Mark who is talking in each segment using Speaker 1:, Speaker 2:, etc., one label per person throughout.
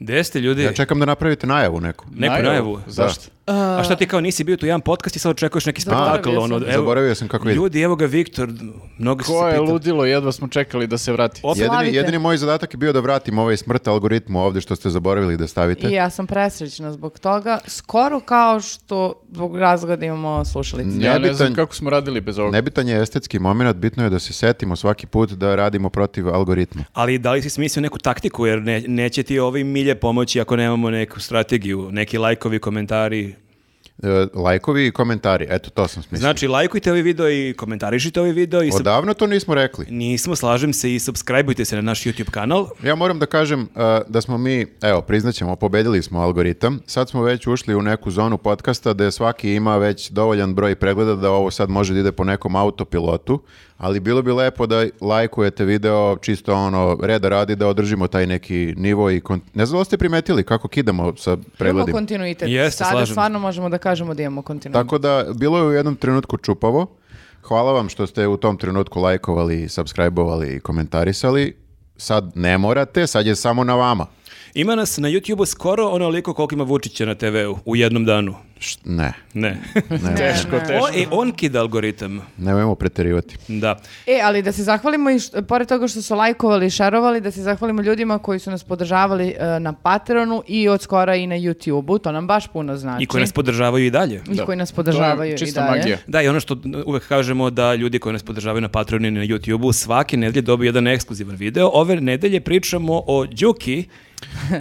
Speaker 1: Gde ste ljudi?
Speaker 2: Ja čekam da napravite najavu neku.
Speaker 1: Neku
Speaker 3: Najavu?
Speaker 1: najavu.
Speaker 3: Zašto?
Speaker 1: A šta ti kao nisi bio tu jedan podcast i sad očekuješ neki spektakl?
Speaker 3: Zaboravio
Speaker 1: Ono,
Speaker 3: sam.
Speaker 1: evo,
Speaker 2: Zaboravio sam kako ide.
Speaker 1: Ljudi, evo ga Viktor, mnogo se
Speaker 3: Ko je
Speaker 1: pitali.
Speaker 3: ludilo, jedva smo čekali da se vrati.
Speaker 1: Opet-
Speaker 2: Jedini,
Speaker 4: Slavite.
Speaker 2: jedini moj zadatak je bio da vratim ovaj smrt algoritmu ovdje što ste zaboravili da stavite.
Speaker 4: I ja sam presrećna zbog toga, skoro kao što zbog razloga da imamo slušalice.
Speaker 3: Ja ne znam
Speaker 2: Nebitan,
Speaker 3: kako smo radili bez ovoga.
Speaker 2: nebitan je estetski moment, bitno je da se setimo svaki put da radimo protiv algoritma.
Speaker 1: Ali da li si smislio neku taktiku, jer ne, neće ti ovi milje pomoći ako nemamo neku strategiju, neki lajkovi, komentari.
Speaker 2: E, lajkovi i komentari, eto to sam smislio.
Speaker 1: Znači, lajkujte ovaj video i komentarišite ovaj video i sub-
Speaker 2: Odavno to nismo rekli.
Speaker 1: Nismo, slažem se i subscribeujte se na naš YouTube kanal.
Speaker 2: Ja moram da kažem e, da smo mi, evo, priznaćemo, pobedili smo algoritam. Sad smo već ušli u neku zonu podcasta gde svaki ima već dovoljan broj pregleda da ovo sad može da ide po nekom autopilotu, ali bilo bi lepo da lajkujete video čisto ono, reda radi da održimo taj neki nivo i... Kon... Ne znam da li ste primetili kako kidamo sa
Speaker 4: Imamo
Speaker 2: pregledima.
Speaker 4: kontinuitet.
Speaker 1: Jeste,
Speaker 4: Sada
Speaker 1: slažem se.
Speaker 4: stvarno možemo da kažemo da imamo kontinuitet.
Speaker 2: Tako da, bilo je u jednom trenutku čupavo. Hvala vam što ste u tom trenutku lajkovali, subscribeovali i komentarisali. Sad ne morate, sad je samo na vama.
Speaker 1: Ima nas na YouTube-u skoro onoliko koliko ima Vučića na TV-u u jednom danu.
Speaker 2: Št- ne,
Speaker 1: Ne.
Speaker 3: Teško, teško.
Speaker 1: o, e, on kida algoritam.
Speaker 2: nemojmo preterivati.
Speaker 1: Da.
Speaker 4: E, ali da se zahvalimo, i št- pored toga što su lajkovali i šarovali, da se zahvalimo ljudima koji su nas podržavali e, na Patreonu i od skora i na YouTube-u, to nam baš puno znači.
Speaker 1: I koji nas podržavaju i dalje.
Speaker 4: I koji nas podržavaju
Speaker 3: To je
Speaker 4: i
Speaker 3: čista
Speaker 4: dalje.
Speaker 3: magija.
Speaker 1: Da, i ono što uvek kažemo da ljudi koji nas podržavaju na Patreonu i na YouTubeu svake nedelje dobiju jedan ekskluzivan video. Ove nedelje pričamo o Đuki.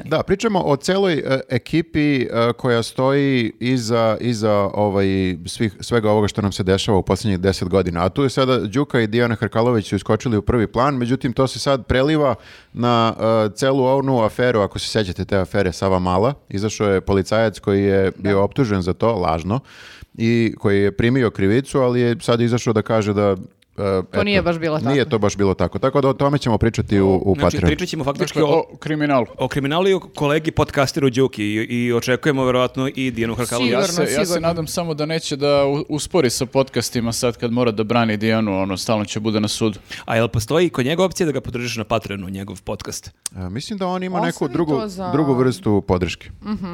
Speaker 2: Da, pričamo o celoj e, ekipi e, koja stoji iza, iza ovaj, svih, svega ovoga što nam se dešava u posljednjih deset godina. A tu je sada Đuka i Dijana Hrkalović su iskočili u prvi plan, međutim to se sad preliva na e, celu onu aferu, ako se sjećate te afere Sava Mala. Izašao je policajac koji je bio optužen za to, lažno, i koji je primio krivicu, ali je sad izašao da kaže da e, eto,
Speaker 4: nije baš bilo tako.
Speaker 2: Nije to baš bilo tako. Tako da o tome ćemo pričati u, u
Speaker 1: Znači,
Speaker 2: Patreonu.
Speaker 1: pričat ćemo faktički
Speaker 3: Dakle,
Speaker 1: o,
Speaker 3: o kriminalu.
Speaker 1: o kriminalu i o kolegi podcasteru Đuki i, i očekujemo verovatno i Dijanu Hrkalović.
Speaker 3: Ja
Speaker 4: Sigurno,
Speaker 3: se, ja se
Speaker 4: sigurno.
Speaker 3: nadam samo da neće da u- uspori sa podcastima sad kad mora da brani Dijanu, ono, stalno će bude na sudu.
Speaker 1: A jel postoji kod njega opcija da ga podržiš na Patreonu, njegov podcast?
Speaker 2: E, Mislim da on ima neku
Speaker 4: Ostavi
Speaker 2: drugu,
Speaker 4: to za- Mhm.
Speaker 2: drugu vrstu podrške.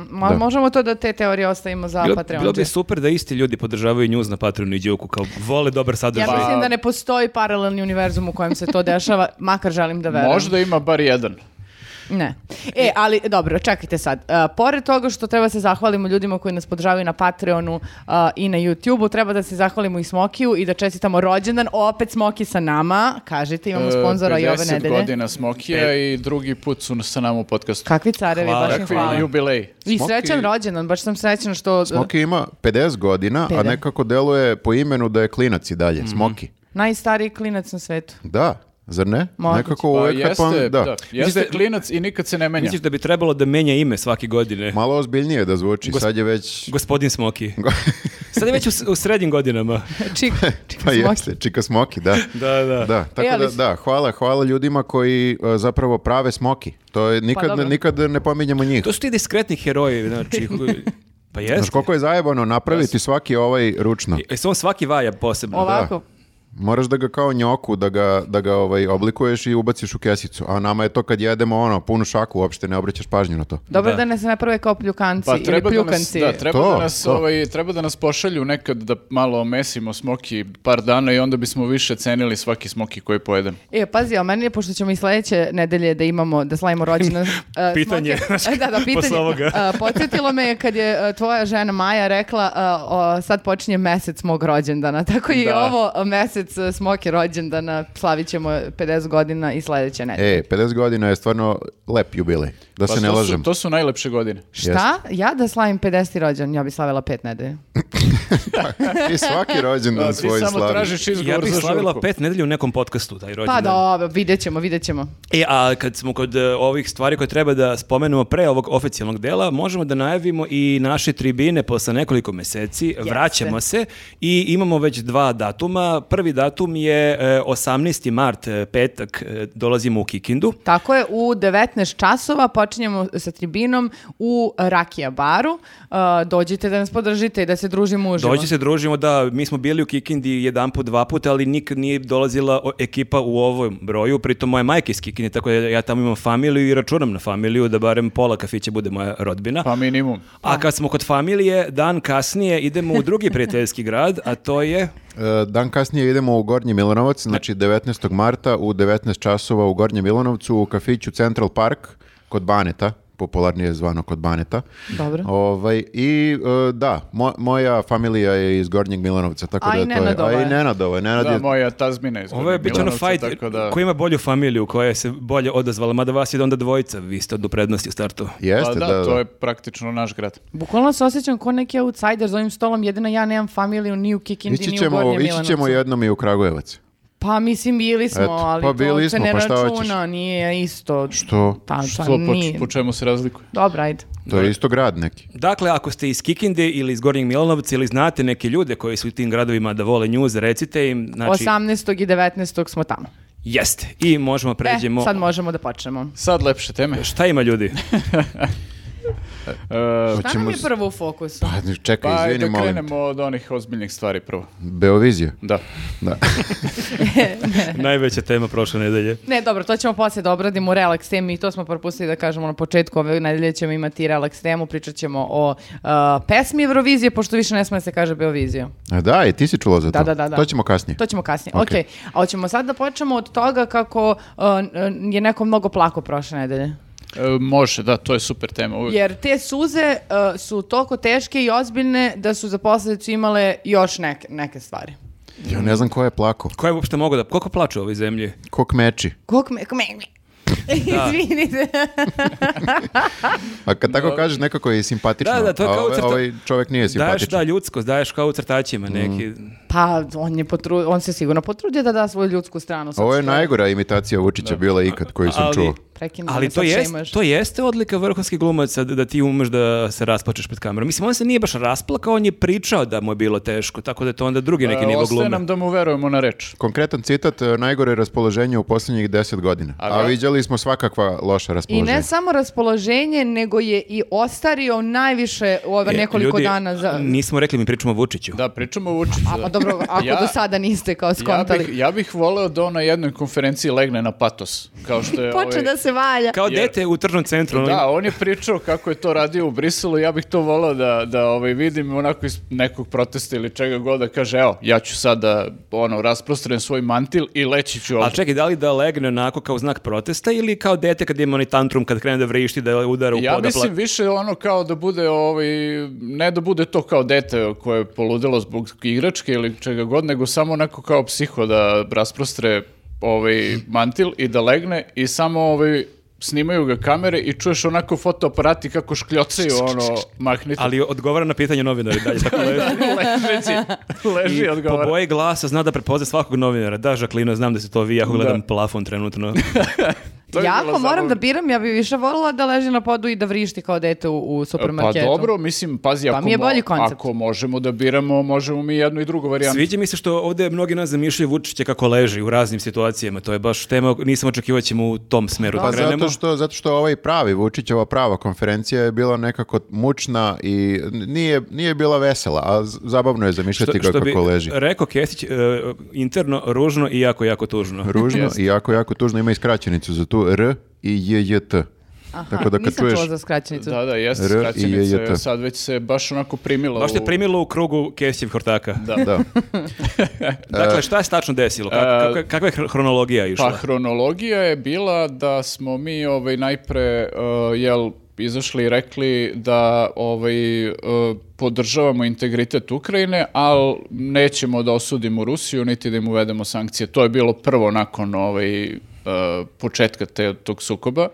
Speaker 4: Ma,
Speaker 2: Da.
Speaker 4: Možemo to da te teorije ostavimo za
Speaker 1: Bilo,
Speaker 4: Pa, Patreon.
Speaker 1: bilo bi super da isti ljudi podržavaju njuz na Patreonu i Đuku, kao vole dobar
Speaker 4: Ja
Speaker 1: sadržaj.
Speaker 4: mislim da ne postoji paralelni univerzum u kojem se to dešava, makar želim da verujem.
Speaker 3: Možda ima bar jedan.
Speaker 4: Ne. E, ali dobro, čekajte sad. E, pored toga što treba se zahvalimo ljudima koji nas podržavaju na Patreonu a, i na YouTubeu, treba da se zahvalimo i Smokiju i da čestitamo rođendan. Opet Smoki sa nama. Kažite, imamo sponzora i ove
Speaker 3: 50
Speaker 4: nedelje.
Speaker 3: E, godina Smokija i drugi put su na- sa nama u podcastu.
Speaker 4: Kakvi carevi,
Speaker 1: Hvala,
Speaker 4: baš im
Speaker 1: kakvi
Speaker 4: hvala.
Speaker 3: jubilej.
Speaker 4: I
Speaker 2: Smoki-
Speaker 4: srećan rođendan, baš sam srećan što... e,
Speaker 2: Smoki ima 50 godina, a
Speaker 4: Pede.
Speaker 2: nekako deluje po imenu da je klinac i
Speaker 4: Mhm.
Speaker 2: dalje. Smoki.
Speaker 4: Najstariji klinac na svetu.
Speaker 2: Da, zar ne?
Speaker 4: Moguće.
Speaker 2: Nekako
Speaker 3: Pa
Speaker 2: uvek kad
Speaker 3: jeste,
Speaker 2: pom-
Speaker 3: da.
Speaker 2: da.
Speaker 3: Jeste
Speaker 1: Mislim da-
Speaker 3: klinac i nikad se ne menja.
Speaker 1: Misliš da bi trebalo da menja ime svake godine?
Speaker 2: Malo ozbiljnije da zvuči,
Speaker 1: Gos-
Speaker 2: sad je već...
Speaker 1: Gospodin Smoki. Sad je već u, s- u srednjim godinama.
Speaker 4: Čik, čik
Speaker 2: Pa
Speaker 4: Smoki.
Speaker 2: jeste, Čika Smoki, da.
Speaker 1: Da, da.
Speaker 2: Da,
Speaker 4: E,
Speaker 2: tako
Speaker 4: ali
Speaker 2: da,
Speaker 4: s-
Speaker 2: da, hvala, hvala ljudima koji e, zapravo prave Smoki. To je, nikad,
Speaker 4: Pa dobro.
Speaker 2: nikad ne pominjemo njih.
Speaker 1: To su ti diskretni heroji, znači... koji- Pa
Speaker 2: Znaš
Speaker 1: jeste.
Speaker 2: koliko je zajebano napraviti svaki ovaj ručno.
Speaker 1: E, samo svaki vaja posebno.
Speaker 4: Ovako,
Speaker 2: Moraš da ga kao njoku, da ga, da ga ovaj, oblikuješ i ubaciš u kesicu. A nama je to kad jedemo ono, punu šaku, uopšte ne obraćaš pažnju na to.
Speaker 4: dobro
Speaker 1: Da.
Speaker 4: da. nas ne prave kao pljukanci
Speaker 3: Pa
Speaker 4: ili
Speaker 3: treba da nas,
Speaker 4: pljukanci.
Speaker 3: da, treba,
Speaker 2: To,
Speaker 3: da nas,
Speaker 2: to.
Speaker 3: ovaj, treba da nas pošalju nekad da malo omesimo Smoki par dana i onda bismo više cenili svaki Smoki koji pojedem.
Speaker 4: E, pazi, a meni je, pošto ćemo i sledeće nedelje da imamo, da slavimo rođendan. e,
Speaker 1: Pitanje,
Speaker 4: Smoke- da, da, pitanje.
Speaker 1: posle ovoga.
Speaker 4: E, podsjetilo me je kad je e, tvoja žena Maja rekla e, o, sad počinje mesec mog rođendana. Tako je i
Speaker 1: Da.
Speaker 4: ovo e, mesec e, Smoke rođendana. Slavit ćemo 50 godina i sledeće nedelje.
Speaker 2: E, 50 godina je stvarno lep jubilej, da
Speaker 3: Pa
Speaker 2: se ne
Speaker 3: to su-
Speaker 2: lažem.
Speaker 3: To su najlepše godine.
Speaker 4: Šta? Ja da slavim 50. rođendan, ja bi slavila 5 nedelje.
Speaker 2: I svaki rođendan
Speaker 3: Ti
Speaker 2: svoj
Speaker 3: samo
Speaker 2: slavi.
Speaker 3: tražiš izgovor
Speaker 1: Ja bih
Speaker 3: za
Speaker 1: slavila
Speaker 3: žurku.
Speaker 1: pet nedelja u nekom podcastu, taj rođendan.
Speaker 4: Pa dobro, vidjet ćemo, vidjet ćemo.
Speaker 1: E, a kad smo kod e, ovih stvari koje treba da spomenemo pre ovog oficijalnog dela, možemo da najavimo i naše tribine posle nekoliko meseci. Vraćamo se i imamo već dva datuma. Prvi datum je e, 18. mart, e, petak, e, dolazimo u Kikindu.
Speaker 4: Tako je, u 19 časova počinjemo sa tribinom u Rakija baru. Uh, Dođite da E, nas podržite i da se družimo uživo.
Speaker 1: Dođi se družimo, da, mi smo bili u Kikindi jedan put, dva puta, ali nikad nije dolazila o- ekipa u ovom broju, pritom moja majka iz Kikinde, tako da ja tamo imam familiju i računam na familiju, da barem pola kafića bude moja rodbina.
Speaker 3: Pa minimum.
Speaker 1: A kad smo kod familije, dan kasnije idemo u drugi prijateljski grad, a to je...
Speaker 2: E, Dan kasnije idemo u Gornji Milanovac, znači 19. marta u 19 časova u Gornjem Milanovcu u kafiću Central Park kod Baneta popularnije zvano kod Baneta.
Speaker 4: Dobro.
Speaker 2: Ovaj, I e, da, mo- moja familija je iz Gornjeg Milanovca, tako
Speaker 4: A
Speaker 2: da
Speaker 4: i
Speaker 2: to je...
Speaker 4: Nenadova
Speaker 2: A i
Speaker 4: je.
Speaker 2: Nenadova je. Nenad
Speaker 3: Da,
Speaker 2: je-
Speaker 3: moja tazbina je iz
Speaker 1: Ovo je
Speaker 3: Gornjeg
Speaker 1: biti ono
Speaker 3: Milanovca,
Speaker 1: fight,
Speaker 3: tako da-
Speaker 1: ko ima bolju familiju, koja se bolje odazvala, mada vas je onda dvojica, vi ste od u prednosti u startu.
Speaker 2: Jeste,
Speaker 3: Pa da,
Speaker 2: da, da.
Speaker 3: to je praktično naš grad.
Speaker 4: Bukvalno se osjećam kao neki outsider za ovim stolom, jedino ja nemam familiju ni u Kikindi,
Speaker 2: Ići
Speaker 4: ni u
Speaker 2: ćemo,
Speaker 4: Gornjem
Speaker 2: ići ćemo
Speaker 4: Milanovcu.
Speaker 2: jednom i u Kragujevac.
Speaker 4: Pa mislim bili smo,
Speaker 2: Eto,
Speaker 4: ali
Speaker 2: pa
Speaker 4: to
Speaker 2: bili
Speaker 4: se
Speaker 2: smo,
Speaker 4: ne
Speaker 2: pa šta hoćeš?
Speaker 4: računa, nije isto.
Speaker 2: Što? pa
Speaker 4: Ta,
Speaker 3: Što,
Speaker 4: šta,
Speaker 3: po,
Speaker 4: pa nije.
Speaker 3: po čemu se razlikuje?
Speaker 4: Dobro, ajde.
Speaker 2: To je isto grad neki.
Speaker 1: Dakle, ako ste iz Kikinde ili iz Gornjeg Milanovca ili znate neke ljude koji su u tim gradovima da vole njuz, recite im. Znači,
Speaker 4: 18. i 19. smo tamo.
Speaker 1: Jeste. I možemo pređemo...
Speaker 4: E, sad možemo da počnemo.
Speaker 3: Sad lepše teme.
Speaker 1: Šta ima ljudi?
Speaker 3: E,
Speaker 4: Šta nam je Pa, prvo u fokusu?
Speaker 2: Pa, čekaj,
Speaker 3: pa ajde
Speaker 2: izvini,
Speaker 3: da
Speaker 2: molim.
Speaker 3: krenemo od onih ozbiljnih stvari prvo.
Speaker 2: Beovizija.
Speaker 3: Da.
Speaker 2: Da.
Speaker 1: Najveća tema prošle nedelje.
Speaker 4: Ne, dobro, to ćemo poslije da obradimo relaks temi i to smo propustili da kažemo na početku ove nedelje ćemo imati relaks temu, pričat ćemo o uh, pesmi Eurovizije, pošto više ne sme da se kaže Beovizija.
Speaker 2: A da, i ti si čula za to.
Speaker 4: Da, da, da, da.
Speaker 2: To ćemo kasnije.
Speaker 4: To ćemo kasnije.
Speaker 2: Ok.
Speaker 4: Ok, a hoćemo sad da počnemo od toga kako uh, n- je neko mnogo plako prošle nedelje.
Speaker 3: E, može, da, to je super tema. uvijek.
Speaker 4: Jer te suze uh, su toliko teške i ozbiljne da su za posledicu imale još neke, neke stvari.
Speaker 2: Ja ne znam ko je plako.
Speaker 1: Ko je uopšte mogao da... Koliko plače u ovoj zemlji?
Speaker 2: Ko kmeči.
Speaker 4: Kuk me, kuk me, me. Izvinite.
Speaker 2: A kad tako kažeš, nekako je i simpatično.
Speaker 1: Da, da, to je
Speaker 2: a
Speaker 1: kao
Speaker 2: ovaj,
Speaker 1: crta-
Speaker 2: ovaj čovjek nije
Speaker 1: Daješ,
Speaker 2: simpatičan.
Speaker 1: da, ljudskost, daješ kao u crtačima neki...
Speaker 4: Pa, on, je potru- on se sigurno potrudio da da svoju ljudsku stranu. sad
Speaker 2: Ovo je
Speaker 4: što
Speaker 2: najgora imitacija Vučića bila ikad koju sam
Speaker 1: Ali-
Speaker 2: čuo.
Speaker 4: Prekinu
Speaker 1: Ali
Speaker 4: me,
Speaker 1: to,
Speaker 4: sad
Speaker 1: jest,
Speaker 4: šemaš.
Speaker 1: to jeste odlika vrhunskih glumaca da, da ti umeš da se rasplačeš pred kamerom. Mislim, on se nije baš rasplakao, on je pričao da mu je bilo teško, tako da je to onda drugi neki
Speaker 3: E,
Speaker 1: nivo
Speaker 3: Ostaje
Speaker 1: glume.
Speaker 3: nam da mu verujemo na reč.
Speaker 2: Konkretan citat, e, najgore raspoloženje u posljednjih deset godina. A,
Speaker 3: da.
Speaker 2: viđali smo svakakva loša
Speaker 4: I
Speaker 2: raspoloženja.
Speaker 4: ne samo raspoloženje, nego je i ostario najviše u ove
Speaker 1: E,
Speaker 4: nekoliko
Speaker 1: ljudi,
Speaker 4: dana. Za...
Speaker 1: Nismo rekli, mi pričamo o Vučiću.
Speaker 3: Da, pričamo o Vučiću.
Speaker 4: A pa dobro, ako
Speaker 3: Ja-
Speaker 4: do sada niste kao
Speaker 3: Ja
Speaker 4: skontali.
Speaker 3: bih, ja bih voleo da on na jednoj konferenciji legne na patos. Kao što je
Speaker 4: Počne
Speaker 3: ovaj-
Speaker 4: da se valja.
Speaker 1: Kao
Speaker 3: Jer-
Speaker 1: dete u tržnom centru. ono,
Speaker 3: Da, on je pričao kako je to radio u Briselu, ja bih to volao da, da ovaj, vidim onako iz nekog protesta ili čega god da kaže, evo, ja ću sada ono, rasprostrem svoj mantil i leći ću
Speaker 1: A
Speaker 3: ovdje.
Speaker 1: čekaj, da li da legne onako kao znak protesta ili kao dete kad ima onaj tantrum kad krene da vrišti, da udara u
Speaker 3: Ja
Speaker 1: pod, da
Speaker 3: mislim
Speaker 1: pla-
Speaker 3: više ono kao da bude ovaj, ne da bude to kao dete koje je poludelo zbog igračke ili čega god, nego samo onako kao psiho da rasprostre ovaj mantil i da legne i samo ovaj snimaju ga kamere i čuješ onako fotoaparati kako škljocaju ono mahnite.
Speaker 1: Ali odgovara na pitanje novinara i dalje, tako leži.
Speaker 3: ležeći, leži i
Speaker 1: I po
Speaker 3: odgovara.
Speaker 1: boji glasa zna da prepozna svakog novinara. Da, Žaklino, znam da se to vi, ja gledam
Speaker 3: Da.
Speaker 1: plafon trenutno.
Speaker 3: To je
Speaker 4: ja
Speaker 3: bilo
Speaker 4: ako moram
Speaker 3: zabavno.
Speaker 4: da biram, ja bi više volila da leži na podu i da vrišti kao dete u, u
Speaker 3: Pa
Speaker 4: supermarketu.
Speaker 3: dobro, mislim, pazi,
Speaker 4: Pa
Speaker 3: ako,
Speaker 4: mi je
Speaker 3: mo-
Speaker 4: bolji koncept.
Speaker 3: ako možemo da biramo, možemo mi jednu i drugu varijantu.
Speaker 1: Sviđa mi se što ovdje mnogi nas zamišljaju Vučića kako leži u raznim situacijama. To je baš tema, nisam očekivao da ćemo u tom smeru
Speaker 2: Pa
Speaker 1: da krenemo.
Speaker 2: zato što, zato što ovaj pravi Vučić, ova prava konferencija je bila nekako mučna i nije, nije bila vesela, a z- zabavno je zamišljati ga
Speaker 1: bi
Speaker 2: kako leži.
Speaker 1: rekao Kesić, e, interno, ružno i jako, jako tužno.
Speaker 2: Ružno i jako, jako tužno ima i skraćenicu za tu R i J, J, T.
Speaker 4: Aha,
Speaker 2: Tako da kad
Speaker 4: nisam
Speaker 2: čuješ...
Speaker 4: čula za skraćenicu.
Speaker 3: Da, da, jeste,
Speaker 2: R i J, J,
Speaker 3: skraćenica,
Speaker 2: T.
Speaker 3: sad već se baš onako primila
Speaker 1: Baš te
Speaker 3: u-
Speaker 1: primilo u krugu Kesićevih hortaka.
Speaker 2: Da. E.
Speaker 1: Dakle, šta je tačno desilo? Kak-
Speaker 3: E,
Speaker 1: kakva- kakva je hro- hronologija išla?
Speaker 3: Pa hronologija je bila da smo mi ovaj najpre uh, jel izašli i rekli da ovaj uh, podržavamo integritet Ukrajine, ali nećemo da osudimo Rusiju niti da im uvedemo sankcije. To je bilo prvo nakon ovaj uh, početka te, tog sukoba.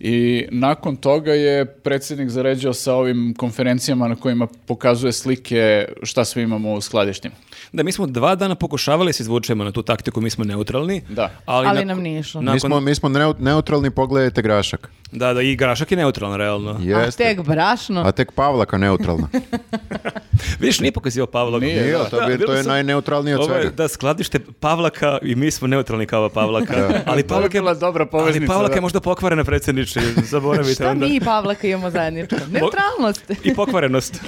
Speaker 3: I nakon toga je predsjednik zaređao sa ovim konferencijama na kojima pokazuje slike šta sve imamo u skladištima.
Speaker 1: Da, mi smo dva dana pokušavali se izvučemo na tu taktiku, mi smo neutralni.
Speaker 3: Da.
Speaker 1: Ali,
Speaker 4: Ali
Speaker 1: nako-
Speaker 4: nam nije išlo.
Speaker 1: Nakon,
Speaker 2: Mi smo, mi smo neu- neutralni, pogledajte grašak.
Speaker 1: Da, da, i Grašak je neutralan, realno.
Speaker 2: Jeste.
Speaker 4: A tek brašno.
Speaker 2: A tek Pavlaka neutralna.
Speaker 1: Vidiš, nije pokazio Pavlaka.
Speaker 3: Nije,
Speaker 2: Nije,
Speaker 3: da.
Speaker 2: to, bi,
Speaker 1: Da,
Speaker 2: to je
Speaker 1: bilo sam-
Speaker 2: najneutralnije od
Speaker 1: Ovo je,
Speaker 2: svega.
Speaker 1: da, skladište Pavlaka i mi smo neutralni kao Pavlaka. Ali
Speaker 3: To je
Speaker 1: Pavlak je,
Speaker 3: bila dobra poveznica,
Speaker 1: ali Pavlak
Speaker 3: da.
Speaker 1: je možda pokvarena priče, zaboravite
Speaker 4: Šta
Speaker 1: onda.
Speaker 4: mi i Pavlaka imamo zajedničko? Neutralnost.
Speaker 1: I pokvarenost.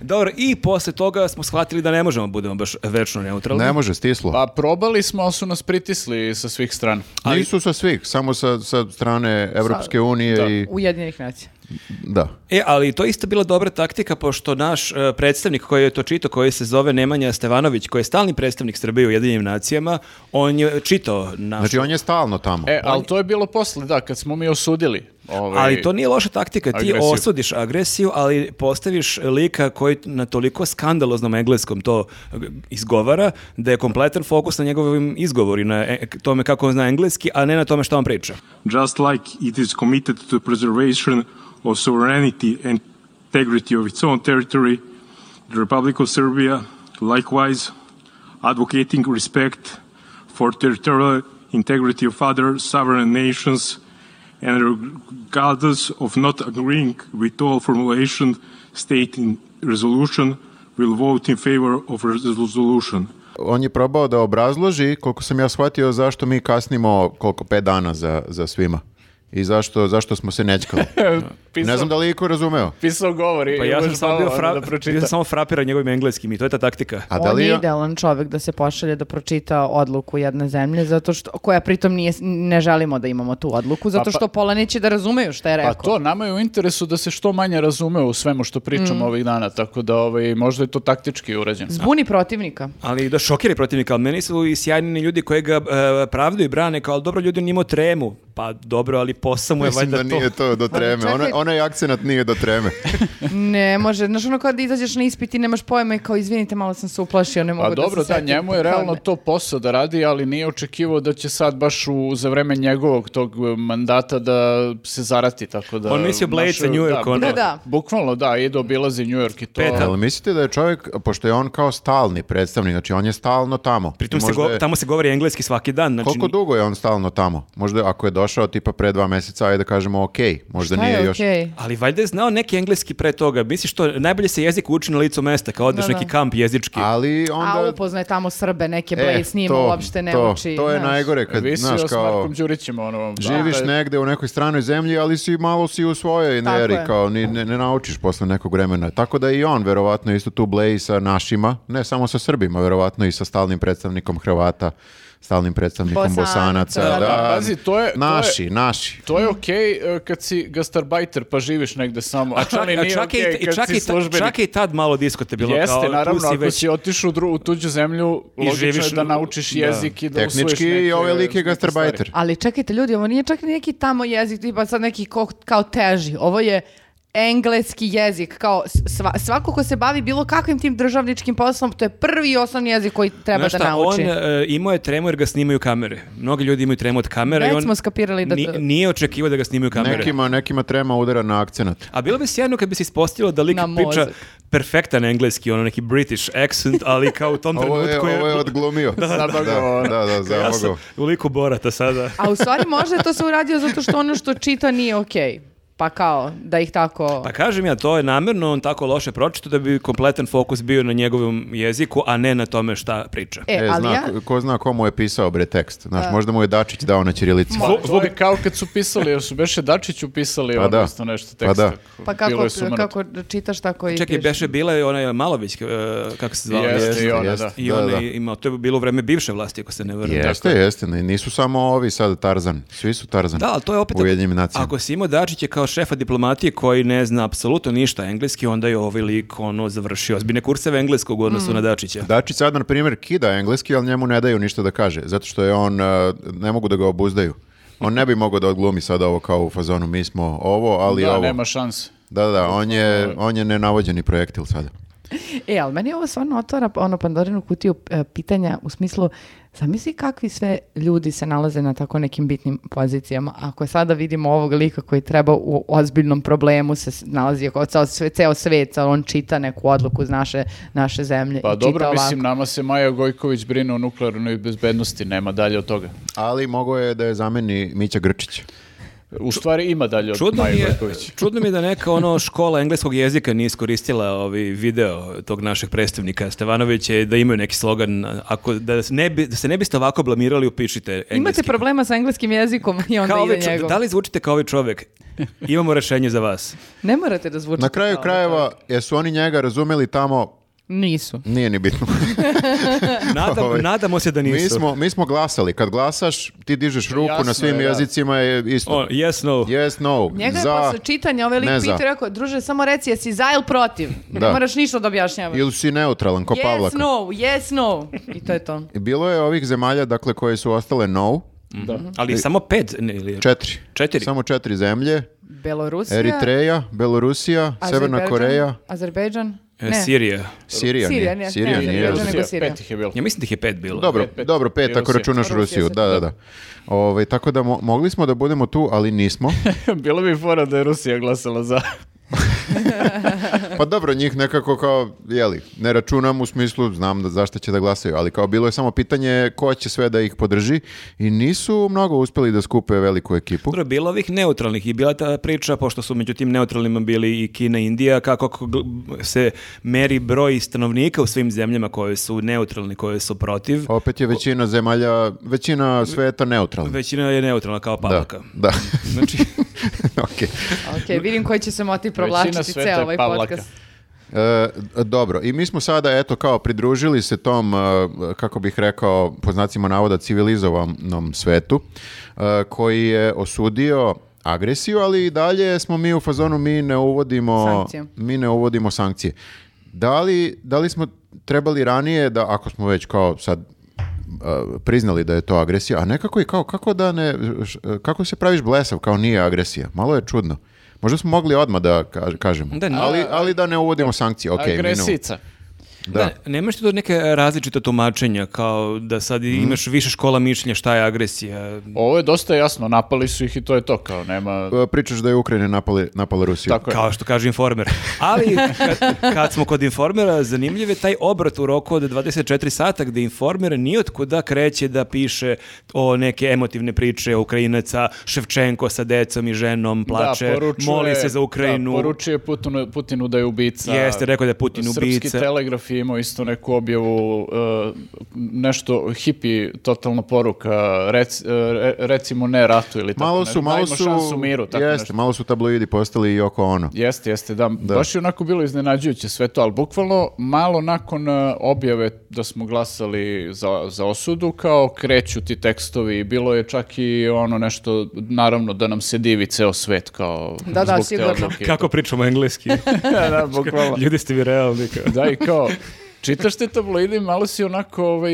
Speaker 1: Dobro, i posle toga smo shvatili da ne možemo budemo baš večno neutralni.
Speaker 2: Ne može, stislo.
Speaker 3: Pa probali smo, ali su nas pritisli sa svih strana.
Speaker 2: Nisu sa svih, samo sa, sa strane Evropske unije i...
Speaker 4: Ujedinjenih nacija.
Speaker 2: Da.
Speaker 1: E, ali to je isto bila dobra taktika, pošto naš e, predstavnik koji je to čitao, koji se zove Nemanja Stevanović, koji je stalni predstavnik Srbije u Jedinim nacijama, on je čitao naš...
Speaker 2: Znači, on je stalno tamo.
Speaker 3: E, ali to je bilo posle, da, kad smo mi osudili. Ovaj,
Speaker 1: Ali to nije loša taktika, ti
Speaker 3: agresiju.
Speaker 1: osudiš agresiju, ali postaviš lika koji na toliko skandaloznom engleskom to g- izgovara, da je kompletan fokus na njegovim izgovori, na e- tome kako on zna engleski, a ne na tome što on priča.
Speaker 5: just like it is committed to the preservation of sovereignty and integrity of its own territory, the Republic of Serbia likewise advocating respect for territorial integrity of other sovereign nations and regardless of not agreeing with all formulation stated in resolution will vote in favor of resolution.
Speaker 2: On je probao da obrazloži, koliko sam ja shvatio, zašto mi kasnimo koliko, pet dana za, za svima. I zašto, zašto smo se nećkali.
Speaker 3: pisao,
Speaker 2: Ne znam da li je iko razumeo.
Speaker 3: pisao govori.
Speaker 1: Pa ja sam
Speaker 3: možeš
Speaker 1: samo bio
Speaker 3: malo
Speaker 1: fra...
Speaker 3: da pročita.
Speaker 1: bio sam samo frapiran njegovim engleskim i to je ta taktika.
Speaker 2: A da
Speaker 4: On
Speaker 2: li
Speaker 4: je
Speaker 2: je-
Speaker 4: idealan čovjek da se pošalje da pročita odluku jedne zemlje, zato što, koja pritom nije, ne želimo da imamo tu odluku, zato što pola neće da razumeju šta je
Speaker 3: Pa
Speaker 4: rekao.
Speaker 3: to, nama je u interesu da se što manje razume u svemu što pričamo
Speaker 4: Mm.
Speaker 3: ovih dana, tako da ovaj, možda je to taktički urađeno.
Speaker 4: Zbuni protivnika.
Speaker 1: Ali da šokira protivnika, ali meni su i sjajni ljudi koji ga e, pravdaju i brane kao, ali dobro, ljudi, on je imao tremu. Pa dobro, ali posao mu je
Speaker 2: Mislim
Speaker 1: valjda
Speaker 2: da
Speaker 1: to.
Speaker 2: nije to do treme.
Speaker 4: čekaj.
Speaker 2: Ona, onaj akcenat nije do treme.
Speaker 4: Ne može, znaš ono kada izađeš na ispit i nemaš pojma i kao izvinite malo sam se uplašio, ne mogu
Speaker 3: Pa
Speaker 4: da
Speaker 3: dobro,
Speaker 4: se
Speaker 3: da,
Speaker 4: setim."
Speaker 3: njemu je
Speaker 4: Kao
Speaker 3: realno
Speaker 4: ne.
Speaker 3: to posao da radi, ali nije očekivao da će sad baš u, za vreme njegovog tog eh, mandata da se zarati, tako da...
Speaker 1: On mislio Blade
Speaker 3: našao-
Speaker 1: za New York,
Speaker 3: da,
Speaker 1: ono.
Speaker 4: Da, da.
Speaker 3: Bukvalno, da, ide obilazi New York i to...
Speaker 1: Peta.
Speaker 2: Ali mislite da je čovjek, pošto je on kao stalni predstavnik, znači on je stalno tamo.
Speaker 1: Pritom se
Speaker 2: Možda
Speaker 1: go-
Speaker 2: je-
Speaker 1: tamo se govori engleski svaki dan. Znači,
Speaker 2: Koliko dugo je on stalno tamo? Možda ako je došao tipa pre dva meseca, ajde da kažemo ok, možda
Speaker 4: Šta
Speaker 2: nije
Speaker 4: je
Speaker 2: još...
Speaker 4: okej?
Speaker 1: Ali valjda je znao neki engleski pre toga. Misliš to, najbolje se jezik uči na licu mesta, kao odeš
Speaker 4: Da, da.
Speaker 1: neki kamp jezički.
Speaker 2: Ali onda...
Speaker 4: A upoznaje tamo Srbe, neke
Speaker 2: E,
Speaker 4: Blaze pa s njima
Speaker 2: to,
Speaker 4: uopšte ne
Speaker 2: to,
Speaker 4: uči.
Speaker 2: To je
Speaker 4: znaš.
Speaker 2: najgore, kad,
Speaker 3: Visio
Speaker 2: znaš,
Speaker 3: s
Speaker 2: kao...
Speaker 3: Markom Đurićem, ono...
Speaker 2: Živiš
Speaker 3: da,
Speaker 2: negde u nekoj stranoj zemlji, ali si malo si u svojoj
Speaker 4: Tako
Speaker 2: neri,
Speaker 4: je.
Speaker 2: kao ni, ne, ne naučiš posle nekog vremena. Tako da i on verovatno isto tu bleji sa našima, ne samo sa Srbima, verovatno i sa stalnim predstavnikom Hrvata, stalnim predstavnikom
Speaker 4: Bosanaca,
Speaker 2: Bosanaca.
Speaker 4: da,
Speaker 2: da.
Speaker 3: da. Pazi, to je- to je-
Speaker 2: Naši, naši.
Speaker 3: To je okej eh, kad si gastarbajter pa živiš negde samo, a,
Speaker 1: čak,
Speaker 3: ali
Speaker 1: a
Speaker 3: nije
Speaker 1: čak, i-
Speaker 3: okej
Speaker 1: i,
Speaker 3: kad
Speaker 1: čak,
Speaker 3: si
Speaker 1: i, ta-
Speaker 3: službenik.
Speaker 1: čak i tad malo diskote bilo
Speaker 3: Jeste,
Speaker 1: kao, tu
Speaker 3: naravno,
Speaker 1: si
Speaker 3: ako
Speaker 1: već-
Speaker 3: si otišao u, dru- u tuđu zemlju,
Speaker 1: I
Speaker 3: logično
Speaker 1: živiš
Speaker 3: je da
Speaker 1: u-
Speaker 3: naučiš
Speaker 1: da.
Speaker 3: jezik i da usvojiš
Speaker 2: Tehnički
Speaker 3: neke- e,
Speaker 2: i ovaj lik je
Speaker 3: neke
Speaker 2: gastarbajter.
Speaker 4: Ali čekajte ljudi, ovo nije čak ni neki tamo jezik, tipa sad neki ko- kao teži. Ovo je engleski jezik, kao sva- svako ko se bavi bilo kakvim tim državničkim poslom, to je prvi i osnovni jezik koji treba
Speaker 1: Znaš
Speaker 4: da
Speaker 1: šta,
Speaker 4: nauči.
Speaker 1: on e, imao je tremu jer ga snimaju kamere. Mnogi ljudi imaju tremu od kamera i
Speaker 4: Već
Speaker 1: on
Speaker 4: smo skapirali da-
Speaker 1: ni- nije očekivao da ga snimaju kamere.
Speaker 2: Nekima, nekima trema udara na akcenat.
Speaker 1: A bilo bi sjajno kad bi se ispostavilo da lik
Speaker 4: Na
Speaker 1: priča
Speaker 4: mozak.
Speaker 1: perfektan engleski, ono neki British accent, ali kao u tom
Speaker 2: Ovo je,
Speaker 1: trenutku
Speaker 2: ovo je odglumio. da,
Speaker 3: Zabagao,
Speaker 2: da, da, da,
Speaker 1: Ja sam
Speaker 2: zabagao.
Speaker 1: u liku Borata sada.
Speaker 4: A u stvari možda je to se uradio zato što ono što čita nije okej. Pa kao, da ih tako...
Speaker 1: Pa kažem ja, to je namjerno on tako loše pročito da bi kompletan fokus bio na njegovom jeziku, a ne na tome šta priča.
Speaker 4: E,
Speaker 2: E,
Speaker 4: ali
Speaker 2: zna,
Speaker 4: ja...
Speaker 2: ko- ko zna komu je pisao bre tekst. Znaš, možda mu je Dačić dao na Ćirilici.
Speaker 3: Pa, to je kao kad su pisali, jer su Beše Dačiću pisali
Speaker 2: Pa da.
Speaker 3: odnosno nešto teksta.
Speaker 2: Pa da.
Speaker 3: ko-
Speaker 4: Pa
Speaker 3: bilo
Speaker 4: kako,
Speaker 3: je sumanuto.
Speaker 4: kako čitaš tako i
Speaker 1: Čekaj,
Speaker 4: piše.
Speaker 1: beše bila je onaj Malović, e, kako se zvala?
Speaker 3: Jeste, i ona,
Speaker 2: jeste,
Speaker 3: da.
Speaker 1: I
Speaker 2: da,
Speaker 1: ona
Speaker 2: da.
Speaker 1: je imao, to je bilo u vreme bivše vlasti, ako se ne vrlo.
Speaker 2: Jeste, jeste. ne- Nisu samo ovi sad Tarzan. Svi su Tarzan.
Speaker 1: Da, ali to je opet...
Speaker 2: U Ujedinjenim nacijama.
Speaker 1: Ako si imao Dačića kao šefa diplomatije koji ne zna apsolutno ništa engleski, onda je ovaj lik ono završio ozbiljne kurseve engleskog u odnosu na Dačića.
Speaker 2: Dačić sad, na primjer, kida engleski, ali njemu ne daju ništa da kaže, zato što je on, e, ne mogu da ga obuzdaju. On ne bi mogao da odglumi sad ovo kao u fazonu, mi smo ovo, ali
Speaker 3: Da,
Speaker 2: ovo.
Speaker 3: nema šanse.
Speaker 2: Da, da, on je, on je nenavođeni projektil sada.
Speaker 4: E, ali meni ovo stvarno otvara ono Pandorinu kutiju e, pitanja u smislu, zamisli kakvi sve ljudi se nalaze na tako nekim bitnim pozicijama. Ako sada vidimo ovog lika koji treba u ozbiljnom problemu se s- nalazi kao ceo, sve, ceo svet, ali on čita neku odluku iz naše, naše zemlje.
Speaker 3: Pa
Speaker 4: i
Speaker 3: dobro,
Speaker 4: čita
Speaker 3: mislim,
Speaker 4: ovako.
Speaker 3: nama se Maja Gojković brine o nuklearnoj bezbednosti, nema dalje od toga.
Speaker 2: Ali mogo je da je zameni Mića Grčić.
Speaker 3: U stvari ima dalje od
Speaker 1: Čudno mi,
Speaker 3: Maje
Speaker 1: je,
Speaker 3: Gojković.
Speaker 1: čudno mi je da neka ono škola engleskog jezika nije iskoristila ovi video tog našeg predstavnika Stevanovića i da imaju neki slogan ako da se ne bi da se ne biste ovako blamirali upišite engleski.
Speaker 4: Imate problema sa engleskim jezikom i onda
Speaker 1: kao
Speaker 4: ide
Speaker 1: ovaj čo-
Speaker 4: njegov.
Speaker 1: da li zvučite kao ovaj čovek? Imamo rešenje za vas.
Speaker 4: Ne morate da zvučite.
Speaker 2: Na kraju
Speaker 4: kao ovaj
Speaker 2: krajeva, jesu oni njega razumeli tamo,
Speaker 4: čovjek. Nisu.
Speaker 2: nije ni bitno.
Speaker 1: Nadam-
Speaker 2: Ovaj,
Speaker 1: nadamo se da nisu.
Speaker 2: mi, smo, mi smo glasali. Kad glasaš, ti dižeš ruku
Speaker 3: Jasno
Speaker 2: na svim
Speaker 3: je, da.
Speaker 2: jezicima je isto.
Speaker 1: O, yes, no.
Speaker 2: Yes, no.
Speaker 4: Njega je
Speaker 2: za,
Speaker 4: posle čitanja ovaj lik
Speaker 2: ne
Speaker 4: pitao
Speaker 2: za.
Speaker 4: i rekao, druže, samo reci, jesi za ili protiv? Ne
Speaker 2: Da.
Speaker 4: moraš ništa da objašnjavaš.
Speaker 2: Ili si neutralan, ko
Speaker 4: yes,
Speaker 2: Pavlaka.
Speaker 4: no, yes, no. I to je to.
Speaker 2: Bilo je ovih zemalja, dakle, koje su ostale no,
Speaker 3: Da.
Speaker 1: Ali samo pet ne, ili
Speaker 2: četiri.
Speaker 1: Četiri.
Speaker 2: Samo četiri zemlje.
Speaker 4: Belorusija,
Speaker 2: Eritreja, Belorusija, Severna
Speaker 4: Azerbejdžan,
Speaker 2: Koreja,
Speaker 4: Azerbejdžan,
Speaker 1: E,
Speaker 4: ne.
Speaker 1: Sirija.
Speaker 2: Sirija.
Speaker 4: Sirija,
Speaker 2: nije.
Speaker 4: ne,
Speaker 2: Sirija
Speaker 4: ne,
Speaker 2: nije.
Speaker 4: Azerbejdžan,
Speaker 2: Rusija.
Speaker 4: nego Sirija.
Speaker 3: Pet ih je bilo.
Speaker 1: Ja mislim da ih je pet bilo.
Speaker 2: Dobro,
Speaker 3: Pet, pet.
Speaker 2: dobro, pet
Speaker 3: I
Speaker 2: ako
Speaker 3: Rusija.
Speaker 2: računaš
Speaker 4: Rusija
Speaker 2: Rusiju.
Speaker 4: sad,
Speaker 2: Da, da, da. Ovaj, tako da mo- mogli smo da budemo tu, ali nismo.
Speaker 3: bilo bi fora da je Rusija glasala za...
Speaker 2: Pa dobro, njih nekako kao, jeli, ne računam u smislu, znam da zašto će da glasaju, ali kao bilo je samo pitanje ko će sve da ih podrži i nisu mnogo uspeli da skupe veliku ekipu.
Speaker 1: Dobro, bilo ovih neutralnih i bila ta priča, pošto su među tim neutralnima bili i Kina i Indija, kako k- gl- se meri broj stanovnika u svim zemljama koje su neutralni, koje su protiv.
Speaker 2: Opet je većina zemalja, većina sveta neutralna.
Speaker 1: Većina je neutralna kao
Speaker 2: Da,
Speaker 1: pavaka.
Speaker 2: da.
Speaker 1: Znači,
Speaker 2: Okej.
Speaker 4: Ok, vidim koji će se motiv
Speaker 3: Većina
Speaker 4: provlačiti
Speaker 3: sveta
Speaker 4: ceo
Speaker 3: je
Speaker 4: ovaj
Speaker 3: Pavlaka.
Speaker 4: podcast.
Speaker 2: E, dobro, i mi smo sada, eto, kao pridružili se tom, e, kako bih rekao, po znacima navoda, civilizovanom svetu, e, koji je osudio agresiju, ali i dalje smo mi u fazonu, mi ne uvodimo
Speaker 4: Sankcije.
Speaker 2: mi ne uvodimo sankcije. Da li, da li smo trebali ranije da, ako smo već kao sad e, priznali da je to agresija, a nekako i kao, kako da ne, š- kako se praviš blesav, kao nije agresija, malo je čudno. Možda smo mogli odmah da kaž- kažemo.
Speaker 1: Da, ne.
Speaker 2: ali, ali da ne uvodimo sankcije, ok.
Speaker 3: Agresica.
Speaker 2: Da.
Speaker 1: da. nemaš tu neke različita tumačenja, kao da sad imaš više škola mišljenja šta je agresija.
Speaker 3: Ovo je dosta jasno, napali su ih i to je to, kao nema...
Speaker 2: E, Pričaš da je Ukrajina napala, napala Rusiju.
Speaker 3: Tako je.
Speaker 1: Kao što kaže informer. Ali kad, kad smo kod informera, zanimljiv je taj obrat u roku od 24 sata gde informer nijotkuda kreće da piše o neke emotivne priče Ukrajinaca, Ševčenko sa decom i ženom plače,
Speaker 3: Da, poručuje-
Speaker 1: moli se za
Speaker 3: Da,
Speaker 1: Ukrajinu.
Speaker 3: poručuje Putinu, Putinu da je ubica.
Speaker 1: Jeste, rekao da je Putin ubica.
Speaker 3: Srpski telegraf je imao isto neku objavu, e, nešto hipi, totalna poruka, rec, e, re- recimo ne ratu ili tako
Speaker 2: Malo
Speaker 3: nešto.
Speaker 2: su, malo
Speaker 3: Dajmo
Speaker 2: su,
Speaker 3: šansu miru, tako
Speaker 2: jeste,
Speaker 3: nešto.
Speaker 2: malo su tabloidi postali i oko ono.
Speaker 3: Jeste, jeste, da. Baš je onako bilo iznenađujuće sve to, ali bukvalno malo nakon e, objave da smo glasali za, za osudu, kao kreću ti tekstovi, bilo je čak i ono nešto, naravno da nam se divi ceo svet, kao
Speaker 4: Da, da,
Speaker 3: zbog te
Speaker 4: sigurno.
Speaker 3: odluke.
Speaker 1: Kako pričamo engleski?
Speaker 3: da, da, bukvalno.
Speaker 1: Ljudi ste vi realni. kao.
Speaker 3: Da, i kao, čitaš te tabloide i malo si onako, ovaj,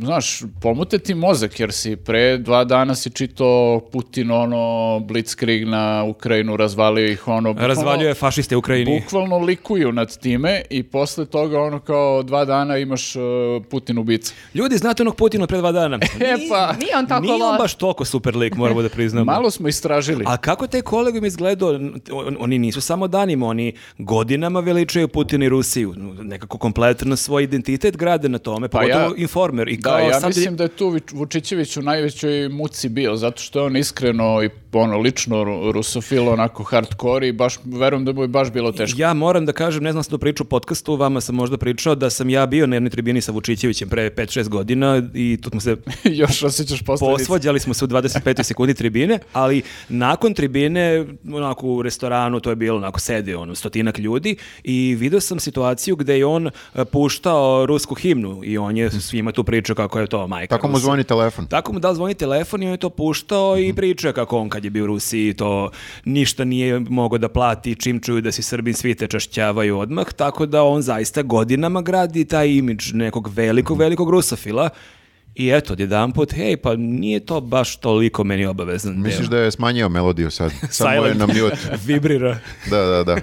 Speaker 3: znaš, pomute ti mozak, jer si pre dva dana si čitao Putin, ono, Blitzkrieg na Ukrajinu, razvalio ih, ono... bukvalno-
Speaker 1: Razvaljuje fašiste u Ukrajini.
Speaker 3: Bukvalno likuju nad time i posle toga ono kao dva dana imaš uh, Putin ubica.
Speaker 1: Ljudi, znate onog Putina od pre dva dana?
Speaker 3: E pa,
Speaker 4: Nije on tako
Speaker 1: Nije on
Speaker 4: loš.
Speaker 1: baš toliko super lik, moramo da priznamo.
Speaker 3: malo smo istražili.
Speaker 1: A kako taj kolegium izgledao? On- Oni nisu samo danima, oni godinama veličaju Putin i Rusiju. Nekako kompletno svoj identitet grade na tome,
Speaker 3: Pa
Speaker 1: pogotovo
Speaker 3: ja-
Speaker 1: informer. I
Speaker 3: Da,
Speaker 1: kao
Speaker 3: ja
Speaker 1: sam-
Speaker 3: mislim da je tu Vič- Vučićević u najvećoj muci bio, zato što je on iskreno i ono lično ru- rusofil, onako hardcore i baš, verujem da mu je baš bilo teško.
Speaker 1: Ja moram da kažem, ne znam sam to pričao u podcastu, vama sam možda pričao da sam ja bio na jednoj tribini sa Vučićevićem pre 5-6 godina i tu smo se
Speaker 3: Još osjećaš posledice.
Speaker 1: posvađali smo se u 25. sekundi tribine, ali nakon tribine, onako u restoranu, to je bilo onako sede ono, stotinak ljudi i video sam situaciju gde je on e, puštao rusku himnu i on je svima tu pričao kako je to majka.
Speaker 2: Mhm. Tako mu
Speaker 1: Rusa.
Speaker 2: zvoni telefon.
Speaker 1: Tako mu da zvoni telefon i on je to puštao i pričao kako on kad je bio u Rusiji to ništa nije mogao da plati, čim čuju da si Srbin svi te čašćavaju odmah, tako da on zaista godinama gradi taj imidž nekog velikog, velikog rusofila i eto, odjedan put, hej, pa nije to baš toliko meni obavezan deo.
Speaker 2: Misliš da je smanjio melodiju sad? Samo je
Speaker 1: Silent.
Speaker 2: na mute.
Speaker 1: Vibrira.
Speaker 2: Da, da, da.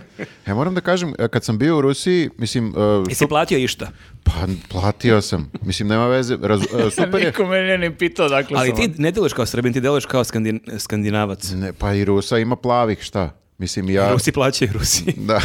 Speaker 2: Ja moram da kažem, e, kad sam bio u Rusiji, mislim, e,
Speaker 1: Jesi platio išta?
Speaker 2: Pa, platio sam. Mislim, nema veze. Raz- e, super je.
Speaker 3: Niko me nije ni pitao dakle
Speaker 1: Ali
Speaker 3: sam
Speaker 1: ti ne deluješ kao Srbin, ti deluješ kao skandin- skandinavac.
Speaker 2: Ne, pa i Rusa ima plavih, šta? Mislim, ja...
Speaker 1: Rusi plaćaju Rusi.
Speaker 2: Da.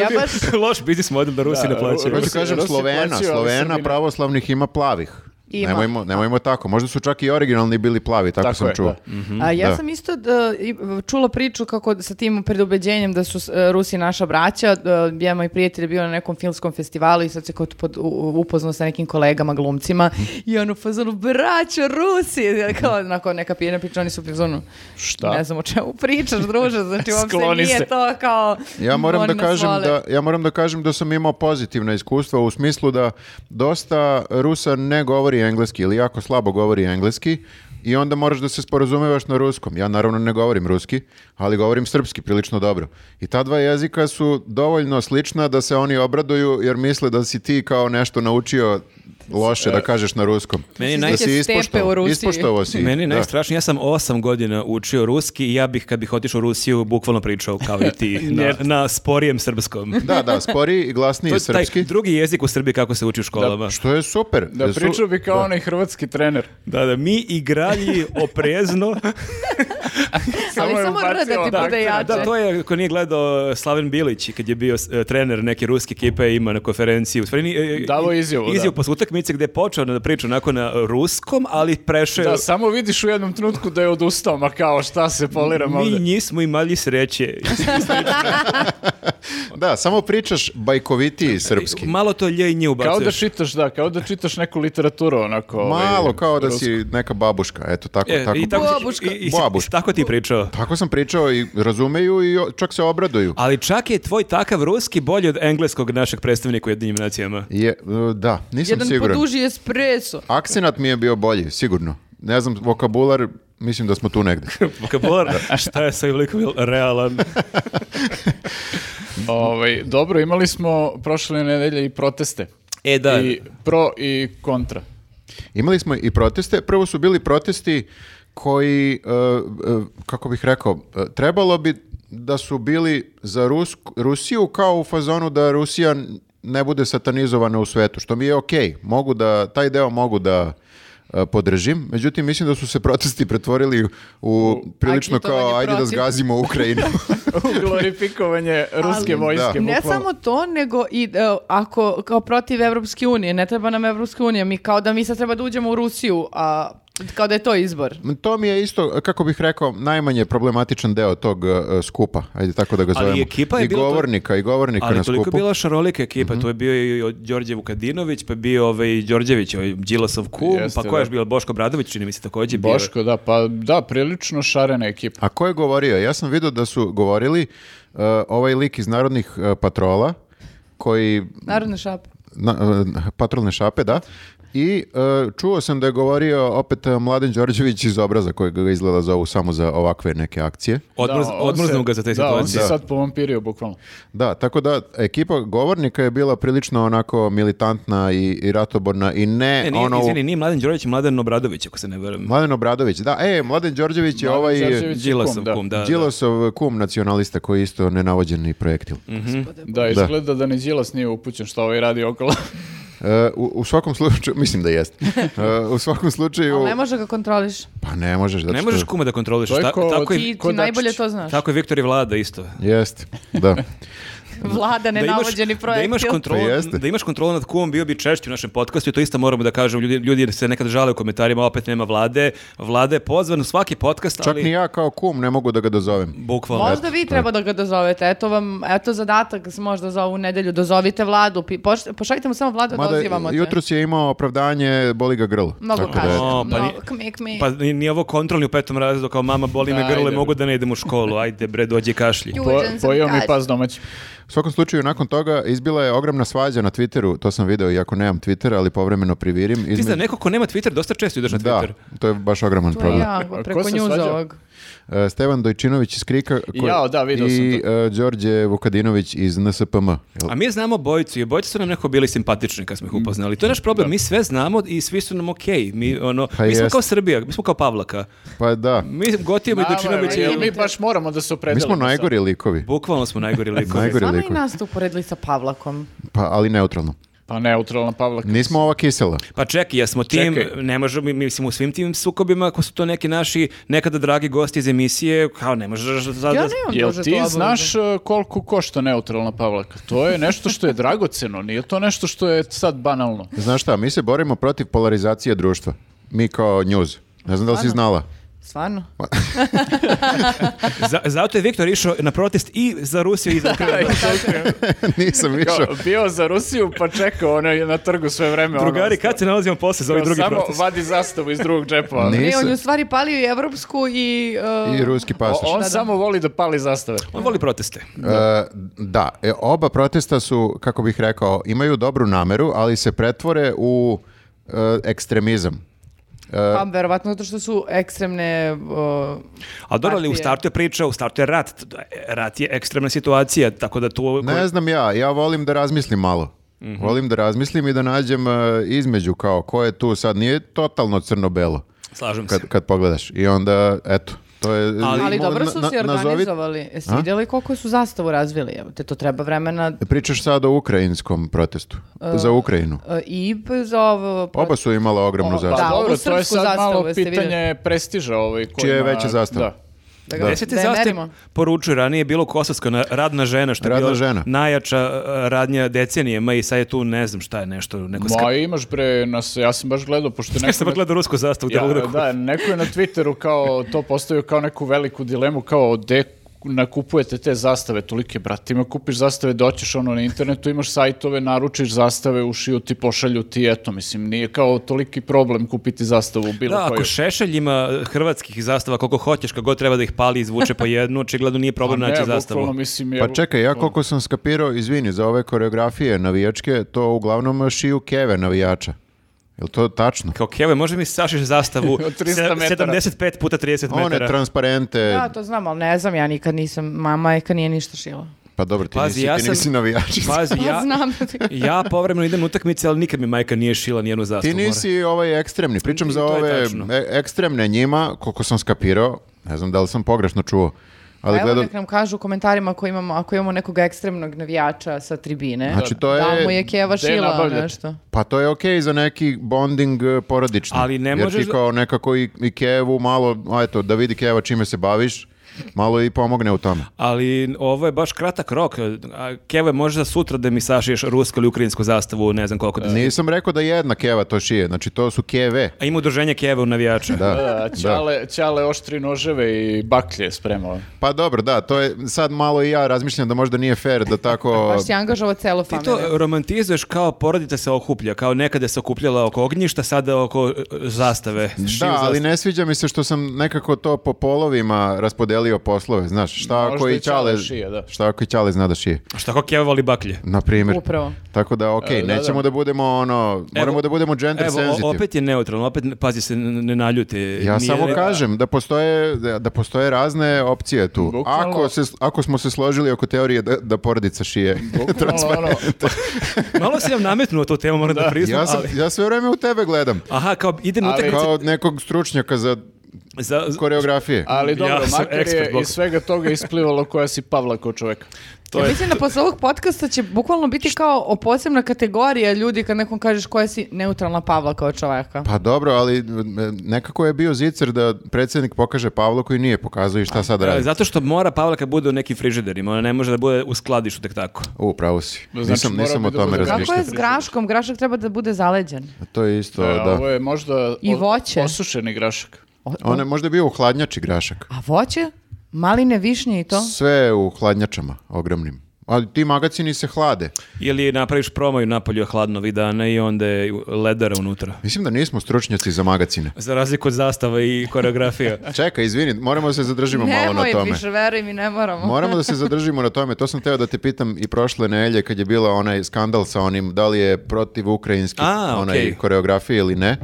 Speaker 4: Ja baš,
Speaker 1: Loš biznis model da Rusi
Speaker 3: Da,
Speaker 1: ne plaćaju.
Speaker 2: Hoću
Speaker 3: Rusi-
Speaker 2: kažem
Speaker 3: Rusi
Speaker 2: Slovena.
Speaker 3: plaćaju, ali
Speaker 2: Slovena
Speaker 3: Srbi ne.
Speaker 2: pravoslavnih ima plavih.
Speaker 4: Ima.
Speaker 2: Nemojmo, nemojmo tako. Možda su čak i originalni bili plavi, tako,
Speaker 3: Tako
Speaker 2: sam
Speaker 3: je,
Speaker 2: čuo.
Speaker 3: da.
Speaker 4: A, ja
Speaker 2: Mhm, da.
Speaker 4: sam isto da, i- čula priču kako sa tim predubeđenjem da su s- e, Rusi naša braća, da, ja moj prijatelj je bio na nekom filmskom festivalu i sad se kao tu pod, u- u- upoznao sa nekim kolegama glumcima
Speaker 2: Mhm.
Speaker 4: i ono u fazonu braćo Rusi, Ja kao onako neka pijena priča, oni su u fazonu
Speaker 3: Šta?
Speaker 4: ne znam o čemu pričaš druže, znači uopšte
Speaker 3: Skloni
Speaker 4: nije
Speaker 3: se.
Speaker 4: to kao
Speaker 2: Ja moram
Speaker 4: oni
Speaker 2: da
Speaker 4: nas
Speaker 2: kažem
Speaker 4: vole.
Speaker 2: da ja moram da kažem da sam imao pozitivna iskustva u smislu da dosta Rusa ne govori engleski ili jako slabo govori engleski i onda moraš da se sporazumevaš na ruskom. Ja naravno ne govorim ruski, ali govorim srpski prilično dobro. I ta dva jezika su dovoljno slična da se oni obraduju jer misle da si ti kao nešto naučio loše da kažeš na ruskom.
Speaker 1: e, Meni
Speaker 2: da
Speaker 1: naj-
Speaker 2: si
Speaker 4: Neke stepe u
Speaker 2: ispoštovao,
Speaker 4: Rusiji.
Speaker 2: ispoštovao si. ih,
Speaker 1: Meni je
Speaker 2: da.
Speaker 1: najstrašnije, ja sam osam godina učio ruski i ja bih, kad bih otišao u Rusiju, bukvalno pričao kao i ti na, na sporijem srpskom.
Speaker 2: Da, da, sporiji i
Speaker 1: To
Speaker 2: glasniji
Speaker 1: je taj
Speaker 2: srpski.
Speaker 1: drugi jezik u Srbiji kako se uči u školama.
Speaker 2: Što je super.
Speaker 3: Da
Speaker 2: Su-
Speaker 3: pričao bi kao onaj hrvatski trener.
Speaker 1: Da, da, mi igralji oprezno.
Speaker 4: ali
Speaker 3: je dakle-
Speaker 4: samo
Speaker 3: ubacio
Speaker 4: R da ti
Speaker 3: ovako.
Speaker 4: bude jače.
Speaker 1: da, to je, ko nije gledao Slaven Bilić i kad je bio e, trener neke ruske ekipe ima na konferenciji. U stvari, nije, e,
Speaker 3: Davao je izjavu, da.
Speaker 1: Izjavu posle utakmice gde je počeo da priča onako na ruskom, ali prešao je-
Speaker 3: Da, samo vidiš u jednom trenutku da je odustao, ma kao šta se poliram
Speaker 1: Mi
Speaker 3: ovde.
Speaker 1: nismo imali sreće.
Speaker 2: Da, samo pričaš
Speaker 1: E,
Speaker 2: bajkovitiji srpski.
Speaker 1: Malo to lje i nje
Speaker 3: Kao da
Speaker 1: ubacuješ.
Speaker 3: čitaš, da, kao da čitaš neku literaturu onako. ovaj,
Speaker 2: Malo kao da
Speaker 3: rusku.
Speaker 2: si neka babuška, eto tako
Speaker 1: E,
Speaker 2: tako.
Speaker 1: i tako,
Speaker 4: Babuška.
Speaker 1: i, i- i-
Speaker 2: Babuška.
Speaker 1: tako ti pričao.
Speaker 2: Tako sam pričao i razumeju i o- čak se obraduju.
Speaker 1: Ali čak je tvoj takav ruski bolji od engleskog našeg predstavnika u Jedinim nacijama.
Speaker 2: Je, e, da, nisam
Speaker 4: Jedan
Speaker 2: siguran.
Speaker 4: poduži espresso.
Speaker 2: Akcenat mi je bio bolji, sigurno. Ne znam, vokabular, mislim da smo tu negde.
Speaker 1: Vokabular, šta je sa ovim likom jel realan?
Speaker 3: Ovaj, dobro, imali smo prošle nedelje i proteste.
Speaker 1: E da,
Speaker 3: I pro i kontra.
Speaker 2: Imali smo i proteste. Prvo su bili protesti koji, e, e, kako bih rekao, e, trebalo bi da su bili za Rusku- Rusiju kao u fazonu da Rusija ne bude satanizovana u svetu, što mi je okej. Mogu da, taj deo mogu da e, podržim. Međutim, mislim da su se protesti pretvorili u prilično kao
Speaker 4: Agitovanje
Speaker 2: ajde da
Speaker 4: protiv."
Speaker 2: zgazimo Ukrajinu.
Speaker 3: Glorifikovanje ruske
Speaker 4: Ali-
Speaker 2: Da.
Speaker 3: vojske.
Speaker 4: Ne
Speaker 3: bukvalno.
Speaker 4: samo to, nego i e, ako kao protiv Evropske unije, ne treba nam Evropska unija, mi kao da mi sad treba da uđemo u Rusiju, a kao da je to izbor.
Speaker 2: to mi je isto, kako bih rekao, najmanje problematičan deo tog e, skupa, ajde tako da ga
Speaker 1: Ali
Speaker 2: zovemo.
Speaker 1: ekipa je
Speaker 2: I
Speaker 1: bila to-
Speaker 2: govornika, i govornika
Speaker 1: ali
Speaker 2: na
Speaker 1: toliko je
Speaker 2: skupu.
Speaker 1: bila šarolika ekipa,
Speaker 3: Mhm.
Speaker 1: tu je bio i od- Đorđe Vukadinović, pa je bio ovaj Đorđević, ovaj Đilasov kum,
Speaker 3: Jeste,
Speaker 1: pa ko je
Speaker 3: da.
Speaker 1: još bio, Boško Bradović, čini mi se takođe bio.
Speaker 3: Boško, da, pa da, prilično šarena ekipa.
Speaker 2: A ko je govorio? Ja sam vidio da su govorili uh, ovaj lik iz narodnih uh, patrola, koji,
Speaker 4: Narodne šape.
Speaker 2: na, uh, patrolne šape, da, i uh, čuo sam da je govorio opet uh, Mladen Đorđević iz obraza kojeg ga izgleda zovu samo za ovakve neke akcije.
Speaker 1: Odmrz,
Speaker 3: Da, on
Speaker 1: odmrznu
Speaker 3: se-
Speaker 1: ga za te
Speaker 3: Da, on se
Speaker 1: situacije.
Speaker 3: sad povampirio, bukvalno.
Speaker 2: Da, tako da ekipa govornika je bila prilično onako militantna i, i ratoborna i ne,
Speaker 1: Ne, E, nije,
Speaker 2: ono...
Speaker 1: izvini, nije Mladen Đorđević, Mladen Obradović, ako se ne verujem.
Speaker 2: Mladen Obradović, da, e, Mladen Đorđević je
Speaker 3: Mladen
Speaker 2: ovaj...
Speaker 3: Đorđević je
Speaker 1: Đilasov
Speaker 3: kum, da.
Speaker 1: kum, da. da.
Speaker 2: Đilasov kum nacionalista koji je isto nenavođeni projektil.
Speaker 1: Mhm.
Speaker 3: Da, izgleda da, ni Đilas nije upućen što ovaj radi okolo.
Speaker 2: E, u, u svakom slučaju, mislim da jeste. E, u svakom slučaju...
Speaker 4: Ali ne može ga kontroliš.
Speaker 2: Pa ne možeš. Zato
Speaker 1: Ne možeš
Speaker 2: što...
Speaker 1: kuma da kontroliš.
Speaker 3: To je ko-
Speaker 1: tako, je,
Speaker 4: Ti,
Speaker 3: ko Dačić.
Speaker 4: ti najbolje to znaš.
Speaker 1: tako je Viktor i Vlada isto.
Speaker 2: Jeste, da.
Speaker 4: Vlada, nenavođeni projekt.
Speaker 1: da imaš kontrolu,
Speaker 2: Pa jeste.
Speaker 1: da imaš kontrolu nad kumom bio bi češći u našem podcastu i to isto moramo da kažemo ljudi ljudi se nekad žale u komentarima opet nema vlade vlada je pozvan u svaki podcast
Speaker 2: Čak
Speaker 1: ali
Speaker 2: ni ja kao kum ne mogu da ga dozovem.
Speaker 1: bukvalno
Speaker 4: Možda vi treba da ga dozovete. Eto vam, eto zadatak možda za ovu nedelju. Dozovite vladu. Pi- poš- Pošaljite mu samo vladu, dozivamo te.
Speaker 2: jutros je imao opravdanje, boli ga grlo.
Speaker 4: Mnogo
Speaker 2: Tako da,
Speaker 4: kaže.
Speaker 1: O, pa
Speaker 4: Mnogo,
Speaker 1: ni-
Speaker 4: kmi, kmi.
Speaker 1: pa ni, ni ovo kontrolni u petom razredu kao mama boli me
Speaker 3: Ajde.
Speaker 1: grlo i mogu da ne idem u školu ajde bre dođi kašlji
Speaker 4: Ju.
Speaker 3: Po,
Speaker 4: Uđen sam
Speaker 3: pojeo mi
Speaker 4: kad.
Speaker 3: pas domaći.
Speaker 2: U svakom slučaju, nakon toga izbila je ogromna svađa na Twitteru, to sam video, iako nemam Twittera, ali povremeno privirim.
Speaker 1: ti
Speaker 2: između-
Speaker 1: znaš neko ko nema Twitter dosta često ideš na
Speaker 2: Da,
Speaker 1: Twitter
Speaker 2: to je baš ogroman
Speaker 4: To je
Speaker 2: problem.
Speaker 4: ja,
Speaker 3: ko
Speaker 4: preko
Speaker 3: se
Speaker 4: njuza
Speaker 3: svađao?
Speaker 4: ovog.
Speaker 2: E, Stevan Dojčinović iz Krika koji-
Speaker 3: Jao, da, video sam
Speaker 2: i
Speaker 3: to.
Speaker 2: e, Đorđe Vukadinović iz NSPM. Jel-
Speaker 1: A mi znamo bojicu i bojice su nam nekako bili simpatični kad smo
Speaker 2: Mm.
Speaker 1: ih upoznali. To je naš problem, mi sve znamo i svi su nam okej. Mi, ono,
Speaker 2: Pa
Speaker 1: mi smo
Speaker 2: jest.
Speaker 1: kao Srbija, mi smo kao Pavlaka.
Speaker 2: Pa da,
Speaker 1: Mi Gotijemo i
Speaker 3: Nama je,
Speaker 1: Dučinović
Speaker 3: jel
Speaker 1: i-
Speaker 3: mi baš moramo da se
Speaker 2: mi
Speaker 3: opredelimo.
Speaker 2: smo najgori likovi.
Speaker 1: Bukvalno smo najgori likovi.
Speaker 2: Najgori
Speaker 4: Stvarno i
Speaker 2: likovi.
Speaker 4: nas tu uporedili sa Pavlakom.
Speaker 2: Pa, ali neutralno.
Speaker 3: sad. Pa neutralna Pavla Krstić.
Speaker 2: Nismo ova kisela.
Speaker 1: Pa čekaj, jesmo tim,
Speaker 3: Čekaj.
Speaker 1: ne možemo, mi- mislim, u svim tim sukobima, ako su to neki naši nekada dragi gosti iz emisije, kao ne možeš sad...
Speaker 4: Ja
Speaker 1: da-
Speaker 4: nemam
Speaker 3: Pa Jel
Speaker 4: možda tu
Speaker 3: ti
Speaker 4: obavezu.
Speaker 3: znaš e, koliko košta neutralna Pavlaka? To je nešto što je dragoceno, nije to nešto što je sad banalno.
Speaker 2: Znaš šta, mi se borimo protiv polarizacije društva. Mi kao njuz. Ne znam da li si znala.
Speaker 4: Stvarno?
Speaker 1: Za- zato je Viktor išao na protest i za Rusiju i za Ukrajinu.
Speaker 2: Nisam
Speaker 3: Kao,
Speaker 2: išao.
Speaker 3: bio za Rusiju, pa čekao, ono je na trgu sve vreme. ono,
Speaker 1: Drugari, kad se nalazimo posle za ovaj
Speaker 3: Kao
Speaker 1: drugi
Speaker 3: samo
Speaker 1: protest?
Speaker 3: vadi zastavu iz drugog džepa. ono.
Speaker 2: Ni-
Speaker 4: Ne,
Speaker 2: Nisam.
Speaker 4: on je u stvari palio i evropsku i... uh,
Speaker 2: I ruski
Speaker 3: O-
Speaker 2: pasoš.
Speaker 3: on samo voli da pali zastave.
Speaker 1: On voli proteste.
Speaker 2: E, da, e, oba protesta su, kako bih rekao, imaju dobru nameru, ali se pretvore u e, ekstremizam.
Speaker 4: Pa, verovatno zato što su ekstremne... uh,
Speaker 1: A dobro, ali u
Speaker 4: Partije.
Speaker 1: startu je priča, u startu je rat. Rat je ekstremna situacija, tako da tu...
Speaker 2: Ne znam ja, ja volim da razmislim malo.
Speaker 4: Mhm.
Speaker 2: Volim da razmislim i da nađem e, između kao ko je tu sad, nije totalno crno-belo
Speaker 1: Slažem se.
Speaker 2: kad, kad pogledaš. I onda, eto, to je...
Speaker 1: Ali-
Speaker 4: ali
Speaker 2: mo-
Speaker 4: dobro su
Speaker 2: na-
Speaker 4: se
Speaker 2: nazovi-
Speaker 4: organizovali. Jesi
Speaker 2: A?
Speaker 4: vidjeli koliko su zastavu razvili? Evo, te to treba vremena
Speaker 2: Pričaš sad o ukrajinskom protestu, za Ukrajinu.
Speaker 4: uh, i za ovo... pa
Speaker 2: Oba su imala ogromnu
Speaker 4: O,
Speaker 2: zastavu.
Speaker 4: da.
Speaker 3: Pa Dobro,
Speaker 4: ovu
Speaker 3: to je
Speaker 4: srpsku
Speaker 3: sad
Speaker 4: zastavu
Speaker 3: malo
Speaker 4: jeste
Speaker 3: pitanje prestiža. Ovaj, ko
Speaker 2: Čija je
Speaker 3: ima-
Speaker 2: veća zastava?
Speaker 3: Da.
Speaker 4: Da ga-
Speaker 1: Da. Desete
Speaker 4: da je
Speaker 1: zastav
Speaker 4: merimo.
Speaker 1: poručuje, ranije je bilo kosovska na- radna žena, što je
Speaker 2: Radna
Speaker 1: bila
Speaker 2: žena.
Speaker 1: najjača e, radnja decenijema i sad je tu ne znam šta je nešto, neko ska-
Speaker 3: Ma imaš bre, nas, ja sam baš gledao, pošto neko...
Speaker 1: Ja sam gledao rusku zastavu. gde
Speaker 3: Ja,
Speaker 1: mogu da kupim.
Speaker 3: da, neko je na Twitteru kao to postavio kao neku veliku dilemu kao de nakupujete te zastave tolike brate ima kupiš zastave doćeš ono na internetu imaš sajtove naručiš zastave ušiju ti pošalju ti eto mislim nije kao toliki problem kupiti zastavu u bilo
Speaker 1: Da,
Speaker 3: kojoj
Speaker 1: ako Šešelj ima e, hrvatskih zastava koliko hoćeš, kako god treba da ih pali i izvuče po jednu, očigledno nije
Speaker 3: Pa
Speaker 1: problem
Speaker 3: ne,
Speaker 1: naći
Speaker 3: bukvalno,
Speaker 1: zastavu.
Speaker 3: mislim,
Speaker 2: Pa
Speaker 3: jer-
Speaker 2: čekaj, ja koliko sam skapirao, izvini, za ove koreografije navijačke, to uglavnom šiju keve navijača. Je to tačno?
Speaker 1: Kao kjeve, može mi sašiš zastavu
Speaker 3: Od 300
Speaker 1: se-
Speaker 3: metara.
Speaker 1: 75 puta 30
Speaker 2: One
Speaker 1: metara.
Speaker 2: transparente,
Speaker 4: Da, to znam, ali ne znam, ja nikad nisam, mama je kad nije ništa šila.
Speaker 2: pa dobro, ti,
Speaker 1: Pazi,
Speaker 2: nisi,
Speaker 1: ja
Speaker 2: ti
Speaker 1: sam-
Speaker 2: nisi navijačica.
Speaker 1: Pazi,
Speaker 4: Pa
Speaker 1: ja,
Speaker 4: znam da ti...
Speaker 1: ja povremeno idem na utakmice, ali nikad mi majka nije šila nijednu zastavu.
Speaker 2: Ti
Speaker 1: more.
Speaker 2: nisi ovaj ekstremni, pričam
Speaker 1: I
Speaker 2: za
Speaker 1: to je
Speaker 2: ove
Speaker 1: tačno.
Speaker 2: e- ekstremne njima, koliko sam skapirao, ne znam da li sam pogrešno čuo, ali
Speaker 4: Pa Evo
Speaker 2: gledam,
Speaker 4: nek nam kažu u komentarima ako imamo, ako imamo nekog ekstremnog navijača sa tribine.
Speaker 2: Znači, to
Speaker 4: Da
Speaker 2: je-
Speaker 4: mu je Keva
Speaker 3: Gde
Speaker 4: šila
Speaker 3: nabavljate?
Speaker 4: nešto.
Speaker 2: pa to je okej za neki bonding e, porodični,
Speaker 1: Ali ne
Speaker 2: jer
Speaker 1: možeš
Speaker 2: ti
Speaker 1: da-
Speaker 2: kao nekako i, i Kevu malo, a eto, da vidi Keva čime se baviš, malo i pomogne u tome.
Speaker 1: Ali ovo je baš kratak rok. A, Keve, možda sutra da mi sašiješ rusku ili ukrajinsku zastavu, ne znam koliko da...
Speaker 2: Nisam rekao da jedna Keva to šije, znači to su Keve.
Speaker 1: A ima udruženje Keve u navijača.
Speaker 2: Da.
Speaker 3: Da, ćale, ćale oštri noževe i baklje spremao.
Speaker 2: Pa dobro, da, to je sad malo i ja razmišljam da možda nije fair da tako
Speaker 4: Baš si angažovao celo
Speaker 1: Ti to
Speaker 4: familiju.
Speaker 1: romantizuješ kao porodica se okuplja, kao nekada se okupljala oko ognjišta, sada oko e, zastave. Šiju
Speaker 2: Da, ali
Speaker 1: zastave.
Speaker 2: ne sviđa mi se što sam nekako to po polovima raspodelio poslove, znaš, šta
Speaker 3: Možda
Speaker 2: ako
Speaker 3: i
Speaker 2: i
Speaker 3: Ćale
Speaker 2: Ćale,
Speaker 3: šije, da.
Speaker 2: šta ako i Ćale zna da šije,
Speaker 1: Šta ako Keva voli baklje?
Speaker 2: na primjer.
Speaker 4: Upravo.
Speaker 2: Tako da, okej,
Speaker 3: E, da,
Speaker 2: nećemo da. budemo ono, moramo
Speaker 1: Evo-
Speaker 2: da budemo gender
Speaker 1: Evo, o-
Speaker 2: sensitive.
Speaker 1: opet je neutralno, opet ne- pazi se, n- ne naljute.
Speaker 2: Ja
Speaker 1: Nije-
Speaker 2: samo kažem da postoje, da da postoje razne opcije tu.
Speaker 3: Bukvalno.
Speaker 2: Ako, se, ako smo se složili oko teorije da, da porodica šije.
Speaker 3: Bukvalno, ono,
Speaker 1: Malo si nam nametnuo tu temu, moram da, priznam,
Speaker 2: ja, sam,
Speaker 1: ali...
Speaker 2: ja sve vreme u tebe gledam.
Speaker 1: Aha, kao idem na
Speaker 3: Ali-
Speaker 1: utakmice
Speaker 2: Kao nekog stručnjaka za
Speaker 1: za... za-
Speaker 2: koreografije.
Speaker 3: ali dobro,
Speaker 1: Ja sam
Speaker 3: makar
Speaker 1: ekspert,
Speaker 3: je
Speaker 1: bok.
Speaker 3: iz svega toga isplivalo koja si Pavla kao čoveka.
Speaker 1: to
Speaker 4: Ja
Speaker 1: je-
Speaker 4: mislim da posle ovog podcasta će bukvalno biti kao o posebna kategorija ljudi kad nekom kažeš koja si neutralna Pavla kao čoveka.
Speaker 2: Pa dobro, ali m, nekako je bio zicer da predsjednik pokaže Pavlu koji nije pokazao i šta sad radi.
Speaker 1: Zato što mora Pavla kad bude u nekim frižiderima, ona ne može da bude u skladištu tek tako.
Speaker 2: U, pravo si.
Speaker 3: znači,
Speaker 2: nisam
Speaker 3: mora
Speaker 2: nisam
Speaker 3: bi
Speaker 2: o
Speaker 3: da
Speaker 2: tome
Speaker 3: bude
Speaker 4: Kako
Speaker 2: razmišljao.
Speaker 4: je s graškom? Grašak treba da bude zaleđen.
Speaker 2: To je isto,
Speaker 3: E,
Speaker 2: da.
Speaker 3: Ovo je možda
Speaker 4: I
Speaker 3: o-
Speaker 4: voće.
Speaker 3: osušeni grašak.
Speaker 4: O-
Speaker 2: On je možda bio u hladnjači grašak.
Speaker 4: A voće? Maline, višnje i to?
Speaker 2: Sve u hladnjačama ogromnim. Ali ti magacini se hlade.
Speaker 1: Ili napraviš promaju napolju je hladno ovih dana i onda je ledara unutra.
Speaker 2: Mislim da nismo stručnjaci za magacine.
Speaker 1: Za razliku od zastava i koreografija.
Speaker 2: Čekaj, izvini, moramo da se zadržimo malo na
Speaker 4: Nemoj
Speaker 2: tome.
Speaker 4: više, veruj mi, ne moramo.
Speaker 2: Moramo da se zadržimo na tome. To sam teo da te pitam i prošle nelje kad je bila onaj skandal sa onim da li je protiv ukrajinski
Speaker 1: A,
Speaker 2: onaj
Speaker 1: okej.
Speaker 2: koreografije ili ne.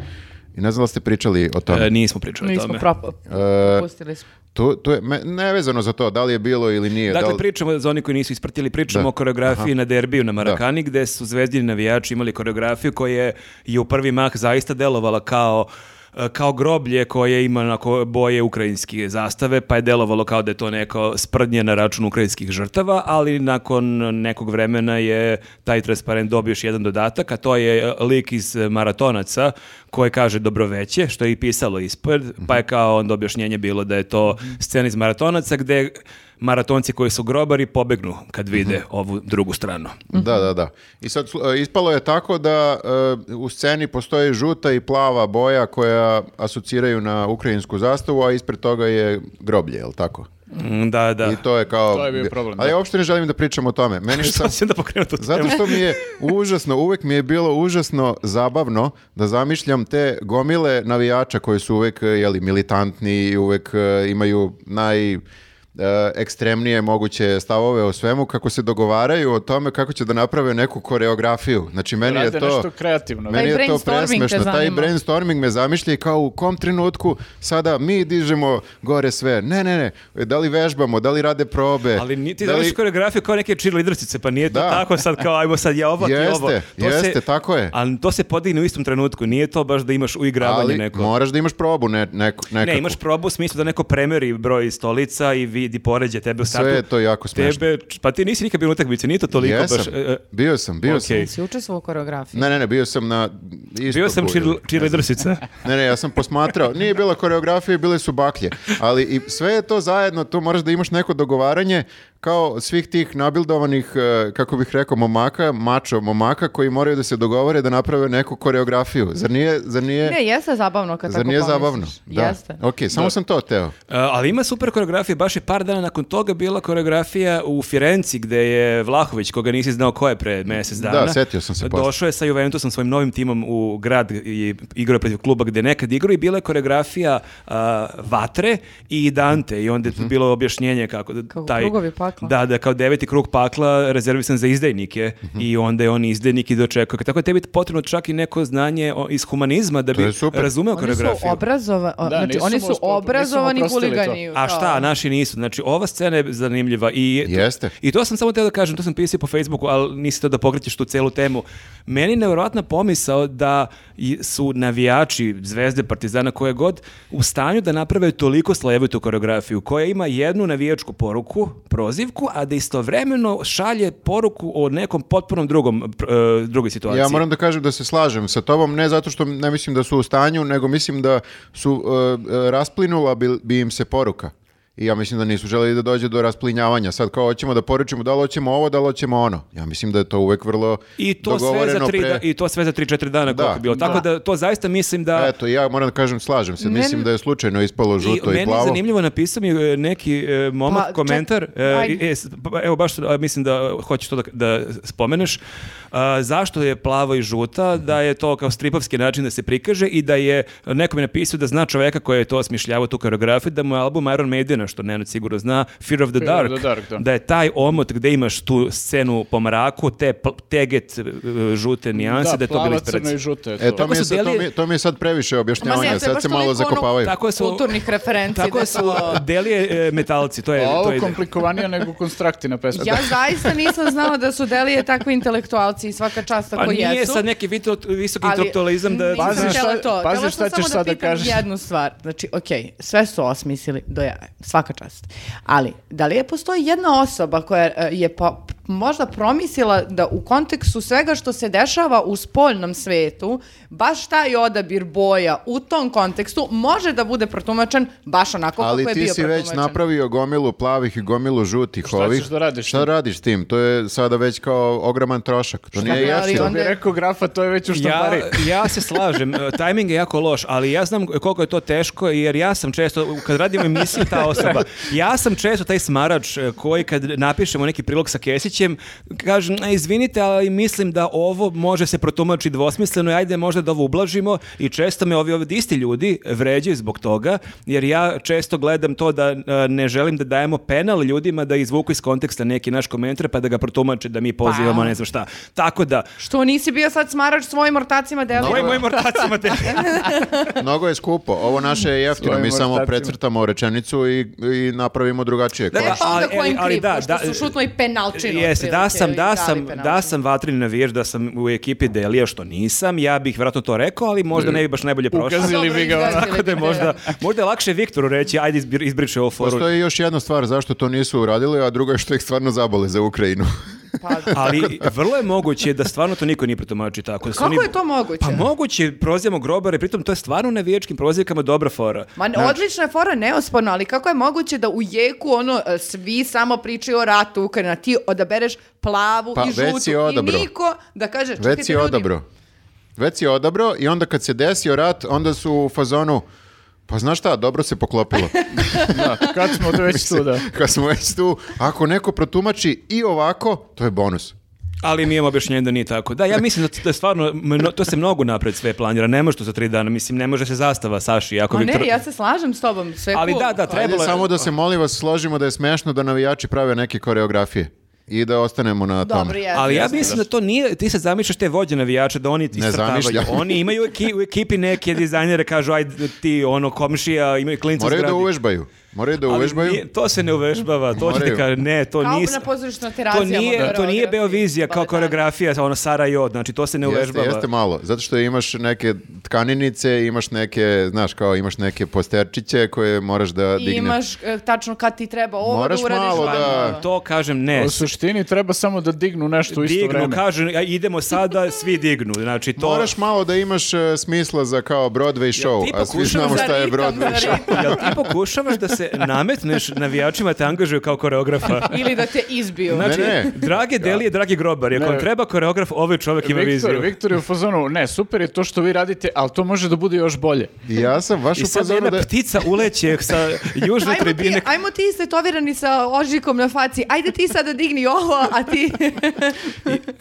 Speaker 2: I ne znam da li ste pričali o tome.
Speaker 1: E, nismo pričali o
Speaker 4: Nismo
Speaker 1: tome.
Speaker 4: propo-
Speaker 2: E,
Speaker 4: propustili smo.
Speaker 2: To, to je me- nevezano za to, da li je bilo ili nije. da
Speaker 1: Dakle,
Speaker 2: li-
Speaker 1: pričamo, za oni koji nisu ispratili, pričamo
Speaker 2: Da.
Speaker 1: o koreografiji na derbiju na Marakani, gde su zvezdini navijači imali koreografiju koja je, je u prvi mah zaista delovala kao e, e, kao groblje koje ima onako boje ukrajinske zastave, pa je delovalo kao da je to neko sprdnje na račun ukrajinskih žrtava, ali nakon nekog vremena je taj transparent dobio još jedan dodatak, a to je e, lik iz e, maratonaca koji kaže dobroveće, što je i pisalo ispred, pa
Speaker 2: Mhm.
Speaker 1: je kao onda objašnjenje bilo da je to scena iz maratonaca gde maratonci koji su grobari pobegnu
Speaker 2: Mhm.
Speaker 1: kad vide ovu drugu stranu.
Speaker 2: Da, da, da. I sad slu- e, ispalo je tako da e, u sceni postoji žuta i plava boja koja asociraju na ukrajinsku zastavu, a ispred toga je groblje, jel tako?
Speaker 1: Mm, Da, da.
Speaker 2: Mhm. I to je kao...
Speaker 3: To je bio problem,
Speaker 2: Ali
Speaker 3: da.
Speaker 2: ja uopšte ne želim da pričam o tome. Meni je
Speaker 1: Što
Speaker 2: sam-
Speaker 1: si onda pokrenuo tu
Speaker 2: Zato
Speaker 1: temu?
Speaker 2: što mi je užasno, uvek mi je bilo užasno zabavno da zamišljam te gomile navijača koji su uvek eh, jeli, militantni i uvek eh, imaju naj eh, ekstremnije moguće stavove o svemu, kako se dogovaraju o tome kako će da naprave neku koreografiju. Znači, meni
Speaker 3: Rade
Speaker 2: je to...
Speaker 3: nešto kreativno.
Speaker 4: Taj
Speaker 2: Meni je to
Speaker 4: brainstorming te
Speaker 2: presmešno. Taj
Speaker 4: zanima.
Speaker 2: brainstorming me zamišlja i kao u kom trenutku sada mi dižemo gore sve. Ne, ne, ne. Da li vežbamo, da li rade probe.
Speaker 1: Ali ni ti
Speaker 2: da
Speaker 1: da
Speaker 2: li-
Speaker 1: koreografiju kao neke cheerleadersice, pa nije to
Speaker 2: Da.
Speaker 1: tako sad kao ajmo sad ja ovo, ti
Speaker 2: Jeste,
Speaker 1: ovo.
Speaker 2: jeste, tako je.
Speaker 1: Ali to se podigne u istom trenutku, nije to baš da imaš uigravanje
Speaker 2: Ali
Speaker 1: neko.
Speaker 2: moraš da imaš probu ne, neku, nekakvu.
Speaker 1: Ne, imaš probu u smislu da neko premeri broj stolica i vidi poređe tebe u startu.
Speaker 2: je to jako smešno.
Speaker 1: Tebe, pa ti nisi nikad bio u utakmici, nije to toliko
Speaker 2: Jesam.
Speaker 1: baš... e, e,
Speaker 2: bio sam, bio
Speaker 1: Okej.
Speaker 2: sam.
Speaker 4: Si učestvovao u koreografiji?
Speaker 2: Ne, ne, ne, bio sam na... istoku
Speaker 1: bio sam
Speaker 2: ili-
Speaker 1: cheer- cheerleadersica.
Speaker 2: Ne, ne, ja sam posmatrao. Nije bila koreografija, bile su baklje. Ali i sve je to zajedno, tu moraš da imaš neko dogovaranje kao svih tih nabildovanih, eh, kako bih rekao, momaka, mačo momaka, koji moraju da se dogovore da naprave neku koreografiju. Zar nije, zar nije,
Speaker 4: Ne, jeste zabavno kad
Speaker 2: zar
Speaker 4: tako
Speaker 2: nije
Speaker 4: pomisliš.
Speaker 2: zabavno? Da.
Speaker 4: Jeste.
Speaker 2: Ok, samo sam to teo.
Speaker 1: E, ali ima super koreografije, baš je par dana nakon toga bila koreografija u Firenci gde je Vlahović, koga nisi znao ko je pre mjesec dana.
Speaker 2: Da, setio sam se posle.
Speaker 1: Došao je sa Juventusom, svojim novim timom u grad i igrao je protiv kluba gde je nekad igrao i bila je koreografija a, Vatre i Dante i onda je tu
Speaker 2: Mhm.
Speaker 1: bilo objašnjenje kako da
Speaker 4: Kako
Speaker 1: taj...
Speaker 4: krugovi pakla.
Speaker 1: Da, da, kao deveti krug pakla rezervisan za izdajnike
Speaker 2: Mhm.
Speaker 1: i onda je on izdajnik i dočekuje. Tako da tebi je potrebno čak i neko znanje o- iz humanizma da
Speaker 2: To je
Speaker 1: bi
Speaker 2: super.
Speaker 1: razumeo
Speaker 4: Oni su
Speaker 1: koreografiju.
Speaker 4: obrazovani,
Speaker 3: Da,
Speaker 4: znači
Speaker 3: nisu
Speaker 4: oni
Speaker 3: mu
Speaker 4: su
Speaker 3: ospro-
Speaker 4: obrazovani
Speaker 3: nisu mu oprostili
Speaker 4: huligani.
Speaker 1: A
Speaker 4: kao- ono.
Speaker 1: šta, naši nisu. Znači, ova scena je zanimljiva. I
Speaker 2: Jeste.
Speaker 1: I to sam samo teo da kažem, to sam pisao po Facebooku, ali nisi to da pokrećeš tu celu temu. Meni je nevjerojatna pomisao da i- su navijači zvezde Partizana koje god u stanju da naprave toliko slajevitu koreografiju koja ima jednu navijačku poruku, prozivku, a da istovremeno šalje poruku o nekom potpunom drugom, pr- e, drugoj situaciji.
Speaker 2: Ja moram da kažem da se slažem sa tobom, ne zato što ne mislim da su u stanju, nego mislim da su e, e, rasplinula bi, bi im se poruka. I ja mislim da nisu želeli da dođe do rasplinjavanja. Sad kao hoćemo da poručimo da li hoćemo ovo, da li hoćemo ono. Ja mislim da je to uvek vrlo
Speaker 1: I to, sve za
Speaker 2: dogovoreno
Speaker 1: tri,
Speaker 2: pre-
Speaker 1: da- I to sve za 3-4 dana koliko je bilo. Tako da to zaista mislim da...
Speaker 2: Eto, ja moram da kažem slažem se.
Speaker 4: Meni-
Speaker 2: Mislim da je slučajno ispalo žuto i,
Speaker 1: meni je
Speaker 2: plavo.
Speaker 1: zanimljivo napisao mi je, e, neki e, momak
Speaker 4: Pa, ček-
Speaker 1: komentar. e,
Speaker 4: ajde.
Speaker 1: i- e, s- pa, evo baš a, mislim da hoćeš to da, da spomeneš. A, zašto je plavo i žuta?
Speaker 3: Mhm.
Speaker 1: Da je to kao stripovski način da se prikaže i da je neko mi je napisao da zna čoveka koji je to smišljavao tu koreografiju da mu je album Iron Maidena što Nenad sigurno zna Fear of the
Speaker 3: Fear of
Speaker 1: Dark,
Speaker 3: the Dark, da.
Speaker 1: je taj omot gde imaš tu scenu po mraku, te pl- teget e, žute nijanse da, je to
Speaker 3: plava,
Speaker 1: bilo
Speaker 3: crna i
Speaker 1: inspiracija.
Speaker 3: žuta je to.
Speaker 2: E, to, mi je,
Speaker 1: su
Speaker 2: sad- to
Speaker 1: delili-
Speaker 2: mi- to mi je sad previše
Speaker 4: Ma ne, to
Speaker 2: objašnjavanja.
Speaker 4: je
Speaker 2: Sad
Speaker 4: baš
Speaker 2: se malo
Speaker 4: toliko ono-
Speaker 2: zakopavaju.
Speaker 1: Tako su
Speaker 4: Kulturnih referenci.
Speaker 1: Tako su delije e, metalci, to je
Speaker 3: A
Speaker 4: Pa,
Speaker 1: to
Speaker 3: Pa ovo
Speaker 1: je ideja.
Speaker 3: komplikovanije nego konstrakti na pesmu.
Speaker 4: Ja zaista nisam znala da su Delije takvi intelektualci i svaka čast
Speaker 1: Pa
Speaker 4: ako
Speaker 1: nije
Speaker 4: jesu.
Speaker 1: sad neki vito- visoki
Speaker 4: ali
Speaker 1: intelektualizam da...
Speaker 4: nisam
Speaker 3: Pazi šta-
Speaker 4: htjela to.
Speaker 3: pazi
Speaker 4: Htjela sam
Speaker 3: šta ćeš
Speaker 4: samo
Speaker 3: sad da
Speaker 4: da pitam
Speaker 3: kažeš.
Speaker 4: jednu stvar. Znači, okej, sve su osmislili do jaja, svaka čast. Ali, da li je postoji jedna osoba koja e, je po- možda promislila da u kontekstu svega što se dešava u spoljnom svetu, baš taj odabir boja u tom kontekstu može da bude protumačen baš onako
Speaker 2: Ali
Speaker 4: kako je bio
Speaker 2: ti si
Speaker 4: protumačen.
Speaker 2: već napravio gomilu plavih i gomilu žutih
Speaker 3: Šta
Speaker 2: ovih.
Speaker 3: ćeš da radiš s
Speaker 2: Šta
Speaker 3: tim?
Speaker 2: radiš tim? To je sada već kao ogroman trošak. To nije
Speaker 4: bi, ali
Speaker 2: jeftino.
Speaker 4: on-
Speaker 3: Bi rekao grafa, to je već u
Speaker 1: Ja,
Speaker 3: štampari.
Speaker 1: ja se slažem, e, tajming je jako loš, ali ja znam koliko je to teško jer ja sam često, u- kad radim emisiju ta osoba, ja sam često taj smarač e, koji kad napišemo neki prilog sa Kesićem, kažem, "E, izvinite, ali mislim da ovo može se protumačiti dvosmisleno i ajde možda da ovo ublažimo i često me ovi ovdje isti ljudi vređaju zbog toga, jer ja često gledam to da e, ne želim da dajemo penal ljudima da izvuku iz konteksta neki naš komentar pa da ga protumače da mi pozivamo ne znam šta. Tako da,
Speaker 4: Što nisi bio sad smarač svojim ortacima Delije?
Speaker 1: Ovim mojim ortacima te...
Speaker 2: Mnogo je skupo. Ovo naše je jeftino.
Speaker 3: Svojim
Speaker 2: Mi samo
Speaker 3: ortacima.
Speaker 2: precrtamo rečenicu i, i napravimo drugačije.
Speaker 1: Da,
Speaker 2: Kao
Speaker 1: da.
Speaker 4: E, pa onda
Speaker 1: ali-
Speaker 4: ko im
Speaker 1: ali
Speaker 4: kriv,
Speaker 1: da,
Speaker 4: pošto
Speaker 1: da,
Speaker 4: su šutno i penalčinu.
Speaker 1: Jeste, da sam,
Speaker 4: otprilike,
Speaker 1: da
Speaker 4: i
Speaker 1: sam,
Speaker 4: dali penalti.
Speaker 1: da sam vatreni navijač, da sam u ekipi Delija, što nisam, ja bih vratno to rekao, ali možda ne bi baš najbolje prošao.
Speaker 3: Ukazi- Ili bi ga-
Speaker 4: Dobro, izgazili
Speaker 1: Tako da je
Speaker 4: bi,
Speaker 1: možda, možda je lakše Viktoru reći, ajde izbri- izbriši ovo foru.
Speaker 2: Postoji još jedna stvar zašto to nisu uradili, a druga je što ih stvarno zabole za Ukrajinu.
Speaker 4: Pa,
Speaker 1: Ali vrlo je moguće da stvarno to niko nije protumačio tako. da su
Speaker 4: Kako
Speaker 1: oni-
Speaker 4: je to moguće?
Speaker 1: Pa moguće, prozivamo grobare, pritom to je stvarno na vijačkim prozivkama dobra fora. Znači,
Speaker 4: Ma, odlična je fora, neosporno, ali kako je moguće da u jeku ono, e, svi samo pričaju o ratu Ukrajina, ti odabereš plavu
Speaker 2: Pa,
Speaker 4: i
Speaker 2: već si
Speaker 4: žutu i
Speaker 2: odabrao.
Speaker 4: niko da kaže, čekajte
Speaker 2: Već si
Speaker 4: ljudi,
Speaker 2: odabro. Već si odabro i onda kad se desio rat, onda su u fazonu Pa znaš šta, dobro se poklopilo.
Speaker 3: Kad smo to već tu, da.
Speaker 2: Kad smo već tu, ako neko protumači i ovako, to je bonus.
Speaker 1: Ali mi imamo objašnjenje da nije tako. Da, ja mislim da to je stvarno, mno- to se mnogo napred sve planira, ne može to za tri dana, mislim, ne može se zastava Saši. Ako
Speaker 4: Ma
Speaker 1: Viktor-
Speaker 4: ne, ja se slažem s tobom, sve
Speaker 1: Ali
Speaker 4: cool.
Speaker 1: da, da,
Speaker 2: Ajde
Speaker 1: trebalo je...
Speaker 2: samo da se molim vas složimo da je smešno da navijači prave neke koreografije i da ostanemo na
Speaker 4: Dobro,
Speaker 2: tome.
Speaker 4: jeste,
Speaker 1: Ali ja
Speaker 4: jeste.
Speaker 1: mislim da to nije, ti sad zamišljaš te vođe navijača da oni ti
Speaker 2: Ne
Speaker 1: istrtavaju.
Speaker 2: zamišljam.
Speaker 1: Oni imaju eki- u ekipi neke dizajnere, kažu ajde ti ono komšija, imaju klinca
Speaker 2: Moraju da
Speaker 1: zgradi.
Speaker 2: uvežbaju. Moraju da
Speaker 1: Ali
Speaker 2: uvežbaju.
Speaker 1: nije- to se ne uvežbava, to ću ti
Speaker 2: Moraju.
Speaker 1: kažem, ne, to
Speaker 4: Kao
Speaker 1: nis-
Speaker 4: na pozorištu
Speaker 1: To nije, to nije Beovizija
Speaker 4: Pa
Speaker 1: kao koreografija, ono Sara Jod, znači to se ne
Speaker 2: Jeste,
Speaker 1: uvežbava.
Speaker 2: jeste malo, zato što imaš neke tkaninice, imaš neke, znaš, kao imaš neke posterčiće koje moraš da
Speaker 4: I
Speaker 2: digneš.
Speaker 4: imaš e, tačno kad ti treba ovo
Speaker 2: Moraš
Speaker 4: da uradiš.
Speaker 2: malo
Speaker 4: ono.
Speaker 2: da-
Speaker 1: To kažem ne.
Speaker 3: U suštini treba samo da dignu nešto u isto
Speaker 1: Dignu,
Speaker 3: vreme.
Speaker 1: kažu, a idemo sada, svi dignu. Znači to...
Speaker 2: Moraš malo da imaš e, smisla za kao Broadway show,
Speaker 1: ti
Speaker 2: a svi
Speaker 1: pokušavaš
Speaker 2: znamo
Speaker 4: za
Speaker 2: šta je
Speaker 4: ritam,
Speaker 2: Broadway
Speaker 4: za
Speaker 2: show.
Speaker 4: ritam.
Speaker 1: Jel ti pokušavaš da se nametneš navijačima te angažuju kao koreografa?
Speaker 4: Ili da te izbiju.
Speaker 1: Znači,
Speaker 2: Ne, ne.
Speaker 1: drage delije, dragi grobar, ako
Speaker 3: Ne.
Speaker 1: vam treba koreograf, ovaj čovjek ima
Speaker 3: Viktor,
Speaker 1: viziju.
Speaker 3: Viktor je u fazonu, ne, super je to što vi radite, ali to može da bude još bolje.
Speaker 2: I ja sam baš
Speaker 1: I
Speaker 2: u
Speaker 1: sad jedna
Speaker 2: fazonu pa da...
Speaker 1: ptica uleće sa južne
Speaker 4: Ajmo ti,
Speaker 1: tribine.
Speaker 4: ajmo ti istetovirani sa ožikom na faci. Ajde ti sada digni ovo, a ti...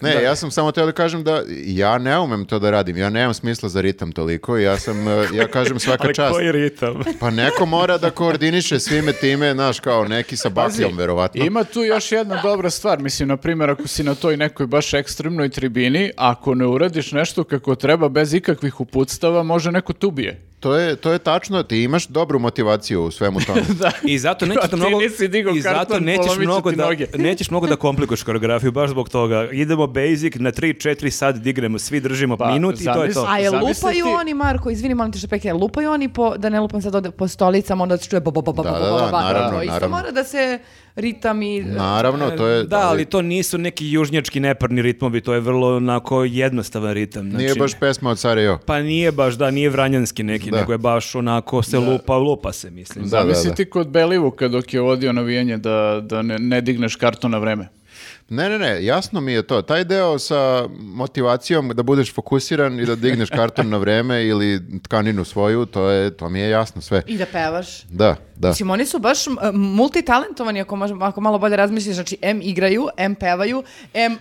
Speaker 2: Ne, ja sam samo teo da kažem da ja ne umem to da radim, ja nemam smisla za ritam toliko i ja sam, e, ja kažem svaka
Speaker 1: Ali
Speaker 2: čast.
Speaker 1: koji ritam?
Speaker 2: Pa neko mora da koordiniše svime time, znaš, kao neki sa bakljom, verovatno.
Speaker 3: Ima tu još jedna dobra stvar, mislim, na primjer, ako si na toj nekoj baš ekstremnoj tribini, ako ne uradiš nešto kako treba, bez ikakvih uputstava, može neko te ubije.
Speaker 2: To je, to je tačno, ti imaš dobru motivaciju u svemu tome.
Speaker 1: I zato nećeš
Speaker 3: Ti
Speaker 1: mnogo
Speaker 3: nisi digao
Speaker 1: i zato
Speaker 3: karton,
Speaker 1: nećeš
Speaker 3: polomit ću
Speaker 1: mnogo
Speaker 3: ti
Speaker 1: da
Speaker 3: noge.
Speaker 1: nećeš mnogo da komplikuješ koreografiju baš zbog toga. Idemo basic na 3 4 sat digremo, svi držimo
Speaker 3: Pa,
Speaker 1: minut i to je
Speaker 3: zamisli-
Speaker 1: to.
Speaker 4: A je
Speaker 3: Zamisli
Speaker 4: lupaju
Speaker 3: ti-
Speaker 4: oni, Marko, izvini, molim te što pekne, lupaju oni po, da ne lupam sad ovde po stolicama, onda se čuje ba, ba, ba, ba,
Speaker 2: Da,
Speaker 4: ba,
Speaker 2: da,
Speaker 4: ba, ba,
Speaker 2: da,
Speaker 4: ba,
Speaker 2: naravno,
Speaker 4: to isto
Speaker 2: naravno.
Speaker 4: mora da se ritam i...
Speaker 2: Naravno, to je...
Speaker 1: Da, ali to nisu neki južnjački neparni ritmovi, to je vrlo onako jednostavan ritam. Znači,
Speaker 2: Nije baš pesma od Sarajevo.
Speaker 1: Pa nije baš, da, nije vranjanski neki,
Speaker 2: Da.
Speaker 1: nego je baš onako se lupa, lupa se, mislim.
Speaker 2: Da, da,
Speaker 3: Zamisli
Speaker 2: da.
Speaker 3: ti kod Belivuka dok je vodio navijenje da, da ne, ne digneš karton na vreme.
Speaker 2: Ne, ne, ne, jasno mi je to. Taj deo sa motivacijom da budeš fokusiran i da digneš karton na vreme ili tkaninu svoju, to, je, to mi je jasno sve.
Speaker 4: I da pevaš.
Speaker 2: Da, da.
Speaker 4: Mislim, oni su baš m, multitalentovani, ako, možemo, ako malo bolje razmisliš. Znači, em igraju, em pevaju, em uh,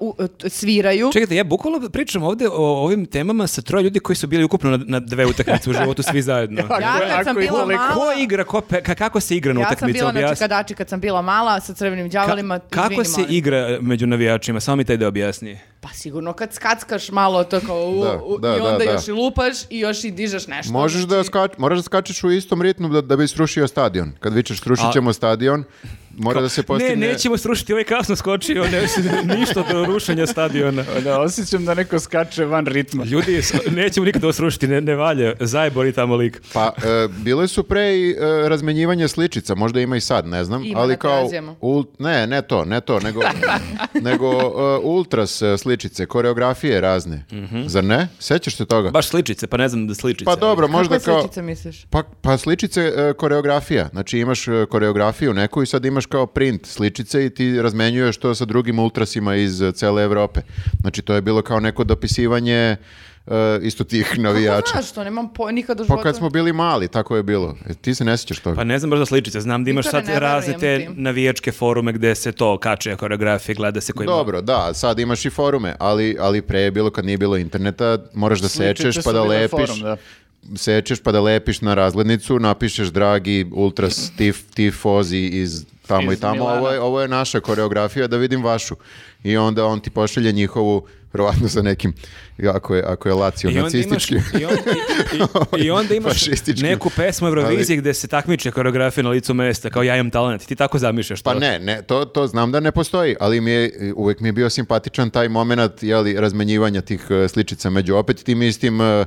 Speaker 4: uh, u- t- sviraju.
Speaker 1: Čekajte, ja bukvalno pričam ovdje o ovim temama sa troje ljudi koji su bili ukupno na, na dve utakmice u životu, svi zajedno.
Speaker 4: Ja kad sam
Speaker 3: Ako ih
Speaker 4: bila
Speaker 3: vole,
Speaker 4: mala...
Speaker 1: Ko igra, ko pe- ka- kako se igra na
Speaker 4: Ja sam
Speaker 1: utakmici,
Speaker 4: bila na
Speaker 1: objasni.
Speaker 4: čekadači kad sam bila mala sa crvenim
Speaker 1: Ka-
Speaker 4: đavolima.
Speaker 1: kako
Speaker 4: izvini,
Speaker 1: se
Speaker 4: molim.
Speaker 1: igra među navijačima? Samo mi taj da objasni.
Speaker 4: Pa sigurno kad skackaš malo to kao u,
Speaker 2: Da,
Speaker 4: u-
Speaker 2: da,
Speaker 4: i onda
Speaker 2: da, da.
Speaker 4: još i lupaš i još i dižeš nešto.
Speaker 2: Možeš da
Speaker 4: Znači,
Speaker 2: skač, moraš da skačeš u istom ritmu da, da bi srušio stadion. Kad vičeš srušit ćemo stadion, mora da se postigne...
Speaker 1: Ne, nećemo srušiti, ovaj kasno skočio, ne, ništa do rušenja stadiona.
Speaker 3: Pa Da, osjećam da neko skače van ritma.
Speaker 1: Ljudi, s- nećemo nikada ovo srušiti, ne, ne valja, zajebori tamo lik.
Speaker 2: Pa, e, bile su pre i e, razmenjivanje sličica, možda ima i sad, ne znam,
Speaker 4: Ima na
Speaker 2: ali kao
Speaker 4: Terazijama.
Speaker 2: ul- ne, ne to, ne to, nego nego e, ultras e, sličice, koreografije razne. Zar ne? Sećaš se toga?
Speaker 1: Baje sličice, pa ne znam da sličice.
Speaker 2: pa dobro, možda
Speaker 4: Kakve
Speaker 2: kao
Speaker 4: sličice misliš?
Speaker 2: pa pa sličice e, koreografija. Znači imaš e, koreografiju neku i sad imaš kao print sličice i ti razmenjuješ to sa drugim ultrasima iz e, cele Evrope. Znači to je bilo kao neko dopisivanje e, isto tih
Speaker 4: Kako
Speaker 2: navijača.
Speaker 4: Pa znaš to? Nemam po, nikad u
Speaker 2: Pa
Speaker 4: životu.
Speaker 2: kad smo bili mali, tako je bilo. E, Ti se ne sjećaš toga?
Speaker 1: Pa ne znam baš da sličice, znam da imaš
Speaker 4: Viktore,
Speaker 1: sad
Speaker 4: ne verujem
Speaker 1: razne te
Speaker 4: ti.
Speaker 1: navijačke forume gde se to kače koreografije, gleda se koji ima-
Speaker 2: Dobro, da, sad imaš i forume, ali, ali pre je bilo kad nije bilo interneta, moraš da
Speaker 3: Sličice
Speaker 2: sečeš
Speaker 3: su
Speaker 2: pa da
Speaker 3: bile
Speaker 2: lepiš.
Speaker 3: forum, da.
Speaker 2: Sečeš pa da lepiš na razglednicu, napišeš dragi ultras tif, tifozi iz tamo
Speaker 3: Iz
Speaker 2: i tamo,
Speaker 3: Milana.
Speaker 2: ovo je, ovo je naša koreografija, da vidim vašu. I onda on ti pošalje njihovu verovatno sa nekim, ako je, ako je Lazio
Speaker 1: I onda imaš, i,
Speaker 2: nacističkim.
Speaker 1: on- i- i- i onda imaš
Speaker 2: Fašistički.
Speaker 1: neku pesmu Eurovizije gde se takmiče koreografija na licu mesta, kao ja imam talent. Ti tako zamišljaš to.
Speaker 2: Pa ne, ne, to, to znam da ne postoji, ali mi je, uvek mi je bio simpatičan taj moment jeli, razmenjivanja tih eh, sličica među opet tim istim eh,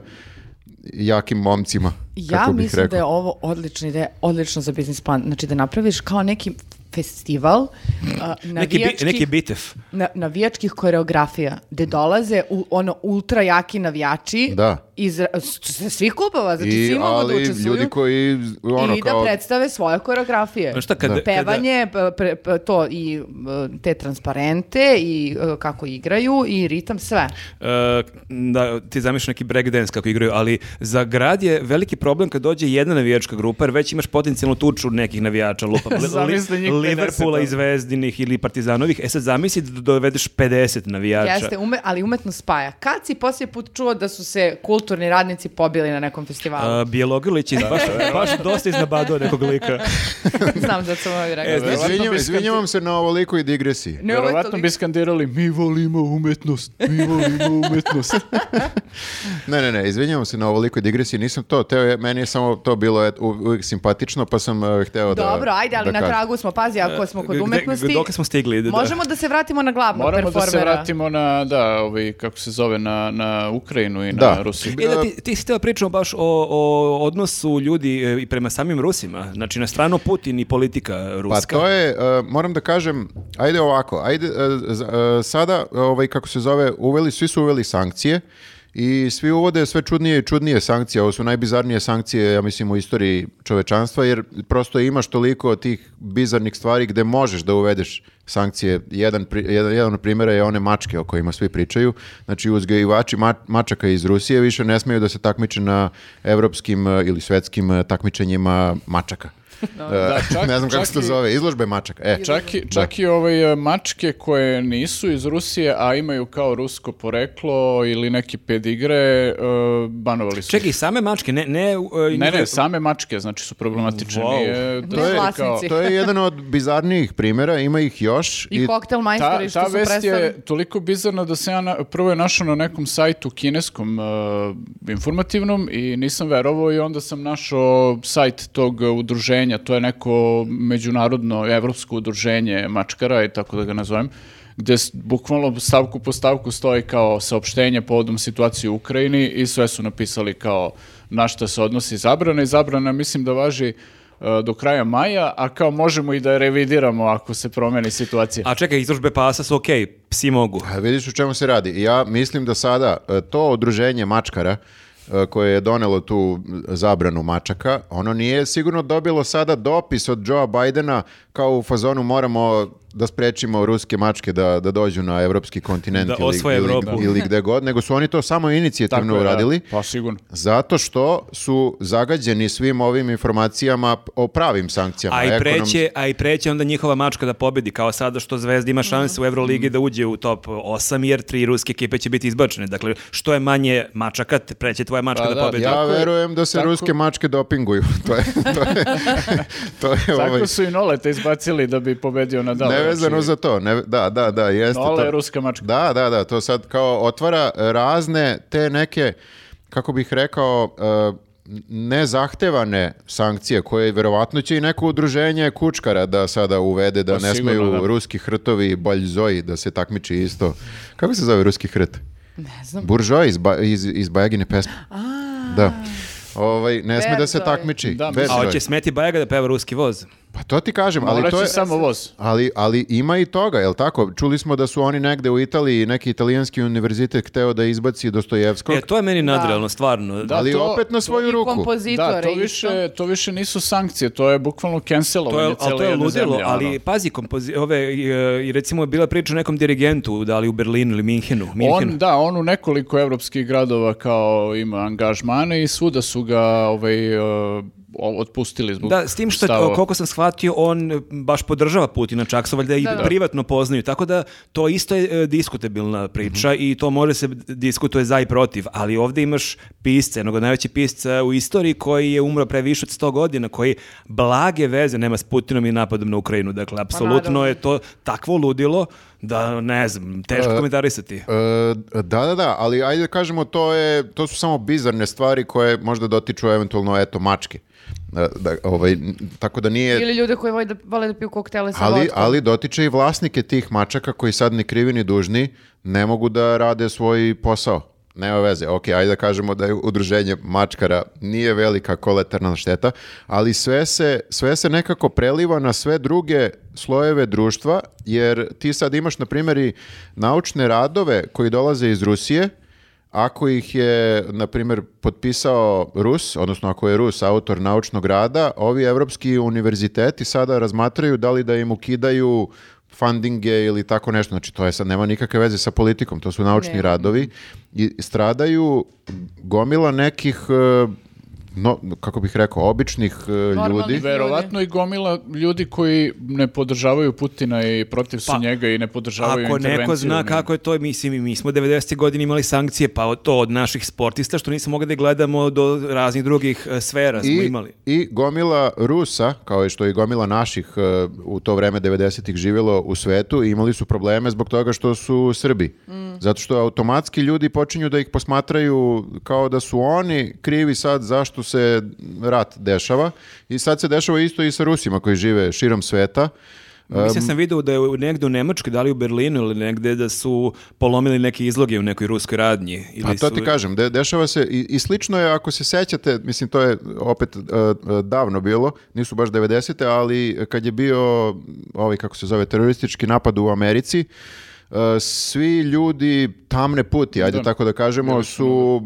Speaker 2: jakim momcima.
Speaker 4: Ja
Speaker 2: kako bih
Speaker 4: mislim da je
Speaker 2: rekao.
Speaker 4: ovo odlična ideja, odlično za biznis plan. Znači da napraviš kao neki festival a,
Speaker 1: Neki, bi-
Speaker 4: navijačkih,
Speaker 1: neki bitev.
Speaker 4: na, navijačkih koreografija, gde dolaze u, ono ultra jaki navijači
Speaker 2: Da.
Speaker 4: iz ra- s- sa svih klubova, znači
Speaker 2: I,
Speaker 4: svi mogu da
Speaker 2: ali
Speaker 4: učestvuju.
Speaker 2: ljudi koji ono,
Speaker 4: I
Speaker 2: kao,
Speaker 4: da predstave svoje koreografije.
Speaker 1: Znaš šta, kada- Da.
Speaker 4: Pevanje, p- pre- p- to i e, te transparente i e, kako igraju i ritam, sve.
Speaker 1: E, da ti zamišljaš neki breakdance kako igraju, ali za grad je veliki problem kad dođe jedna navijačka grupa, jer već imaš potencijalnu tuču nekih navijača, lupa, li-
Speaker 3: Zamisli njih 50,
Speaker 1: Liverpoola
Speaker 3: da.
Speaker 1: i Zvezdinih ili Partizanovih. E sad zamisli da dovedeš 50 navijača.
Speaker 4: Jeste, ume, ali umetno spaja. Kad si poslije put čuo da su se kulturni radnici pobili na nekom festivalu?
Speaker 1: A, Bjelogrlić E, je baš, baš dosta iznabadao nekog lika.
Speaker 4: Znam da sam ovaj rekao.
Speaker 1: E,
Speaker 2: izvinjavam,
Speaker 3: bi
Speaker 2: izvinjavam se na ovolikoj digresiji.
Speaker 4: Ne, ovo je
Speaker 3: Verovatno
Speaker 4: toliko-
Speaker 3: bi skandirali mi volimo umetnost, mi volimo umetnost.
Speaker 2: Ne, ne, ne, izvinjavam se na ovolikoj digresiji, nisam to, teo je, meni je samo to bilo et, u- uvijek simpatično, pa sam eh, hteo da...
Speaker 4: Dobro, ajde, ali
Speaker 2: da
Speaker 4: na
Speaker 2: kažem.
Speaker 4: tragu smo. Pazi, ako smo kod
Speaker 1: E, Gde-
Speaker 4: umetnosti...
Speaker 1: dokle smo stigli, da, da.
Speaker 4: Možemo da se vratimo na glavnog
Speaker 3: Moramo da se
Speaker 4: performera.
Speaker 3: vratimo na, da, ovaj, kako se zove, na, na Ukrajinu i na
Speaker 2: Da.
Speaker 3: Rusiju.
Speaker 1: E da, ti, ti si htjela pričamo baš o, o odnosu ljudi e, i prema samim Rusima. Znači, na stranu Putin i politika
Speaker 2: Pa
Speaker 1: ruska.
Speaker 2: to je, e, moram da kažem, ajde ovako, ajde, e, z- e, sada, ovaj, kako se zove, uveli, svi su uveli sankcije i svi uvode sve čudnije i čudnije sankcije, ovo su najbizarnije sankcije, ja mislim, u istoriji čovečanstva, jer prosto imaš toliko tih bizarnih stvari gde možeš da uvedeš sankcije. Jedan, pri- jedan, jedan od primjera je one mačke o kojima svi pričaju. Znači, uzgajivači ma- mačaka iz Rusije više ne smeju da se takmiče na evropskim e, ili svetskim e, takmičenjima mačaka. E,
Speaker 3: Da, čak-
Speaker 2: ne znam kako
Speaker 3: čak
Speaker 2: se to
Speaker 3: i-
Speaker 2: zove, izložbe mačaka. E,
Speaker 3: Čak i, čak i ove mačke koje nisu iz Rusije, a imaju kao rusko poreklo ili neki pedigre, e, banovali su.
Speaker 1: Čekaj, same mačke, ne... Ne, e,
Speaker 3: Ne,
Speaker 1: njihove-
Speaker 3: ne, same mačke, znači su problematične.
Speaker 1: Wow.
Speaker 3: nije
Speaker 4: Ne
Speaker 3: su
Speaker 4: vlasnici.
Speaker 2: to je jedan od bizarnijih primjera, ima ih još.
Speaker 4: I koktel
Speaker 3: Ta,
Speaker 4: majstori što
Speaker 3: ta
Speaker 4: su
Speaker 3: vest
Speaker 4: predstavili.
Speaker 3: je toliko bizarna da se ja na- prvo je našao na nekom sajtu kineskom e, informativnom i nisam verovao i onda sam našao sajt tog udruženja, to je neko međunarodno evropsko udruženje mačkara i tako da ga nazovem, gde s- bukvalno stavku po stavku stoji kao saopštenje povodom situacije u Ukrajini i sve su napisali kao na šta se odnosi zabrana i zabrana mislim da važi e, do kraja maja, a kao možemo i da je revidiramo ako se promeni situacija.
Speaker 1: A čekaj, izložbe pasa su okej, psi mogu.
Speaker 2: A vidiš u čemu se radi. Ja mislim da sada e, to odruženje mačkara e, koje je donelo tu zabranu mačaka, ono nije sigurno dobilo sada dopis od Joea Bidena kao u fazonu moramo da sprečimo ruske mačke da, da dođu na evropski kontinent
Speaker 1: Da
Speaker 2: ili,
Speaker 1: osvoje
Speaker 2: ili,
Speaker 1: Evropu.
Speaker 2: ili gde god, nego su oni to samo inicijativno
Speaker 3: je, da.
Speaker 2: uradili.
Speaker 3: Pa sigurno.
Speaker 2: Zato što su zagađeni svim ovim informacijama o pravim sankcijama.
Speaker 1: A i
Speaker 2: ekonomskim.
Speaker 1: preće, a i preće onda njihova mačka da pobedi, kao sada što Zvezda ima šanse u Euroligi da uđe u top 8, jer tri ruske ekipe će biti izbačene. Dakle, što je manje mačaka, te- preće tvoja mačka
Speaker 3: Pa
Speaker 1: da,
Speaker 3: da,
Speaker 1: pobedi.
Speaker 2: Ja
Speaker 3: Tako je,
Speaker 2: verujem da se
Speaker 3: tako-
Speaker 2: ruske mačke dopinguju. to je, to je, to je ovaj,
Speaker 3: Tako su i Noleta izbacili da bi pobedio znači. na dalu.
Speaker 2: nevezano za to. Ne, da, da, da, jeste.
Speaker 3: Nola
Speaker 2: to.
Speaker 3: je ruska mačka.
Speaker 2: Da, da, da, to sad kao otvara e, razne te neke, kako bih rekao, e, nezahtevane sankcije koje verovatno će i neko udruženje kučkara da sada uvede da
Speaker 3: Pa
Speaker 2: ne
Speaker 3: sigurno,
Speaker 2: smeju
Speaker 3: da.
Speaker 2: ruski hrtovi i baljzoji da se takmiči isto. Kako se zove ruski hrt?
Speaker 4: Ne znam.
Speaker 2: Buržoj iz, ba, iz, iz Bajagine pesme. Da. Ovaj, ne sme da se
Speaker 4: Berzoj.
Speaker 2: takmiči.
Speaker 3: Da,
Speaker 2: Berzoj.
Speaker 1: A hoće smeti Bajaga da peva ruski voz. E,
Speaker 2: Pa to ti kažem, ali
Speaker 3: Morat
Speaker 2: to
Speaker 3: će
Speaker 2: je...
Speaker 3: samo voz.
Speaker 2: Ali, ali ima i toga, jel tako? Čuli smo da su oni negde u Italiji, neki italijanski univerzitet hteo da izbaci Dostojevskog,
Speaker 1: E, to je meni nadrealno, stvarno.
Speaker 3: Da,
Speaker 2: ali
Speaker 3: to-
Speaker 2: opet na svoju
Speaker 4: I
Speaker 2: ruku.
Speaker 4: kompozitore.
Speaker 3: Da, to
Speaker 4: isto.
Speaker 3: više, to više nisu sankcije, to je bukvalno
Speaker 1: To
Speaker 3: cancelovanje
Speaker 1: je, ali
Speaker 3: cele
Speaker 1: to je
Speaker 3: jedne
Speaker 1: ludilo,
Speaker 3: zemlje.
Speaker 1: ali
Speaker 3: ono.
Speaker 1: pazi, kompozi, ove, i, e, i recimo je bila priča o nekom dirigentu, da li u Berlinu ili Minhenu. Minhenu.
Speaker 3: On, da, on u nekoliko evropskih gradova kao ima angažmane i svuda su ga ovaj, e, o- otpustili zbog
Speaker 1: Da, s tim što,
Speaker 3: stavova.
Speaker 1: koliko sam shvatio, on e, baš podržava Putina, čak se valjda i privatno poznaju, tako da to isto je e, diskutabilna priča
Speaker 3: Mhm.
Speaker 1: i to može se d- diskutuje za i protiv, ali ovdje imaš pisca, jednog od najvećih pisca u istoriji koji je umro pre više od 100 godina, koji blage veze nema s Putinom i napadom na Ukrajinu, dakle, apsolutno
Speaker 4: naravno.
Speaker 1: je to takvo ludilo da, ne znam, teško komentarisati.
Speaker 2: E, da, da, da, ali ajde da kažemo to je, to su samo bizarne stvari koje možda dotiču eventualno eto mačke. Da, da, ovaj, n- tako da nije
Speaker 4: Ili ljude koji vole da, vole da piju koktele sa
Speaker 2: ali,
Speaker 4: vodkom.
Speaker 2: ali dotiče i vlasnike tih mačaka koji sad ni krivi ni dužni ne mogu da rade svoj posao. Nema veze, ok, ajde da kažemo da je udruženje mačkara nije velika kolaterna šteta, ali sve se, sve se nekako preliva na sve druge slojeve društva, jer ti sad imaš, na primjer, i naučne radove koji dolaze iz Rusije, ako ih je, na primjer, potpisao Rus, odnosno ako je Rus autor naučnog rada, ovi evropski univerziteti sada razmatraju da li da im ukidaju fundinge ili tako nešto. Znači, to je sad, nema nikakve veze sa politikom, to su naučni
Speaker 4: Ne.
Speaker 2: radovi. I stradaju gomila nekih, e, no, kako bih rekao, običnih e,
Speaker 4: Normalnih
Speaker 2: ljudi.
Speaker 4: ljudi.
Speaker 3: Verovatno i gomila ljudi koji ne podržavaju Putina i protiv su
Speaker 1: Pa,
Speaker 3: njega i ne podržavaju
Speaker 1: Ako
Speaker 3: intervenciju.
Speaker 1: neko zna kako je to, mislim, mi smo 90. godine imali sankcije, pa od- to od naših sportista, što nismo mogli da gledamo do raznih drugih e, sfera smo
Speaker 2: I,
Speaker 1: imali.
Speaker 2: I gomila Rusa, kao i što i gomila naših e, u to vreme 90-ih živjelo u svetu i imali su probleme zbog toga što su Srbi. Zato što automatski ljudi počinju da ih posmatraju kao da su oni krivi sad zašto se rat dešava. I sad se dešava isto i sa Rusima koji žive širom sveta.
Speaker 1: Mislim, sam vidio da je u- negde u Nemačkoj, da li u Berlinu ili negde, da su polomili neke izloge u nekoj ruskoj radnji. Ili
Speaker 2: A Pa to
Speaker 1: su-
Speaker 2: ti kažem, de- dešava se i, i slično je ako se sećate, mislim to je opet e, e, davno bilo, nisu baš 90. ali kad je bio ovaj kako se zove teroristički napad u Americi, e, svi ljudi tamne puti, ajde tako da kažemo, su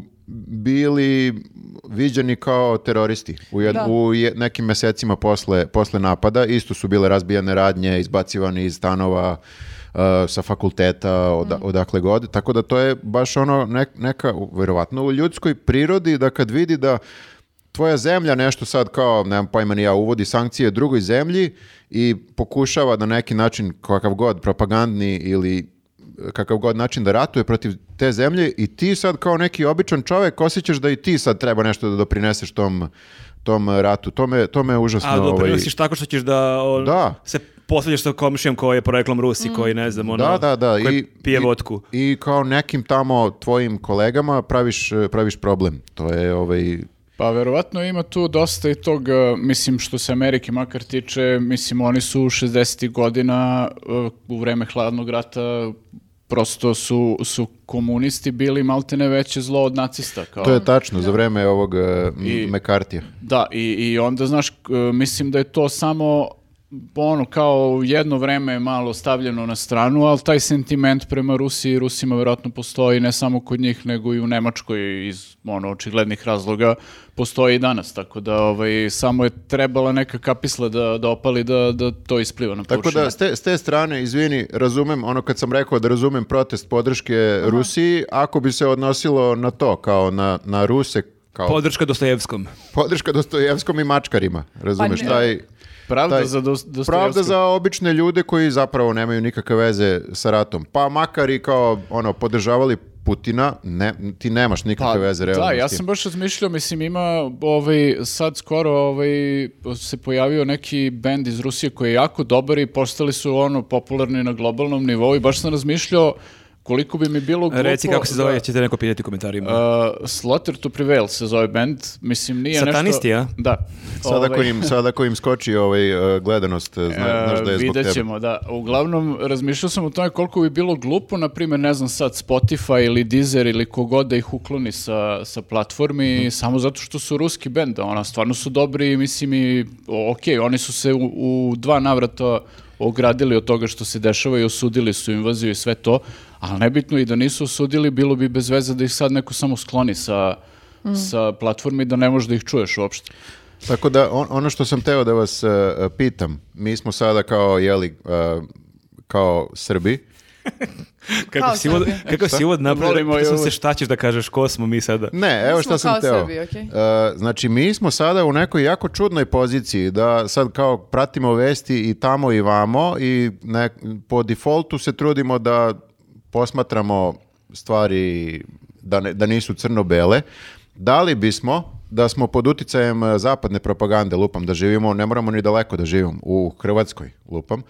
Speaker 2: bili viđeni kao teroristi u, jed-
Speaker 4: Da.
Speaker 2: u je- nekim mesecima posle, posle napada. Isto su bile razbijane radnje, izbacivani iz stanova, uh, sa fakulteta, oda- odakle god. Tako da to je baš ono nek- neka, verovatno u ljudskoj prirodi da kad vidi da tvoja zemlja nešto sad kao, nemam pojma ni ja, uvodi sankcije drugoj zemlji i pokušava na neki način, kakav god, propagandni ili eh, kakav god način da ratuje protiv te zemlje i ti sad kao neki običan čovek osjećaš da i ti sad treba nešto da doprineseš tom, tom ratu. To me, to me užasno...
Speaker 1: A
Speaker 2: ovaj,
Speaker 1: doprinosiš tako što ćeš da, o,
Speaker 2: Da.
Speaker 1: se posvađaš sa komšijom koji je poreklom Rusi, koji ne znam, ono,
Speaker 2: Da, da, da.
Speaker 1: koji pije
Speaker 2: i-
Speaker 1: vodku.
Speaker 2: I kao nekim tamo tvojim kolegama praviš, praviš problem. To je ovaj...
Speaker 3: Pa verovatno ima tu dosta i tog, e, mislim što se Amerike makar tiče, mislim oni su u 60. godina e, u vreme hladnog rata prosto su, su komunisti bili maltene veće zlo od nacista. Kao.
Speaker 2: To je tačno, za vreme ovog I...
Speaker 3: I-
Speaker 2: Mekartija.
Speaker 3: Da, i, i onda, znaš, k- mislim da je to samo ono, kao jedno vreme je malo stavljeno na stranu, ali taj sentiment prema Rusiji i Rusima vjerojatno postoji ne samo kod njih, nego i u Nemačkoj iz, ono, očiglednih razloga postoji i danas, tako da, ovaj, samo je trebala neka kapisla da, da opali da, da to ispliva na
Speaker 2: Tako
Speaker 3: površinu.
Speaker 2: da, s te, s te strane, izvini, razumem, ono kad sam rekao da razumem protest podrške Rusiji, ako bi se odnosilo na to, kao na, na Ruse, kao
Speaker 1: Podrška Dostojevskom.
Speaker 2: podrška Dostojevskom i mačkarima, razumeš,
Speaker 4: ne.
Speaker 2: taj...
Speaker 3: Pravda
Speaker 2: taj-
Speaker 3: za Dos- Dostojevskog.
Speaker 2: Pravda za obične ljude koji zapravo nemaju nikakve veze sa ratom. Pa makar i kao ono podržavali Putina, ne, ti nemaš nikakve veze realno.
Speaker 3: Pa, Da,
Speaker 2: s
Speaker 3: ja
Speaker 2: tim.
Speaker 3: sam baš razmišljao, mislim ima ovaj, sad skoro ovaj, se pojavio neki bend iz Rusije koji je jako dobar i postali su ono popularni na globalnom nivou i baš sam razmišljao koliko bi mi bilo glupo...
Speaker 1: Reci kako se zove,
Speaker 3: da,
Speaker 1: ćete neko pitati u
Speaker 2: E,
Speaker 1: komentarima.
Speaker 3: uh, Slaughter to Prevail se zove bend, mislim nije
Speaker 1: Satanisti, a?
Speaker 3: nešto... Da.
Speaker 2: Sad ako,
Speaker 3: Ovaj,
Speaker 2: im, sad ako im skoči ovaj, e, gledanost, e, zna-
Speaker 3: E,
Speaker 2: znaš da je zbog
Speaker 3: vidjet
Speaker 2: tebe.
Speaker 3: ćemo, da. Uglavnom, razmišljao sam o tome koliko bi bilo glupo, na primjer, ne znam sad, Spotify ili Deezer ili kogod da ih ukloni sa, sa platformi,
Speaker 2: Mhm.
Speaker 3: samo zato što su ruski benda, ona, stvarno su dobri, mislim i, o- ok, oni su se u, u dva navrata ogradili od toga što se dešava i osudili su invaziju i sve to, ali nebitno i da nisu osudili, bilo bi bez veze da ih sad neko samo skloni sa,
Speaker 2: Mhm.
Speaker 3: sa platformi i da ne možeš da ih čuješ uopšte.
Speaker 2: Tako da on- ono što sam teo da vas e, e, pitam, mi smo sada kao jeli e, kao Srbi
Speaker 1: Kako
Speaker 4: Kao
Speaker 1: si uvod,
Speaker 4: Srbija.
Speaker 1: kako si uvod napravio,
Speaker 3: Volimo
Speaker 1: pitao sam
Speaker 3: i
Speaker 1: se
Speaker 3: uvod.
Speaker 1: šta ćeš da kažeš, ko smo mi sada.
Speaker 2: Ne,
Speaker 4: Mi
Speaker 2: evo
Speaker 4: smo
Speaker 2: šta sam
Speaker 4: kao
Speaker 2: teo.
Speaker 4: Srbi, okej.
Speaker 2: E, znači, mi smo sada u nekoj jako čudnoj poziciji da sad kao pratimo vesti i tamo i vamo i ne, po defaultu se trudimo da posmatramo stvari da, ne- da nisu crno-bele. Da li bismo da smo pod uticajem e, zapadne propagande, lupam, da živimo, ne moramo ni daleko da živimo, u Hrvatskoj, lupam,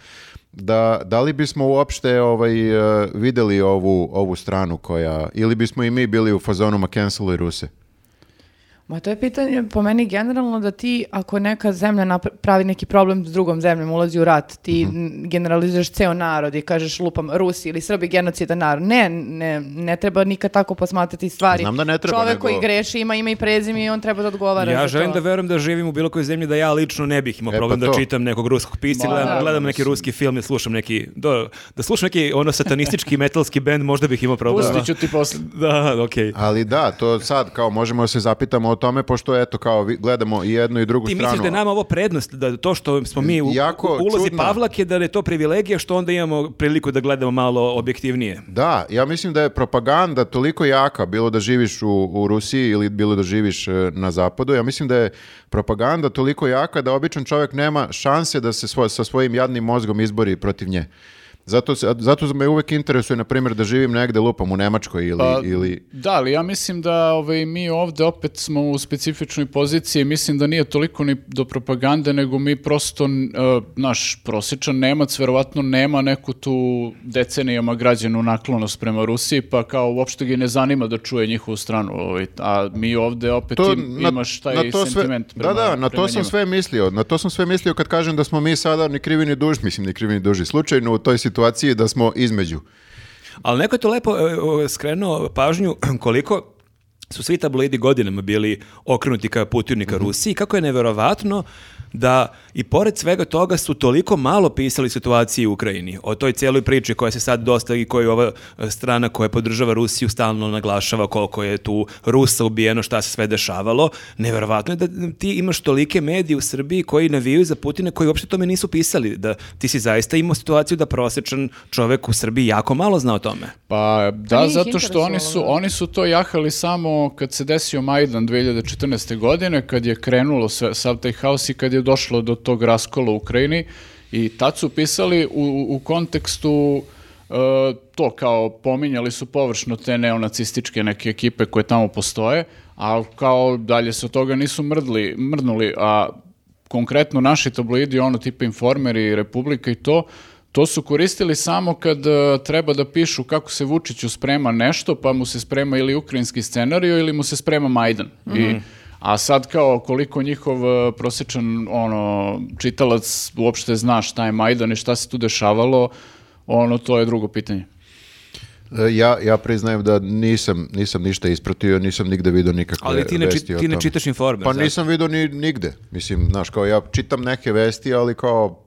Speaker 2: da, da li bismo uopšte ovaj, e, videli ovu, ovu stranu koja, ili bismo i mi bili u fazonu ma i Ruse?
Speaker 4: Ma to je pitanje po meni generalno da ti ako neka zemlja napra- pravi neki problem s drugom zemljom, ulazi u rat, ti
Speaker 2: Mhm.
Speaker 4: n- generalizuješ ceo narod i kažeš lupam Rusi ili Srbi genocidan narod. Ne, ne, ne treba nikad tako posmatrati stvari.
Speaker 2: Znam da ne treba,
Speaker 4: Čovek
Speaker 2: nego-
Speaker 4: koji greši ima ime i prezime i on treba da odgovara
Speaker 1: Ja
Speaker 4: za
Speaker 1: želim
Speaker 4: to.
Speaker 1: da verujem da živim u bilo kojoj zemlji da ja lično ne bih imao
Speaker 2: E,
Speaker 1: problem
Speaker 2: pa
Speaker 1: da
Speaker 2: to.
Speaker 1: čitam nekog ruskog pisca,
Speaker 3: Ma,
Speaker 1: gledam,
Speaker 3: da,
Speaker 1: gledam neki ruski film i slušam neki, da, da slušam neki ono satanistički metalski band, možda bih imao problema.
Speaker 3: Pustit ću ti posle.
Speaker 1: Da, okej.
Speaker 2: Ali da, to sad kao možemo da se zapitamo o tome, pošto eto kao vi- gledamo i jednu i drugu
Speaker 1: Ti
Speaker 2: stranu.
Speaker 1: misliš da je nama ovo prednost, da to što smo mi u,
Speaker 2: Jako
Speaker 1: u ulozi
Speaker 2: čudno.
Speaker 1: Pavlak je da je to privilegija što onda imamo priliku da gledamo malo objektivnije.
Speaker 2: Da, ja mislim da je propaganda toliko jaka, bilo da živiš u, u Rusiji ili bilo da živiš e, na zapadu, ja mislim da je propaganda toliko jaka da običan čovjek nema šanse da se svo- sa svojim jadnim mozgom izbori protiv nje. Zato, se- zato me uvek interesuje, na primjer, da živim negde lupam u Nemačkoj ili...
Speaker 3: Pa,
Speaker 2: ili...
Speaker 3: Da, ali ja mislim da ovaj, mi ovde opet smo u specifičnoj poziciji, mislim da nije toliko ni do propagande, nego mi prosto, n- e, naš prosječan Nemac verovatno nema neku tu decenijama građenu naklonost prema Rusiji, pa kao uopšte ga i ne zanima da čuje njihovu stranu, ovaj, a mi ovde opet im- imaš taj sentiment
Speaker 2: sve,
Speaker 3: prema,
Speaker 2: da, da, na
Speaker 3: prema
Speaker 2: to sam
Speaker 3: njima.
Speaker 2: sve mislio. Na to sam sve mislio kad kažem da smo mi sada ni krivi ni dužni, mislim ni krivi ni dužni, slučajno u toj situaciji da smo između.
Speaker 1: Ali neko je to lepo e, o, skrenuo pažnju koliko su svi tabloidi godinama bili okrenuti ka Putinu i ka Rusiji, kako je neverovatno da i pored svega toga su toliko malo pisali situaciji u Ukrajini, o toj cijeloj priči koja se sad dosta i koju ova e, strana koja podržava Rusiju stalno naglašava koliko je tu Rusa ubijeno, šta se sve dešavalo. Neverovatno je da ti imaš tolike medije u Srbiji koji navijaju za Putina koji uopšte o tome nisu pisali, da ti si zaista imao situaciju da prosječan čovek u Srbiji jako malo zna o tome.
Speaker 3: Pa
Speaker 4: Pa
Speaker 3: da,
Speaker 4: nije ih
Speaker 3: zato što oni su,
Speaker 4: interesovalo, da.
Speaker 3: oni su to jahali samo kad se desio Majdan 2014. godine, kad je krenulo sve, sav taj haos i kad je došlo do tog raskola u Ukrajini i tad su pisali u, u- u kontekstu e, to kao pominjali su površno te neonacističke neke ekipe koje tamo postoje, a kao dalje se od toga nisu mrdli, mrdnuli, a konkretno naši tabloidi, ono tipa Informer i Republika i to, to su koristili samo kad e, treba da pišu kako se Vučiću sprema nešto, pa mu se sprema ili ukrajinski scenario ili mu se sprema Majdan. I, a sad kao koliko njihov e, prosječan ono, čitalac uopšte zna šta je Majdan i šta se tu dešavalo, ono to je drugo pitanje.
Speaker 2: E, Ja, ja priznajem da nisam, nisam ništa ispratio, nisam nigde vidio nikakve
Speaker 1: Ali ti ne,
Speaker 2: E, vesti
Speaker 1: čit,
Speaker 2: o
Speaker 1: ti ne
Speaker 2: tome.
Speaker 1: čitaš informer.
Speaker 2: Pa
Speaker 1: zato.
Speaker 2: nisam vidio ni, nigde. Mislim, znaš, kao ja čitam neke vesti, ali kao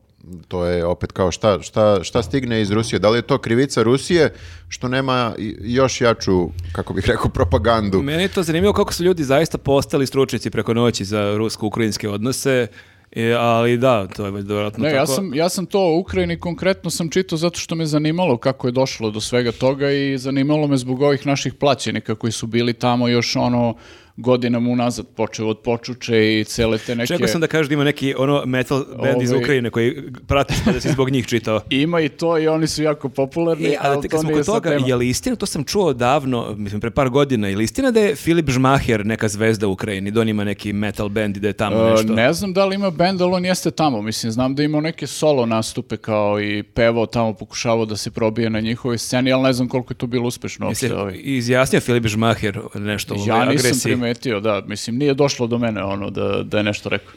Speaker 2: to je opet kao šta, šta, šta stigne iz Rusije. Da li je to krivica Rusije što nema i- još jaču, kako bih rekao, propagandu?
Speaker 1: Meni je to zanimljivo kako su ljudi zaista postali stručnjaci preko noći za rusko-ukrajinske odnose, e, ali da, to je vjerojatno
Speaker 3: Ne,
Speaker 1: Pa tako.
Speaker 3: ja sam, ja sam to u Ukrajini konkretno sam čitao zato što me zanimalo kako je došlo do svega toga i zanimalo me zbog ovih naših plaćenika koji su bili tamo još ono godinama unazad, počeo od počuče i cele te neke...
Speaker 1: Čekao sam da kažeš da ima neki ono metal band iz
Speaker 3: Ovaj-
Speaker 1: Ukrajine koji pratiš pa da si zbog njih čitao.
Speaker 3: Ima i to i oni su jako popularni,
Speaker 1: E, ali
Speaker 3: ali
Speaker 1: te,
Speaker 3: to
Speaker 1: kad smo
Speaker 3: nije
Speaker 1: kod
Speaker 3: sad
Speaker 1: toga,
Speaker 3: tema.
Speaker 1: je li istina, to sam čuo davno, mislim pre par godina, je li istina da je Filip Žmaher neka zvezda u Ukrajini, da on ima neki metal band i da je tamo
Speaker 3: E,
Speaker 1: nešto?
Speaker 3: Ne znam da li ima bend, ali on jeste tamo. Mislim, znam da je imao neke solo nastupe kao i pevao tamo, pokušavao da se probije na njihovoj sceni, ali ne znam koliko je to bilo uspešno.
Speaker 1: Mislim,
Speaker 3: uopšte, ovaj.
Speaker 1: izjasnio Filip Žmaher nešto o
Speaker 3: Ja nisam
Speaker 1: agresiji.
Speaker 3: primetio, da, mislim, nije došlo do mene ono da, da je nešto rekao.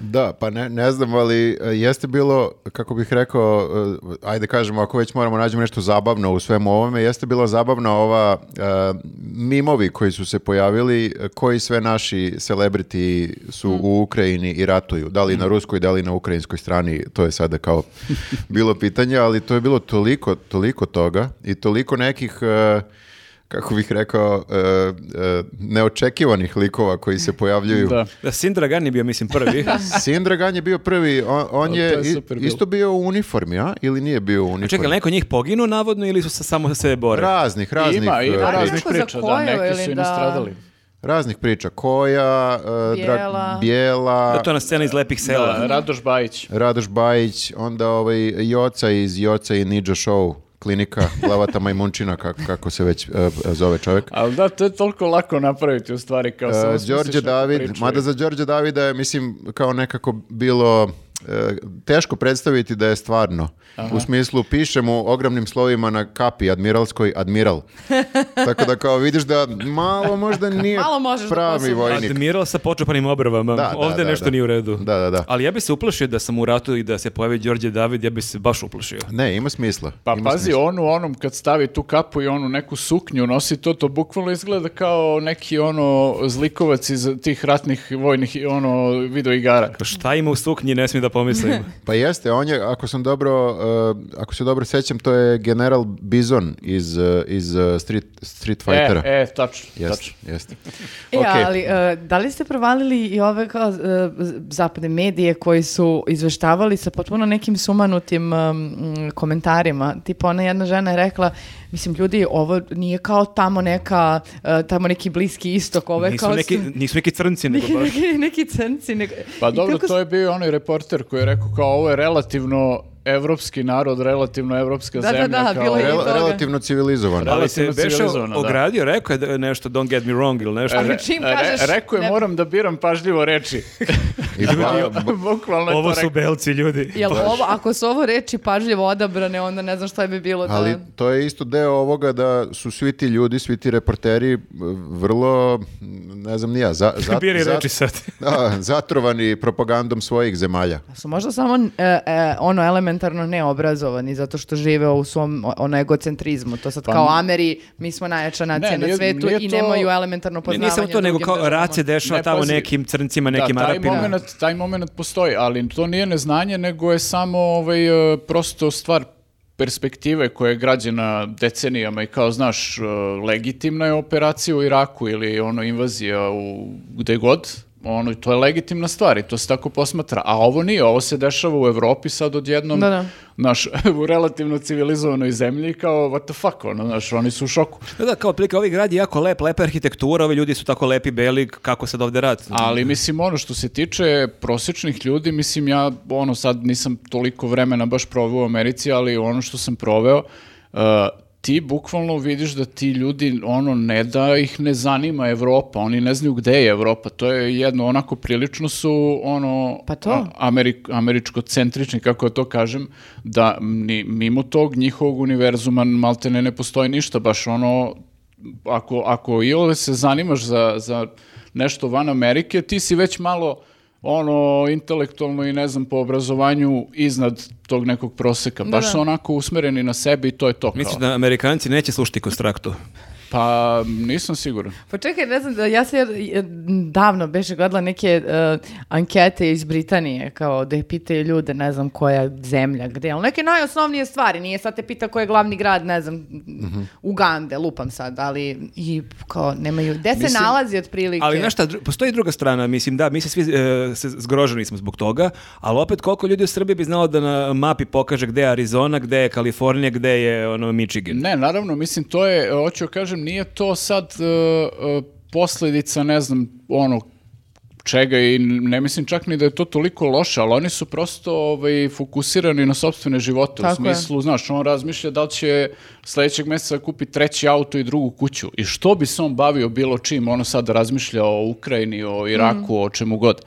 Speaker 2: Da, pa ne, ne znam, ali e, jeste bilo, kako bih rekao, e, ajde kažemo, ako već moramo nađemo nešto zabavno u svemu ovome, jeste bilo zabavno ova e, mimovi koji su se pojavili, e, koji sve naši celebrity su u Ukrajini i ratuju, da li na ruskoj, da li na ukrajinskoj strani, to je sada kao bilo pitanje, ali to je bilo toliko, toliko toga i toliko nekih... e, kako bih rekao, e, e, neočekivanih likova koji se pojavljuju.
Speaker 3: Da.
Speaker 1: Da, Sindra Gani bio, mislim, prvi.
Speaker 2: Sindragan je bio prvi, on, on
Speaker 3: O, to
Speaker 2: je,
Speaker 3: je
Speaker 2: i-
Speaker 3: super bilo.
Speaker 2: isto bio u uniformi, a? Ili nije bio u uniformi?
Speaker 1: Čekaj, neko njih poginu navodno ili su se samo se bore?
Speaker 2: Raznih, raznih,
Speaker 3: Ima,
Speaker 2: e,
Speaker 3: ima
Speaker 2: pri-
Speaker 3: raznih
Speaker 4: Kako za
Speaker 3: priča, da,
Speaker 4: koju
Speaker 3: neki su
Speaker 4: ili
Speaker 3: i
Speaker 4: da-
Speaker 3: nastradali.
Speaker 2: raznih priča. Koja, e,
Speaker 4: Bijela.
Speaker 2: Dra- Bijela,
Speaker 1: Da, to je ona scena iz Lepih sela.
Speaker 3: Da, Radoš Bajić.
Speaker 2: Radoš Bajić, onda ovaj Joca iz Joca i Ninja Show klinika Glavata Majmunčina, kako, kako se već e, zove čovjek.
Speaker 3: Ali da, to je toliko lako napraviti u stvari kao
Speaker 2: Uh,
Speaker 3: samo smisliš
Speaker 2: Đorđe
Speaker 3: neku
Speaker 2: David,
Speaker 3: priču
Speaker 2: mada
Speaker 3: i-
Speaker 2: za Đorđe Davida je, mislim, kao nekako bilo e, teško predstaviti da je stvarno. U smislu, pišem u ogromnim slovima na kapi admiralskoj admiral. Tako da kao vidiš da malo možda nije
Speaker 4: Malo možeš da
Speaker 2: pravi
Speaker 4: posumnjaš.
Speaker 2: vojnik.
Speaker 1: Pa Admiral sa počupanim obrovama.
Speaker 2: Da, da,
Speaker 1: Ovde
Speaker 2: da,
Speaker 1: nešto
Speaker 2: da.
Speaker 1: nije u redu.
Speaker 2: Da, da, da.
Speaker 1: Ali ja bi se uplašio da sam u ratu i da se pojavi Đorđe David, ja bi se baš uplašio.
Speaker 2: Ne, ima smisla.
Speaker 3: Pa
Speaker 2: ima
Speaker 3: pazi,
Speaker 2: smisla.
Speaker 3: on u onom kad stavi tu kapu i onu neku suknju nosi to, to bukvalno izgleda kao neki ono zlikovac iz tih ratnih vojnih i ono video igara.
Speaker 1: Pa Šta ima u suknji, ne smijem da pomislim.
Speaker 2: Pa jeste, on je, ako sam dobro, e, ako se dobro sećam, to je general Bizon iz, e, iz e, Street, Street Fightera.
Speaker 3: E, e, tačno,
Speaker 2: Jeste,
Speaker 3: tačno.
Speaker 2: jeste.
Speaker 4: E,
Speaker 2: Okej.
Speaker 4: ali e, da li ste provalili i ove kao, e, z- zapadne medije koji su izveštavali sa potpuno nekim sumanutim em, mm, komentarima? Tipo, ona jedna žena je rekla, mislim, ljudi, ovo nije kao tamo neka, e, tamo neki bliski istok, ovo je
Speaker 1: nisu,
Speaker 4: kao...
Speaker 1: neki,
Speaker 4: s-
Speaker 1: nisu neki crnci, nego
Speaker 4: neki,
Speaker 1: baš.
Speaker 4: neki, neki crnci. nego-
Speaker 3: Pa
Speaker 4: I
Speaker 3: dobro,
Speaker 4: toliko
Speaker 3: to je bio onaj reporter koji je rekao kao ovo je relativno evropski narod, relativno evropska
Speaker 4: Da, da,
Speaker 3: zemlja.
Speaker 4: da,
Speaker 3: kao,
Speaker 4: bilo je i
Speaker 2: Rel-
Speaker 4: toga.
Speaker 2: relativno civilizovan.
Speaker 1: Ali se
Speaker 3: Relativno
Speaker 1: Beša
Speaker 3: civilizovano, da.
Speaker 1: ogradio, rekao je da- nešto, don't get me wrong ili nešto.
Speaker 4: Ali čim kažeš-
Speaker 3: rekao je
Speaker 4: ne-
Speaker 3: moram da biram pažljivo reči.
Speaker 2: I pa- ba-
Speaker 3: Bukvalno je
Speaker 1: Pa, Ovo
Speaker 3: to
Speaker 1: su
Speaker 3: rekao.
Speaker 1: belci, ljudi.
Speaker 4: Jel
Speaker 3: ono
Speaker 4: ovo, ako su ovo reči pažljivo odabrane, onda ne znam šta bi bilo da...
Speaker 2: Ali to je isto deo ovoga da su svi ti ljudi, svi ti reporteri eh, vrlo, ne znam ni ja, za, za-
Speaker 1: Biri
Speaker 2: za-
Speaker 1: reči sad.
Speaker 2: da, zatrovani propagandom svojih zemalja.
Speaker 4: Da su možda samo e, e, ono elementarno neobrazovani zato što žive u svom o- ono egocentrizmu. To
Speaker 1: Pa
Speaker 4: sad kao Ameri, mi smo najjača nacija
Speaker 3: Ne, nije-
Speaker 4: na svetu
Speaker 3: nije
Speaker 4: i
Speaker 3: to-
Speaker 4: nemaju elementarno
Speaker 1: Ne,
Speaker 4: poznavanje.
Speaker 1: nisam to, nego
Speaker 4: drugim
Speaker 1: kao
Speaker 4: državama.
Speaker 1: rat se dešava
Speaker 3: Ne,
Speaker 1: tamo
Speaker 3: pazi.
Speaker 1: nekim crncima, nekim
Speaker 3: da, taj
Speaker 1: arapima.
Speaker 3: moment, taj moment postoji, ali to nije neznanje, nego je samo ovaj, e, prosto stvar perspektive koja je građena decenijama i kao, znaš, e, legitimna je operacija u Iraku ili ono invazija u gde god, ono, to je legitimna stvar i to se tako posmatra. A ovo nije, ovo se dešava u Evropi sad odjednom,
Speaker 4: Da, da.
Speaker 3: znaš, u relativno civilizovanoj zemlji kao, what the fuck, ono, znaš, oni su u šoku.
Speaker 1: Da, da, kao otprilike, ovaj grad je jako lep, lepa arhitektura, ovi ljudi su tako lepi, beli, kako sad ovde rat?
Speaker 3: Ali mislim ono što se tiče prosječnih ljudi, mislim ja ono sad nisam toliko vremena baš proveo u Americi, ali ono što sam proveo, uh, ti bukvalno vidiš da ti ljudi ono ne da ih ne zanima Evropa, oni ne znaju gde je Evropa. To je jedno onako prilično su ono
Speaker 4: Pa to.
Speaker 3: američko američkocentrični kako to kažem, da ni, mimo tog njihovog univerzuma maltene ne postoji ništa baš ono ako, ako i ove se zanimaš za, za nešto van Amerike, ti si već malo ono intelektualno i ne znam po obrazovanju iznad tog nekog proseka. Baš
Speaker 4: da.
Speaker 3: su onako usmereni na sebi i to je to. kao.
Speaker 1: Mislim da Amerikanci neće slušati konstraktu.
Speaker 3: Pa nisam siguran.
Speaker 4: Pa čekaj, ne znam, da ja se e, davno beše gledala neke e, ankete iz Britanije, kao da je pitaju ljude, ne znam koja je zemlja, gde, ali neke najosnovnije stvari, nije sad te pita koji je glavni grad, ne znam,
Speaker 1: Mhm.
Speaker 4: Ugande, lupam sad, ali i kao nemaju, gde se nalazi otprilike?
Speaker 1: Ali znaš šta, dru- postoji druga strana, mislim da, mi se svi e, se zgroženi smo zbog toga, ali opet koliko ljudi u Srbiji bi znalo da na mapi pokaže gde je Arizona, gde je Kalifornija, gde je ono Michigan.
Speaker 3: Ne, naravno, mislim, to je, e, hoću da kažem, nije to sad e, e, posledica, ne znam, ono, čega i ne mislim čak ni da je to toliko loše, ali oni su prosto ovaj, fokusirani na sopstvene živote. u
Speaker 4: Tako je.
Speaker 3: smislu, znaš, on razmišlja da li će sledećeg meseca kupi treći auto i drugu kuću. I što bi se on bavio bilo čim, ono sad razmišlja o Ukrajini, o Iraku, o čemu god.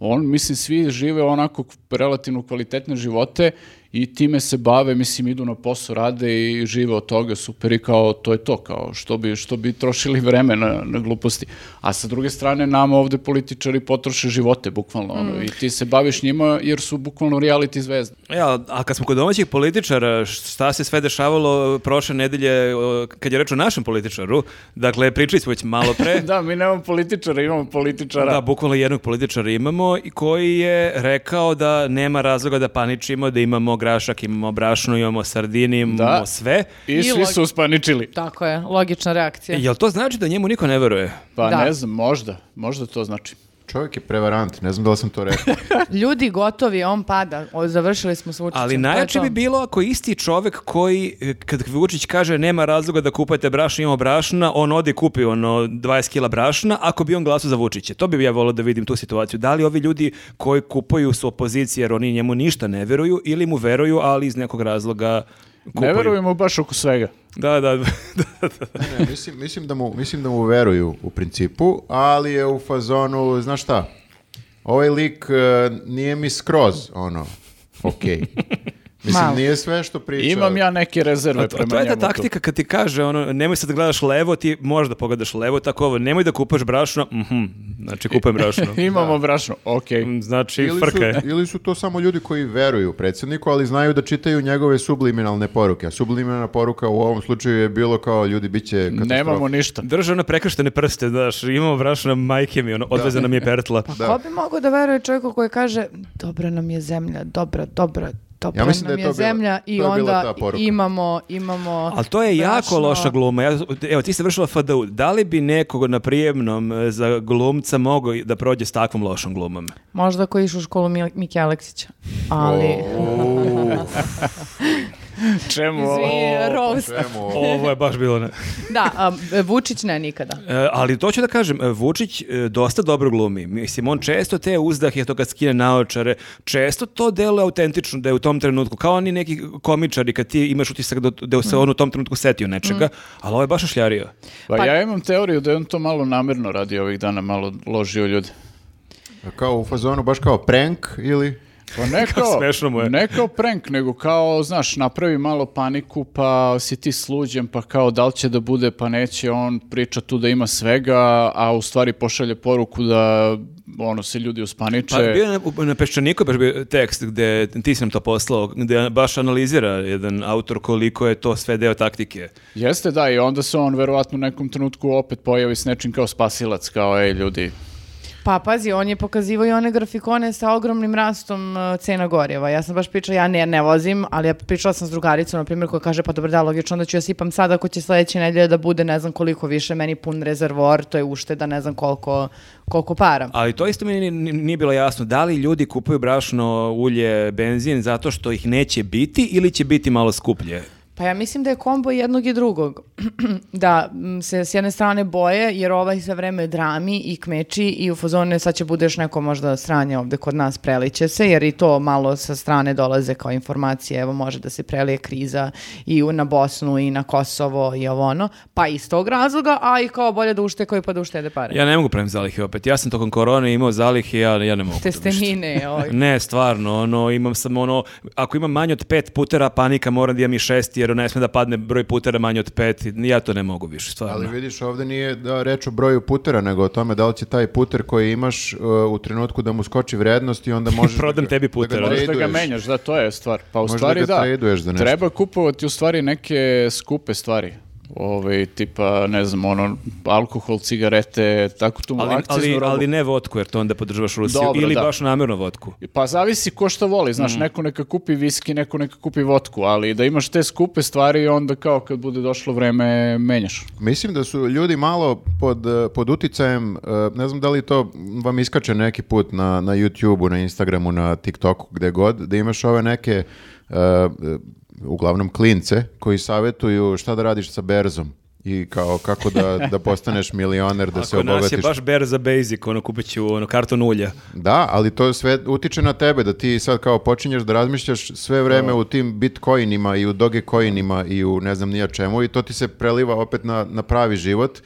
Speaker 3: On, mislim, svi žive onako relativno kvalitetne živote i time se bave, mislim, idu na posao, rade i žive od toga, super i kao, to je to, kao, što bi, što bi trošili vreme na, na gluposti. A sa druge strane, nama ovde političari potroše živote, bukvalno,
Speaker 4: Mm.
Speaker 3: ono, i ti se baviš njima jer su bukvalno reality zvezde.
Speaker 1: Ja, a kad smo kod domaćih političara, šta se sve dešavalo prošle nedelje, o, kad je reč o našem političaru, dakle, pričali smo već malo pre,
Speaker 3: Da, mi nemamo političara, imamo političara.
Speaker 1: Da, bukvalno jednog političara imamo i koji je rekao da nema razloga da paničimo, da imamo grašak, imamo brašnu, imamo sardini, imamo
Speaker 3: Da.
Speaker 1: sve.
Speaker 3: I,
Speaker 4: I
Speaker 3: svi
Speaker 4: log-
Speaker 3: su uspaničili.
Speaker 4: Tako je, logična reakcija.
Speaker 1: Jel to znači da njemu niko ne veruje?
Speaker 3: Pa
Speaker 4: Da.
Speaker 3: ne znam, možda. Možda to znači.
Speaker 2: Čovjek je prevarant, ne znam da li sam to rekao.
Speaker 4: Ljudi gotovi, on pada. O, završili smo s Vučićem.
Speaker 1: Ali
Speaker 4: Pa to je
Speaker 1: najjače
Speaker 4: to.
Speaker 1: bi bilo ako isti čovek koji, e, kad Vučić kaže nema razloga da kupujete brašnu, imamo brašna, on odi i kupi ono 20 kila brašna, ako bi on glasao za Vučića. To bi ja volio da vidim tu situaciju. Da li ovi ljudi koji kupuju su opozicije jer oni njemu ništa ne veruju ili mu veruju, ali iz nekog razloga kupuju.
Speaker 3: Ne verujem mu baš oko svega.
Speaker 1: Da, da, da, da.
Speaker 2: Ne, mislim, mislim, da mu, mislim da mu veruju u principu, ali je u fazonu, znaš šta, ovaj lik e, nije mi skroz, ono, okej. Mislim,
Speaker 4: Malo.
Speaker 2: nije sve što priča.
Speaker 3: Imam ja neke rezerve
Speaker 1: A to, a
Speaker 3: prema
Speaker 1: to je ta
Speaker 3: njemu tu.
Speaker 1: taktika kad ti kaže ono, nemoj sad da gledaš levo, ti možda pogledaš levo, tako ovo, nemoj da kupaš brašno, mhm, znači kupujem brašno.
Speaker 3: Imamo brašno, okej.
Speaker 1: Znači,
Speaker 2: Ili su,
Speaker 1: frka je.
Speaker 2: ili su to samo ljudi koji veruju predsjedniku, ali znaju da čitaju njegove subliminalne poruke. A subliminalna poruka u ovom slučaju je bilo kao ljudi bit će katastrofa.
Speaker 3: Nemamo ništa.
Speaker 1: Drže ono prekrštene prste, znaš, imamo brašna majke mi, ono, odveze nam je pertla.
Speaker 2: Da.
Speaker 4: Ko bi mogao da veruje čovjeku koji kaže dobra nam je zemlja, dobra, dobra, dobra
Speaker 2: Ja mislim da
Speaker 4: nam
Speaker 2: je
Speaker 4: je,
Speaker 2: to bila-
Speaker 4: zemlja
Speaker 2: to
Speaker 4: i
Speaker 2: je bila
Speaker 4: onda
Speaker 2: ta poruka.
Speaker 4: imamo, imamo...
Speaker 1: Ali to je jako
Speaker 4: brašno.
Speaker 1: loša gluma. Ja, evo, ti si vršila FDU. Da li bi nekog na prijemnom e, za glumca mogao i da prođe s takvom lošom glumom?
Speaker 4: Možda koji išu u školu Mil- Miki Aleksića. Ali...
Speaker 3: Čemu
Speaker 4: Izvini,
Speaker 3: ovo?
Speaker 4: roast.
Speaker 2: Čemu ovo?
Speaker 1: Ovo je baš bilo ne.
Speaker 4: Da, a, Vučić ne nikada.
Speaker 1: E, ali to ću da kažem, e, Vučić e, dosta dobro glumi. Mislim, on često te uzdahe, to kad skine naočare, često to deluje autentično da je u tom trenutku, kao oni neki komičari kad ti imaš utisak da, da se on u tom trenutku setio nečega, ali ovo je baš ošljario.
Speaker 3: Pa,
Speaker 4: Pa-
Speaker 3: ja imam teoriju da je on to malo namjerno radi ovih dana, malo ložio ljude.
Speaker 2: Kao u fazonu, baš kao prank ili...
Speaker 3: Pa ne kao,
Speaker 1: smešno mu je.
Speaker 3: ne kao prank, nego kao, znaš, napravi malo paniku, pa si ti sluđen, pa kao da li će da bude, pa neće, on priča tu da ima svega, a u stvari pošalje poruku da ono se ljudi uspaniče.
Speaker 1: Pa bio je na, u- na Peščaniku baš bio tekst gde ti si nam to poslao, gde baš analizira jedan autor koliko je to sve deo taktike.
Speaker 3: Jeste, da, i onda se on verovatno u nekom trenutku opet pojavi s nečim kao spasilac, kao, ej, ljudi,
Speaker 4: Pa pazi, on je pokazivao i one grafikone sa ogromnim rastom e, cena gorjeva. Ja sam baš pričala, ja ne, ne vozim, ali ja pričala sam s drugaricom, na primjer, koja kaže, pa dobro da, logično, onda ću ja sipam sad ako će sledeće nedelje da bude ne znam koliko više, meni pun rezervor, to je ušteda, ne znam koliko, koliko para.
Speaker 1: Ali to isto meni ni- nije bilo jasno, da li ljudi kupuju brašno, ulje, benzin zato što ih neće biti ili će biti malo skuplje?
Speaker 4: Pa ja mislim da je kombo jednog i drugog. da m, se s jedne strane boje, jer ovaj sve vreme drami i kmeči i u fazone sad će budeš neko možda sranje ovde kod nas, preliće se, jer i to malo sa strane dolaze kao informacije, evo može da se prelije kriza i u- na Bosnu i na Kosovo i ovo ono, pa iz tog razloga, a i kao bolje da uštekaju pa da uštede pare.
Speaker 1: Ja ne mogu pravim zalihe opet, ja sam tokom korone imao zalihe, ja, ja ne mogu.
Speaker 4: Testenine, ovaj.
Speaker 1: Ne, stvarno, ono, imam samo ono, ako imam manje od pet putera, panika moram da imam i šest, jer ne smije da padne broj putera manje od pet, ja to ne mogu više, stvarno.
Speaker 2: Ali vidiš, ovdje nije da reč o broju putera, nego o tome da li će taj puter koji imaš uh, u trenutku da mu skoči vrednost i onda možeš... da
Speaker 1: Prodam
Speaker 2: ga-
Speaker 1: tebi
Speaker 2: da ga
Speaker 1: puter, ali.
Speaker 3: Možeš da ga
Speaker 2: traduješ.
Speaker 3: menjaš, da, to je stvar. Pa u
Speaker 2: Možda
Speaker 3: stvari
Speaker 2: ga
Speaker 3: da,
Speaker 2: traduješ za nešto.
Speaker 3: treba kupovati u stvari neke skupe stvari. Ove, tipa, ne znam, ono, alkohol, cigarete, tako tu
Speaker 1: Ali,
Speaker 3: akciznu
Speaker 1: ali,
Speaker 3: robu.
Speaker 1: ali ne vodku, jer to onda podržavaš Rusiju.
Speaker 3: Dobro,
Speaker 1: Ili
Speaker 3: da.
Speaker 1: baš namjerno vodku.
Speaker 3: Pa zavisi ko šta voli,
Speaker 1: Mm.
Speaker 3: znaš, neko neka kupi viski, neko neka kupi votku, ali da imaš te skupe stvari, onda kao kad bude došlo vreme, menjaš.
Speaker 2: Mislim da su ljudi malo pod, eh, pod uticajem, eh, ne znam da li to vam iskače neki put na, na YouTube-u, na Instagramu, na TikToku, gde god, da imaš ove neke, eh, eh, uglavnom klince, koji savjetuju šta da radiš sa berzom i kao kako da, da postaneš milioner, da se
Speaker 1: Ako nas je
Speaker 2: obogatiš.
Speaker 1: baš ber za basic, ono kupit ću ono, karton ulja.
Speaker 2: Da, ali to sve utiče na tebe, da ti sad kao počinješ da razmišljaš sve vreme u tim bitcoinima i u dogecoinima i u ne znam nija čemu i to ti se preliva opet na, na pravi život,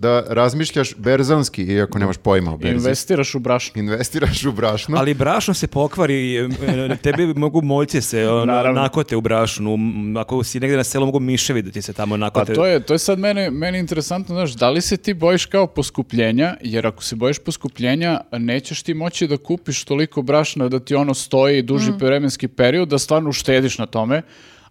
Speaker 2: da razmišljaš berzanski, iako nemaš pojma o berzi.
Speaker 3: Investiraš u brašnu.
Speaker 2: Investiraš u brašno.
Speaker 1: Ali brašno se pokvari, e, e, tebi mogu moljce se ono,
Speaker 3: Naravno.
Speaker 1: nakote u brašnu. m, Ako si negdje na selu, mogu miševi da ti se tamo
Speaker 3: Pa
Speaker 1: nakote.
Speaker 3: to je, to je sad mene, meni interesantno, znaš, da li se ti bojiš kao poskupljenja, jer ako se bojiš poskupljenja, nećeš ti moći da
Speaker 1: Mhm.
Speaker 3: kupiš toliko brašna da ti ono stoji duži vremenski period, da stvarno uštediš na tome,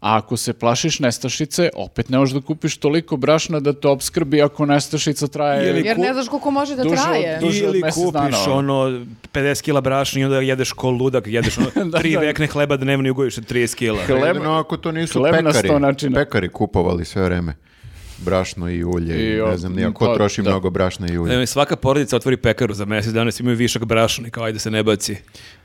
Speaker 3: A ako se plašiš nestašice, opet ne možeš da kupiš toliko brašna da te obskrbi ako nestašica traje.
Speaker 1: Ili-
Speaker 4: Jer
Speaker 1: Ku-
Speaker 4: ne znaš koliko može da
Speaker 3: Duže od-
Speaker 4: traje.
Speaker 3: duže od
Speaker 1: Ili
Speaker 3: mjesec
Speaker 1: kupiš
Speaker 3: dana, ono.
Speaker 1: ono 50 kila brašna i onda jedeš ko ludak, jedeš ono tri
Speaker 3: da.
Speaker 1: vekne hleba dnevno i ugojiš od 30 kila.
Speaker 3: Hleb-
Speaker 2: pa Jedino ako to nisu
Speaker 3: hleb na
Speaker 2: pekari,
Speaker 3: sto načina.
Speaker 2: pekari kupovali sve vreme. Brašno i ulje,
Speaker 3: I,
Speaker 2: i,
Speaker 3: o,
Speaker 2: ne znam, ni ko
Speaker 3: pa,
Speaker 2: troši
Speaker 3: da.
Speaker 2: mnogo brašna i ulje.
Speaker 1: E, Svaka porodica otvori pekaru za mjesec danas imaju višak brašna i kao ajde se ne baci.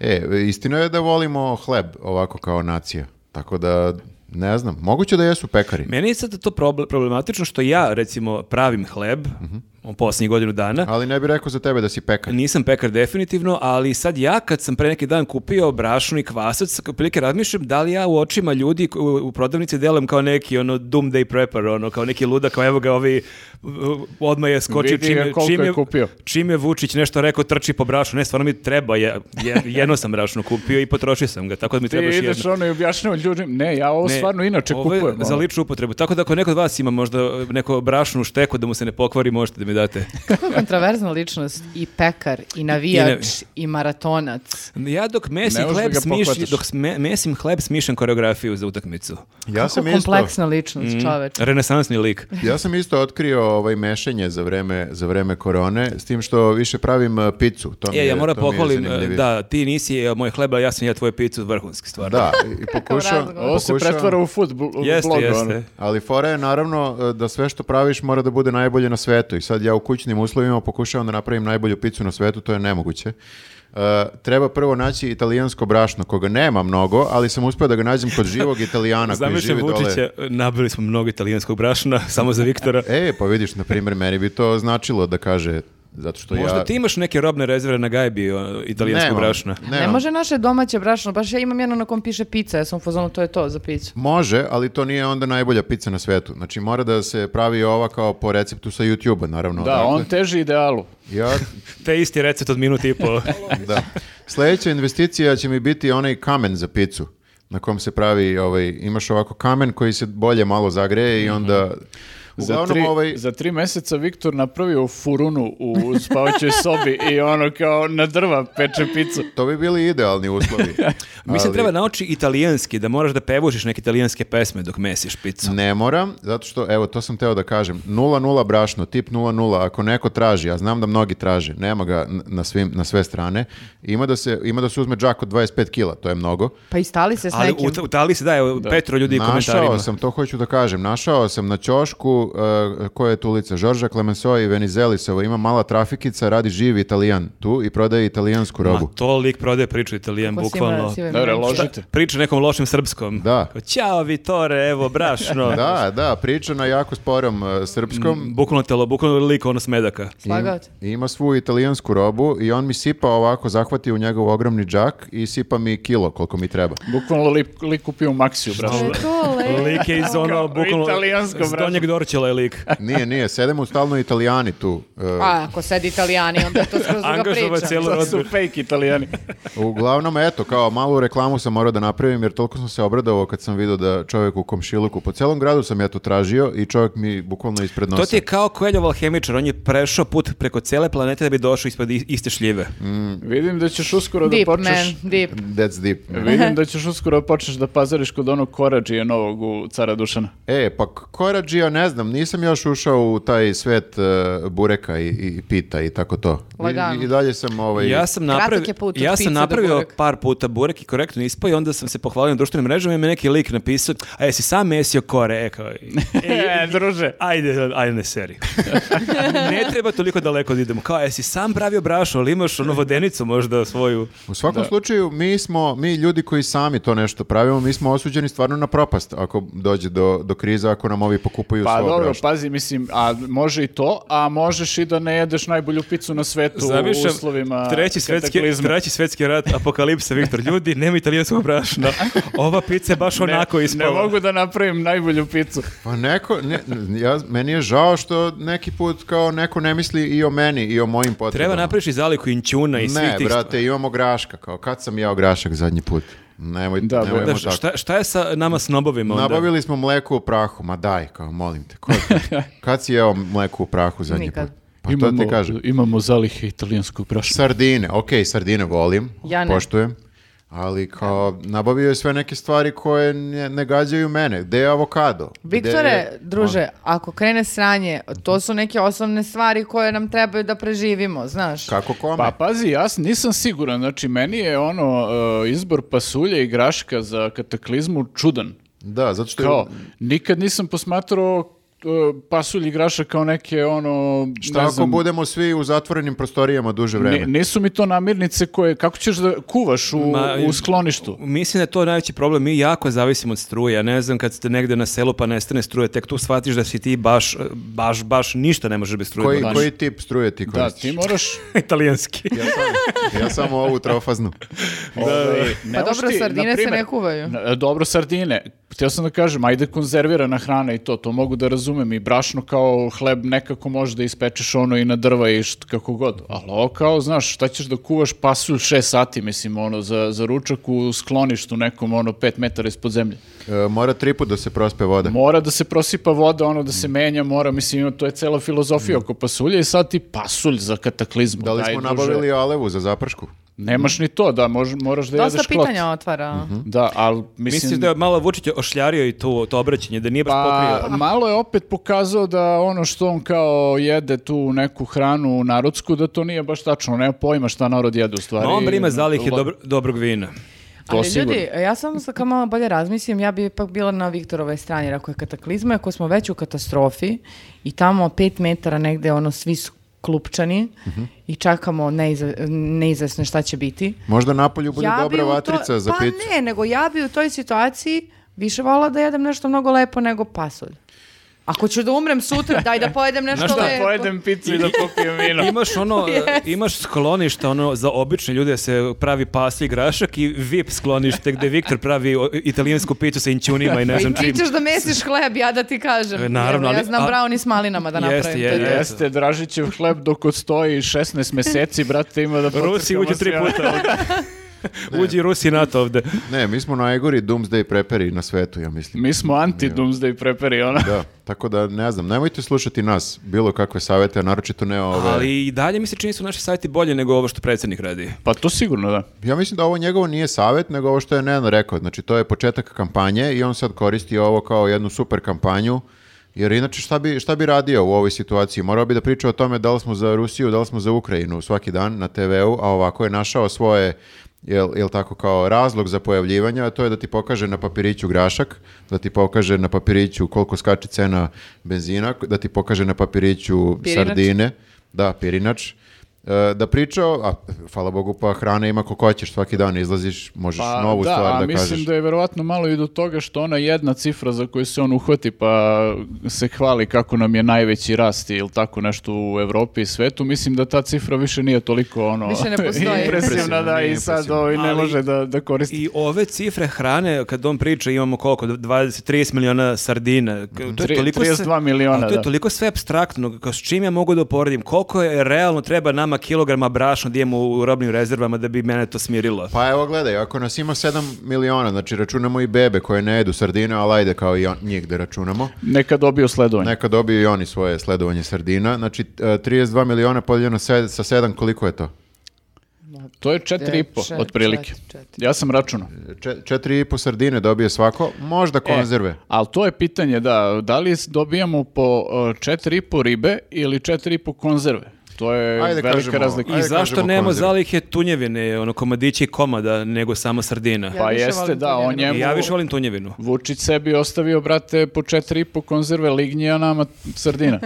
Speaker 2: E, istina je da volimo hleb ovako kao nacija. Tako da, ne znam, moguće da jesu pekari.
Speaker 1: Meni je sad to proble- problematično što ja recimo pravim hleb
Speaker 3: Mhm.
Speaker 1: u posljednjih godinu dana.
Speaker 2: Ali ne bih rekao za tebe da si pekar.
Speaker 1: Nisam pekar definitivno, ali sad ja kad sam pre neki dan kupio brašnu i kvasac, prilike razmišljam da li ja u očima ljudi ko- u, u prodavnici delujem kao neki ono doomsday prepper, ono kao neki ludak, kao evo ga ovi uh, odmah je skočio
Speaker 3: Vidi ga
Speaker 1: čim,
Speaker 3: koliko
Speaker 1: čim,
Speaker 3: je kupio.
Speaker 1: čim je Vučić nešto rekao trči po brašnu, ne stvarno mi treba, je, je- jedno sam brašno kupio i potrošio sam ga, tako da mi
Speaker 3: Ti
Speaker 1: treba još
Speaker 3: ideš
Speaker 1: jedno.
Speaker 3: ono i objašnjava ljudima, ne, ja ovo
Speaker 1: Ne,
Speaker 3: stvarno inače
Speaker 1: ovo je
Speaker 3: kupujem.
Speaker 1: Za
Speaker 3: ono.
Speaker 1: ličnu upotrebu. Tako da ako neko od vas ima možda neko brašnu šteku da mu se ne pokvari, možete da mi date.
Speaker 4: Kako je kontraverzna ličnost i pekar i navijač i, maratonac.
Speaker 1: Ja dok mesim
Speaker 3: Ne možeš da
Speaker 1: hleb
Speaker 3: ga
Speaker 1: smišljam,
Speaker 3: pohvataš.
Speaker 1: dok sme- mesim hleb smišljam koreografiju za utakmicu.
Speaker 2: Ja sam,
Speaker 4: Kako
Speaker 2: isto, Mhm.
Speaker 4: kompleksna ličnost, čoveč.
Speaker 1: Renesansni lik.
Speaker 2: ja sam isto otkrio ovaj mešenje za vreme, za vreme korone, s tim što više pravim eh, picu. To mi
Speaker 1: E,
Speaker 2: je,
Speaker 1: ja moram
Speaker 2: to mi je
Speaker 1: pohvalim,
Speaker 2: zanimljivije.
Speaker 1: da, ti nisi eh, moj hleba, ja sam ja tvoju picu vrhunski stvar.
Speaker 2: Da, i pokušao...
Speaker 4: razgovor.
Speaker 3: Ovo se pretvara u food bl-
Speaker 1: Jeste,
Speaker 3: blog, ono.
Speaker 1: jeste.
Speaker 2: Ali fora je naravno eh, da sve što praviš mora da bude najbolje na svetu i sad ja u kućnim uslovima pokušavam da napravim najbolju picu na svetu, to je nemoguće. Eh, treba prvo naći italijansko brašno, koga nema mnogo, ali sam uspio da ga nađem kod živog italijana koji
Speaker 1: Zamišljam
Speaker 2: živi dole.
Speaker 1: Vučića, nabili smo mnogo italijanskog brašna, samo za Viktora.
Speaker 2: E, pa vidiš, na primjer, meni bi to značilo da kaže, zato što ja...
Speaker 1: Možda ti imaš neke robne rezerve na gajbi o, italijanskog
Speaker 2: Nemam,
Speaker 1: brašna.
Speaker 2: nemam.
Speaker 4: Ne može naše domaće brašno, baš ja imam jedno na kom piše pizza, ja sam u fazonu, to je to za picu.
Speaker 2: Može, ali to nije onda najbolja pizza na svetu. Znači, mora da se pravi ova kao po receptu sa YouTube-a, naravno.
Speaker 3: Da,
Speaker 2: Dakle,
Speaker 3: on teži idealu.
Speaker 2: Ja
Speaker 1: Te isti recept od minuti i po.
Speaker 2: Da. Sljedeća investicija će mi biti onaj kamen za picu na kom se pravi, ovaj, imaš ovako kamen koji se bolje malo zagreje i onda...
Speaker 3: Mhm. Za
Speaker 2: Uglavnom,
Speaker 3: tri,
Speaker 2: ovaj,
Speaker 3: za tri meseca Viktor napravio furunu u spavaćoj sobi i ono kao na drva peče picu.
Speaker 2: to bi bili idealni uslovi.
Speaker 1: Mislim,
Speaker 2: ali
Speaker 1: treba nauči italijanski, da moraš da pevušiš neke italijanske pesme dok mesiš picu.
Speaker 2: Ne moram, zato što, evo, to sam teo da kažem, 0-0 brašno, tip 0-0, ako neko traži, a znam da mnogi traže, nema ga n- na, svim, na sve strane, ima da se, ima da se uzme džak od 25 kila, to je mnogo.
Speaker 4: Pa i stali se s
Speaker 1: Ali
Speaker 4: nekim.
Speaker 1: u, u Italiji se daje petro ljudi u komentarima.
Speaker 2: Našao sam, to hoću da kažem, našao sam na ćošku, uh, koja je tu ulica, Žorža Clemenceau i Venizelisova, ima mala trafikica, radi živ italijan tu i prodaje italijansku robu.
Speaker 1: Ma to lik prodaje priču italijan,
Speaker 4: Ko si ima
Speaker 1: bukvalno.
Speaker 4: sive
Speaker 3: Dobro,
Speaker 4: mreće?
Speaker 3: ložite.
Speaker 1: Priča nekom lošim srpskom.
Speaker 2: Da.
Speaker 1: Kao, Ćao Vitore, evo, brašno.
Speaker 2: Da, da, priča na jako sporom uh, srpskom.
Speaker 1: Bukvalno telo, bukvalno lik ono smedaka.
Speaker 4: Slagao te.
Speaker 2: I Ima svu italijansku robu i on mi sipa ovako, zahvati u njegov ogromni džak i sipa mi kilo koliko mi treba.
Speaker 3: Bukvalno lik, lik kupio u maksiju, brašno.
Speaker 4: To je to, lepo.
Speaker 1: Lik je iz ono,
Speaker 3: Kao
Speaker 1: bukvalno,
Speaker 3: italijansko
Speaker 1: s
Speaker 3: brašno.
Speaker 1: donjeg dorčela je lik.
Speaker 2: Nije, nije, sede mu stalno italijani tu. uh,
Speaker 4: A, ako sedi italijani, onda je to skroz druga
Speaker 1: Angažova
Speaker 4: priča.
Speaker 1: cijelu
Speaker 3: To su
Speaker 1: rodbinu.
Speaker 3: fake italijani.
Speaker 2: eh, Uglavnom, eto, kao malu reklamu sam morao da napravim, jer toliko sam se obradovao kad sam vidio da čovjek u komšiluku, po celom gradu sam ja to tražio i čovjek mi bukvalno ispred nosa.
Speaker 1: To ti je kao Koeljov alhemičar, on je prešao put preko cele planete da bi došao ispod i- iste šljive.
Speaker 3: Vidim da ćeš uskoro
Speaker 4: Deep,
Speaker 3: da počneš...
Speaker 4: man, deep.
Speaker 2: That's deep.
Speaker 3: Vidim da ćeš uskoro da počneš da pazariš kod onog korađije novog u Cara Dušana.
Speaker 2: E, pa k- Koradžija, ne znam, nisam još ušao u taj svet e, bureka i, i pita i tako to. I-
Speaker 4: Lagano.
Speaker 2: I, dalje sam ovaj...
Speaker 1: Ja sam
Speaker 4: Kratak
Speaker 1: napravio,
Speaker 4: je put od
Speaker 1: ja
Speaker 4: pice
Speaker 1: sam
Speaker 4: do
Speaker 1: napravio
Speaker 4: bureka.
Speaker 1: par puta burek i korektno ispao i onda sam se pohvalio na društvenim mrežama i mi je neki lik napisao, a jesi sam mesio kore, e, kao,
Speaker 3: E, druže.
Speaker 1: ajde, ajde ne seri. ne treba toliko daleko da idemo. Kao, jesi sam pravio brašno, ali imaš ono vodenicu možda svoju.
Speaker 2: U svakom slučaju, mi smo, mi ljudi koji sami to nešto pravimo, mi smo osuđeni stvarno na propast ako dođe do, do kriza, ako nam ovi pokupuju
Speaker 3: Pa
Speaker 2: svo
Speaker 3: dobro,
Speaker 2: brašno.
Speaker 3: pazi, mislim, a može i to, a možeš i da ne jedeš najbolju picu na svetu u uslovima
Speaker 1: treći svetski,
Speaker 3: kataklizma.
Speaker 1: treći svetski rat, apokalipsa, Viktor, ljudi, nema italijanskog brašna. Ova pizza je baš
Speaker 3: Ne-
Speaker 1: onako
Speaker 3: ne,
Speaker 1: ispala.
Speaker 3: mogu da napravim najbolju picu.
Speaker 2: Pa neko, ne, ja, meni je žao što neki put kao neko ne misli i o meni i o mojim potrebama.
Speaker 1: Treba napraviš i zaliku inćuna i svih
Speaker 2: Ne,
Speaker 1: tih
Speaker 2: brate, imamo graška, kao kad sam jeo grašak zadnji put. Nemoj,
Speaker 3: Da,
Speaker 2: nemojmo
Speaker 3: bre.
Speaker 1: stvari.
Speaker 2: tako.
Speaker 1: Znaš, šta, šta je sa nama snobovima onda?
Speaker 2: Nabavili smo mleko u prahu, ma daj, kao molim te. Ko, kad si jeo mleko u prahu zadnji
Speaker 4: Nikad.
Speaker 2: put? Pa to ti kažem.
Speaker 3: imamo zalihe italijanskog brašna.
Speaker 2: Sardine, ok, sardine volim,
Speaker 4: Ja ne.
Speaker 2: poštujem. Ali kao, nabavio je sve neke stvari koje ne, ne gađaju mene. Gde je avokado? Gde
Speaker 4: Viktore,
Speaker 2: je-
Speaker 4: druže, ako krene sranje, to su neke osnovne stvari koje nam trebaju da preživimo, znaš.
Speaker 2: Kako kome?
Speaker 3: Pa pazi, ja s- nisam siguran, znači meni je ono e, izbor pasulja i graška za kataklizmu čudan.
Speaker 2: Da, zato što je-
Speaker 3: Kao, nikad nisam posmatrao e, pasulj i grašak kao neke ono...
Speaker 2: Šta
Speaker 3: ne
Speaker 2: ako
Speaker 3: znam,
Speaker 2: budemo svi u zatvorenim prostorijama duže vreme?
Speaker 3: ni- nisu mi to namirnice koje, kako ćeš da kuvaš u,
Speaker 1: Ma,
Speaker 3: u skloništu?
Speaker 1: Mislim da je to najveći problem. Mi jako zavisimo od struje. Ja ne znam, kad ste negde na selu pa nestane struje, tek tu shvatiš da si ti baš, baš, baš ništa ne možeš bez struje.
Speaker 2: Koji,
Speaker 1: Baš.
Speaker 2: koji tip struje ti
Speaker 3: Da,
Speaker 2: koristiš?
Speaker 3: ti moraš...
Speaker 1: Italijanski.
Speaker 2: Ja samo, ja samo ovu trofaznu.
Speaker 3: ovaj, ne
Speaker 4: Pa
Speaker 3: možeš
Speaker 4: dobro,
Speaker 3: ti,
Speaker 4: sardine se
Speaker 3: naprimer,
Speaker 4: ne kuvaju.
Speaker 3: na- E, Dobro, sardine. Htio sam da kažem, ajde konzervirana hrana i to, to mogu da razumem. I brašno kao hleb nekako možeš da ispečeš ono i na drva i št, kako god. Ali ovo kao, znaš, šta ćeš da kuvaš pasulj šest sati, mislim, ono, za, za ručak u skloništu nekom, ono, pet metara ispod zemlje.
Speaker 2: E, mora tri put da se prospe voda.
Speaker 3: Mora da se prosipa voda, ono, da se menja, mora, mislim, ima- to je cela filozofija oko pasulja i sad ti pasulj za kataklizmu.
Speaker 2: Da li
Speaker 3: daj,
Speaker 2: smo
Speaker 3: druže.
Speaker 2: nabavili alevu za zapršku?
Speaker 3: Nemaš ni to, da, mož, moraš da
Speaker 4: Dosta
Speaker 3: jedeš klot.
Speaker 4: pitanja otvara.
Speaker 2: Mhm.
Speaker 3: Da, ali mislim...
Speaker 1: Misliš da je malo Vučić ošljario i to, to obraćanje, da nije baš
Speaker 3: Pa,
Speaker 1: pokrio?
Speaker 3: malo je opet pokazao da ono što on kao jede tu neku hranu narodsku, da to nije baš tačno, nema pojma šta narod jede u stvari.
Speaker 1: Ma on brima zalihe
Speaker 3: Lo-
Speaker 1: dobro, dobrog vina.
Speaker 3: To
Speaker 4: Ali
Speaker 3: sigurno.
Speaker 4: ljudi, ja samo sa kao malo bolje razmislim, ja bi ipak bila na Viktorovoj strani, jer ako je kataklizma, ako smo već u katastrofi i tamo pet metara negde ono svi su klupčani
Speaker 2: Mhm.
Speaker 4: i čakamo neiza, neizvesno šta će biti.
Speaker 2: Možda napolju bude
Speaker 4: bi
Speaker 2: dobra
Speaker 4: u to-
Speaker 2: vatrica za
Speaker 4: pa
Speaker 2: picu.
Speaker 4: ne, nego ja bi u toj situaciji više volala da jedem nešto mnogo lepo nego pasulj. Ako ću da umrem sutra, daj da pojedem nešto
Speaker 1: Znaš šta,
Speaker 4: lepo.
Speaker 3: Pojedem picu i da popijem vino.
Speaker 1: Imaš ono, imaš skloništa ono za obične ljude se pravi pasli grašak i VIP sklonište gde Viktor pravi o, italijansku piću sa inćunima i ne znam
Speaker 4: I ti
Speaker 1: čim.
Speaker 4: ćeš da mesiš hleb, ja da ti
Speaker 1: E,
Speaker 4: kažem.
Speaker 1: naravno,
Speaker 4: Jer ja
Speaker 1: ali-
Speaker 4: znam
Speaker 1: a-
Speaker 4: brownie s malinama da
Speaker 1: Jeste,
Speaker 4: napravim. to je
Speaker 1: je,
Speaker 4: to.
Speaker 1: je.
Speaker 3: E, Jeste, Dražićev hleb dok odstoji 16 meseci, brate, ima da
Speaker 1: Rusi
Speaker 3: potrkamo
Speaker 1: uđe tri
Speaker 3: sve.
Speaker 1: puta. Uđi Rusi i NATO ovde.
Speaker 2: Ne, mi smo najgori doomsday preperi na svetu, ja mislim.
Speaker 3: Mi smo anti-doomsday preperi, ona.
Speaker 2: Da, tako da ne znam, nemojte slušati nas, bilo kakve savete, a naročito ne ove.
Speaker 1: Ali i dalje mi se čini su naši sajti bolje nego ovo što predsjednik radi.
Speaker 3: Pa to sigurno, da.
Speaker 2: Ja mislim da ovo njegovo nije savet, nego ovo što je Nenad rekao. Znači, to je početak kampanje i on sad koristi ovo kao jednu super kampanju, jer inače šta bi, šta bi radio u ovoj situaciji? Morao bi da priča o tome da li smo za Rusiju, da li smo za Ukrajinu svaki dan na TV-u, a ovako je našao svoje jel, jel tako kao razlog za pojavljivanje, a to je da ti pokaže na papiriću grašak, da ti pokaže na papiriću koliko skače cena benzina, da ti pokaže na papiriću
Speaker 4: Pirinač.
Speaker 2: sardine, da, pirinač, E, da pričao, a hvala Bogu pa hrane ima koliko hoćeš, svaki dan izlaziš, možeš
Speaker 3: Pa,
Speaker 2: novu
Speaker 3: da,
Speaker 2: stvar
Speaker 3: a
Speaker 2: da
Speaker 3: mislim
Speaker 2: kažeš.
Speaker 3: da je verovatno malo i do toga što ona jedna cifra za koju se on uhvati pa se hvali kako nam je najveći rast ili tako nešto u Evropi i svetu, mislim da ta cifra više nije toliko ono
Speaker 4: Više ne postoji.
Speaker 3: impresivna da
Speaker 2: Nije
Speaker 3: i sad
Speaker 2: impresivna.
Speaker 3: ovaj ne
Speaker 1: Ali-
Speaker 3: može da, da koristi.
Speaker 1: I ove cifre hrane, kad on priča, imamo koliko, 20-30 miliona sardina. K- To
Speaker 3: Tri-
Speaker 1: je toliko
Speaker 3: 32 miliona,
Speaker 1: ali To je
Speaker 3: da.
Speaker 1: toliko sve abstraktno, kao s čim ja mogu da uporedim, koliko je realno treba nama kilograma brašna da imamo u robnim rezervama da bi mene to smirilo.
Speaker 2: Pa evo gledaj, ako nas ima 7 miliona, znači računamo i bebe koje ne jedu sardine, ali ajde kao i on- njih da računamo,
Speaker 3: Neka dobiju sledovanje.
Speaker 2: neka dobiju i oni svoje sledovanje sardina, znači e, 32 miliona podijeljeno se- sa 7, koliko je to?
Speaker 3: To je 4,5
Speaker 4: Čet-
Speaker 3: otprilike.
Speaker 4: čet- čet-
Speaker 3: Ja sam računao.
Speaker 2: Če, 4,5 sardine dobije svako, možda konzerve.
Speaker 3: E, ali to je pitanje, da, da li s- dobijamo po e, 4,5 ribe ili 4,5 konzerve? To je
Speaker 2: Ajde,
Speaker 3: velika
Speaker 2: kažemo,
Speaker 3: razlika.
Speaker 1: I
Speaker 2: Ajde,
Speaker 1: zašto
Speaker 2: kažemo
Speaker 1: nema
Speaker 2: konzerve.
Speaker 1: zalihe tunjevine, ono komadići i komada, nego samo sardina?
Speaker 4: Ja
Speaker 3: Pa
Speaker 4: više
Speaker 3: jeste,
Speaker 4: volim
Speaker 3: da, on
Speaker 4: tunjevinu.
Speaker 1: I
Speaker 3: njemu...
Speaker 1: ja više volim tunjevinu.
Speaker 3: Vučić sebi ostavio, brate, po četiri i po konzerve lignija nama sardina.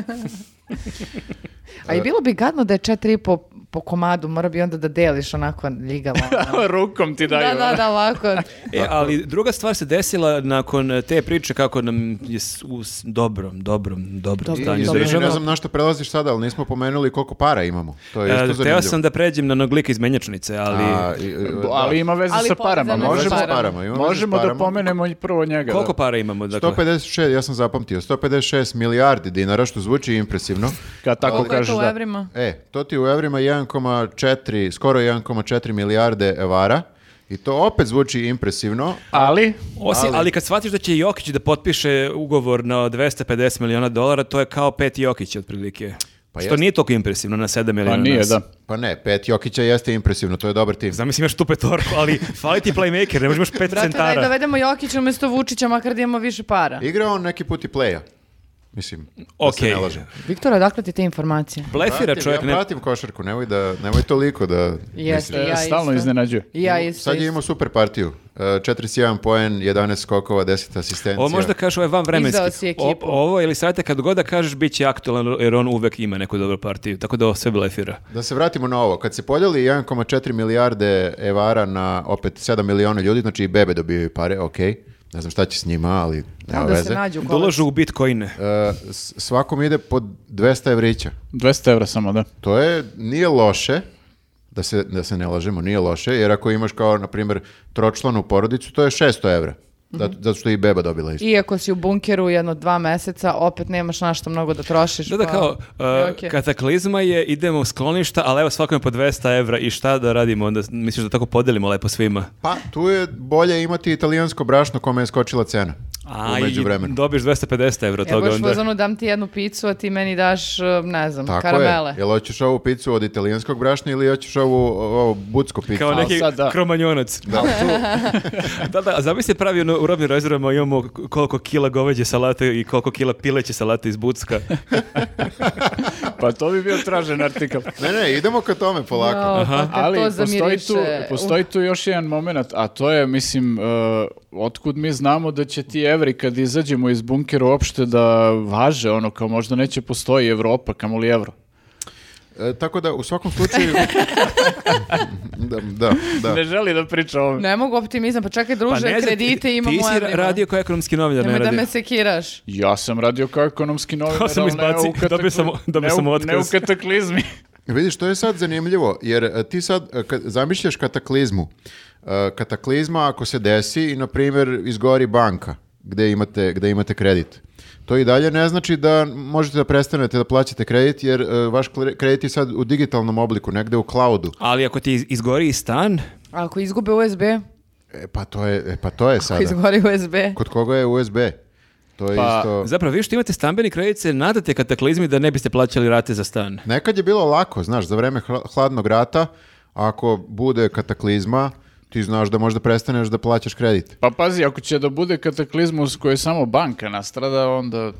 Speaker 4: A i bilo bi gadno da je četiri po, po komadu, mora bi onda da deliš onako ljigavo. ono.
Speaker 3: Rukom ti
Speaker 4: da,
Speaker 3: daju.
Speaker 4: da, da, ovako.
Speaker 1: E, ali druga stvar se desila nakon eh, te priče kako nam je s- u s- dobrom, dobrom, dobrom
Speaker 4: I-
Speaker 1: stanju
Speaker 2: Izvini,
Speaker 1: država.
Speaker 2: ne znam na što prelaziš sada, ali nismo pomenuli koliko para imamo. To je isto
Speaker 1: E,
Speaker 2: zanimljivo.
Speaker 1: Teo sam da pređem na onog lika iz menjačnice, ali...
Speaker 2: A, i- i- da.
Speaker 3: Ali ima veze
Speaker 4: Ali
Speaker 3: sa parama.
Speaker 4: povezano je sa
Speaker 3: Možemo,
Speaker 4: parama.
Speaker 2: Parama, ima veze sa
Speaker 3: možemo da
Speaker 2: parama.
Speaker 3: pomenemo i prvo njega.
Speaker 1: Koliko
Speaker 3: da.
Speaker 1: para imamo? Dakle?
Speaker 2: 156, ja sam zapamtio, 156 milijardi dinara, što zvuči impresivno.
Speaker 3: Kad tako
Speaker 4: Koliko je
Speaker 3: kažeš
Speaker 4: to u
Speaker 3: da.
Speaker 4: evrima?
Speaker 2: E, to ti u evrima 1,4, skoro 1,4 milijarde evara. I to opet zvuči impresivno.
Speaker 3: Ali, pa
Speaker 1: Osim, ali... kad shvatiš da će Jokić da potpiše ugovor na 250 miliona dolara, to je kao pet Jokića otprilike.
Speaker 2: Pa
Speaker 1: što
Speaker 2: jeste.
Speaker 1: nije toliko impresivno na 7 ili
Speaker 3: Pa
Speaker 1: na
Speaker 3: nije,
Speaker 1: nas.
Speaker 3: da.
Speaker 2: Pa ne, pet Jokića jeste impresivno, to je dobar tim.
Speaker 1: Znam, mislim, imaš tu petorku, ali fali ti playmaker, ne možeš imaš pet
Speaker 4: Brate, daj
Speaker 1: centara.
Speaker 4: dovedemo Jokića umjesto Vučića, makar da imamo više para.
Speaker 2: Igrao on neki put i pleja. Mislim, da se
Speaker 1: Okej.
Speaker 2: ne lažem.
Speaker 4: Viktor, odakle ti te informacije?
Speaker 1: Blefira
Speaker 2: Pratim,
Speaker 1: čovjek,
Speaker 2: ja
Speaker 1: ne,
Speaker 2: pratim košarku, nemoj, da, nemoj toliko da...
Speaker 4: Jeste,
Speaker 3: E,
Speaker 4: ja
Speaker 3: stalno
Speaker 4: isto.
Speaker 3: iznenađuje.
Speaker 4: I Ja isto.
Speaker 2: Sad je
Speaker 4: isto.
Speaker 2: imao super partiju. E, 41 poen, 11 skokova, 10 asistencija.
Speaker 1: Ovo možda kažeš, ovo je van vremenski.
Speaker 4: Izdao si ekipu.
Speaker 1: O- ovo ili savjeta kad god da kažeš, bit će aktualan, jer on uvek ima neku dobru partiju. Tako da ovo sve blefira.
Speaker 2: Da se vratimo na ovo. Kad se podijeli 1,4 milijarde evara na opet 7 miliona ljudi, znači i bebe dobijaju pare, ok. Ne znam šta će s njima, ali nema
Speaker 4: Onda se
Speaker 2: veze.
Speaker 4: nađu u kolaču.
Speaker 1: Dolažu u bitcoine.
Speaker 2: E, s- svakom ide po 200 evrića.
Speaker 3: 200 evra samo, da.
Speaker 2: To je, nije loše, da se, da se ne lažemo, nije loše, jer ako imaš kao, na primjer, tročlanu porodicu, to je 600 evra.
Speaker 4: Mhm.
Speaker 2: Zato, zato što je i beba dobila isto.
Speaker 4: Iako si u bunkeru jedno dva meseca, opet nemaš na što mnogo da trošiš.
Speaker 1: Da, da,
Speaker 4: pa-
Speaker 1: kao,
Speaker 4: E,
Speaker 1: uh,
Speaker 4: okej.
Speaker 1: kataklizma je, idemo u skloništa, ali evo svakome po 200 evra i šta da radimo onda? Misliš da tako podelimo lepo svima?
Speaker 2: Pa, tu je bolje imati italijansko brašno kome je skočila cena.
Speaker 1: A,
Speaker 2: u
Speaker 1: i
Speaker 2: međuvremenu.
Speaker 1: dobiješ 250 evra od
Speaker 4: Ja
Speaker 1: toga
Speaker 4: baš u
Speaker 1: onda.
Speaker 4: fazonu dam ti jednu picu, a ti meni daš, e, ne znam,
Speaker 2: Tako
Speaker 4: karamele.
Speaker 2: je. Jel hoćeš ovu picu od italijanskog brašna ili hoćeš ovu, ovu bucku picu?
Speaker 1: Kao
Speaker 3: Ali
Speaker 1: neki
Speaker 3: sad da.
Speaker 1: kromanjonac. Da. da, da, a zamisli pravi ono, u robnim rezervama imamo koliko kila goveđe salate i koliko kila pileće salate iz bucka.
Speaker 3: Pa to bi bio tražen artikal.
Speaker 2: Ne, ne, idemo ka tome polako.
Speaker 4: Jao, pa kad
Speaker 3: Ali
Speaker 4: to e,
Speaker 3: postoji
Speaker 4: zamiriše, Uh.
Speaker 3: tu, postoji tu još jedan moment, a to je, mislim, e, otkud mi znamo da će ti evri kad izađemo iz bunkera uopšte da važe, ono, kao možda neće postoji Evropa, kamoli evro.
Speaker 2: E, tako da, u svakom slučaju... da, da, da.
Speaker 3: Ne želi da priča o
Speaker 4: Uf,
Speaker 3: ovome.
Speaker 4: ne mogu optimizam, pa čekaj druže,
Speaker 1: ne znam, ti-
Speaker 4: kredite imamo
Speaker 1: Ti si
Speaker 4: u evrima.
Speaker 1: radio kao ekonomski novinar, ne
Speaker 4: Nemoj da
Speaker 1: radio.
Speaker 4: me sekiraš.
Speaker 3: Ja sam radio kao ekonomski novinar,
Speaker 1: To sam
Speaker 3: ali ne
Speaker 1: izbacio,
Speaker 3: u katakli-
Speaker 1: dobio sam- dobio
Speaker 3: ne u-
Speaker 1: sam
Speaker 3: Ne u
Speaker 1: otkaz.
Speaker 3: kataklizmi.
Speaker 2: Vidiš, to je sad zanimljivo, jer e, ti sad e, kad zamišljaš kataklizmu. E, Kataklizma ako se desi i, na primjer, izgori banka gde imate, gde imate kredit. To i dalje ne znači da možete da prestanete da plaćate kredit, jer e, vaš kre- kredit je sad u digitalnom obliku, negde u cloudu.
Speaker 1: Ali ako ti iz- izgori i stan,
Speaker 4: A Ako izgube USB,
Speaker 2: E, pa to je, e, pa to je
Speaker 4: ako
Speaker 2: sada.
Speaker 4: izgori USB.
Speaker 2: Kod koga je USB? To je
Speaker 3: Pa,
Speaker 2: isto...
Speaker 1: zapravo vi što imate stambeni kredit se nadate kataklizmi da ne biste plaćali rate za stan.
Speaker 2: Nekad je bilo lako, znaš, za vreme hla- hladnog rata, ako bude kataklizma, ti znaš da možda prestaneš da plaćaš kredit.
Speaker 3: Pa pazi, ako će da bude kataklizmus koji je samo banka nastrada, onda...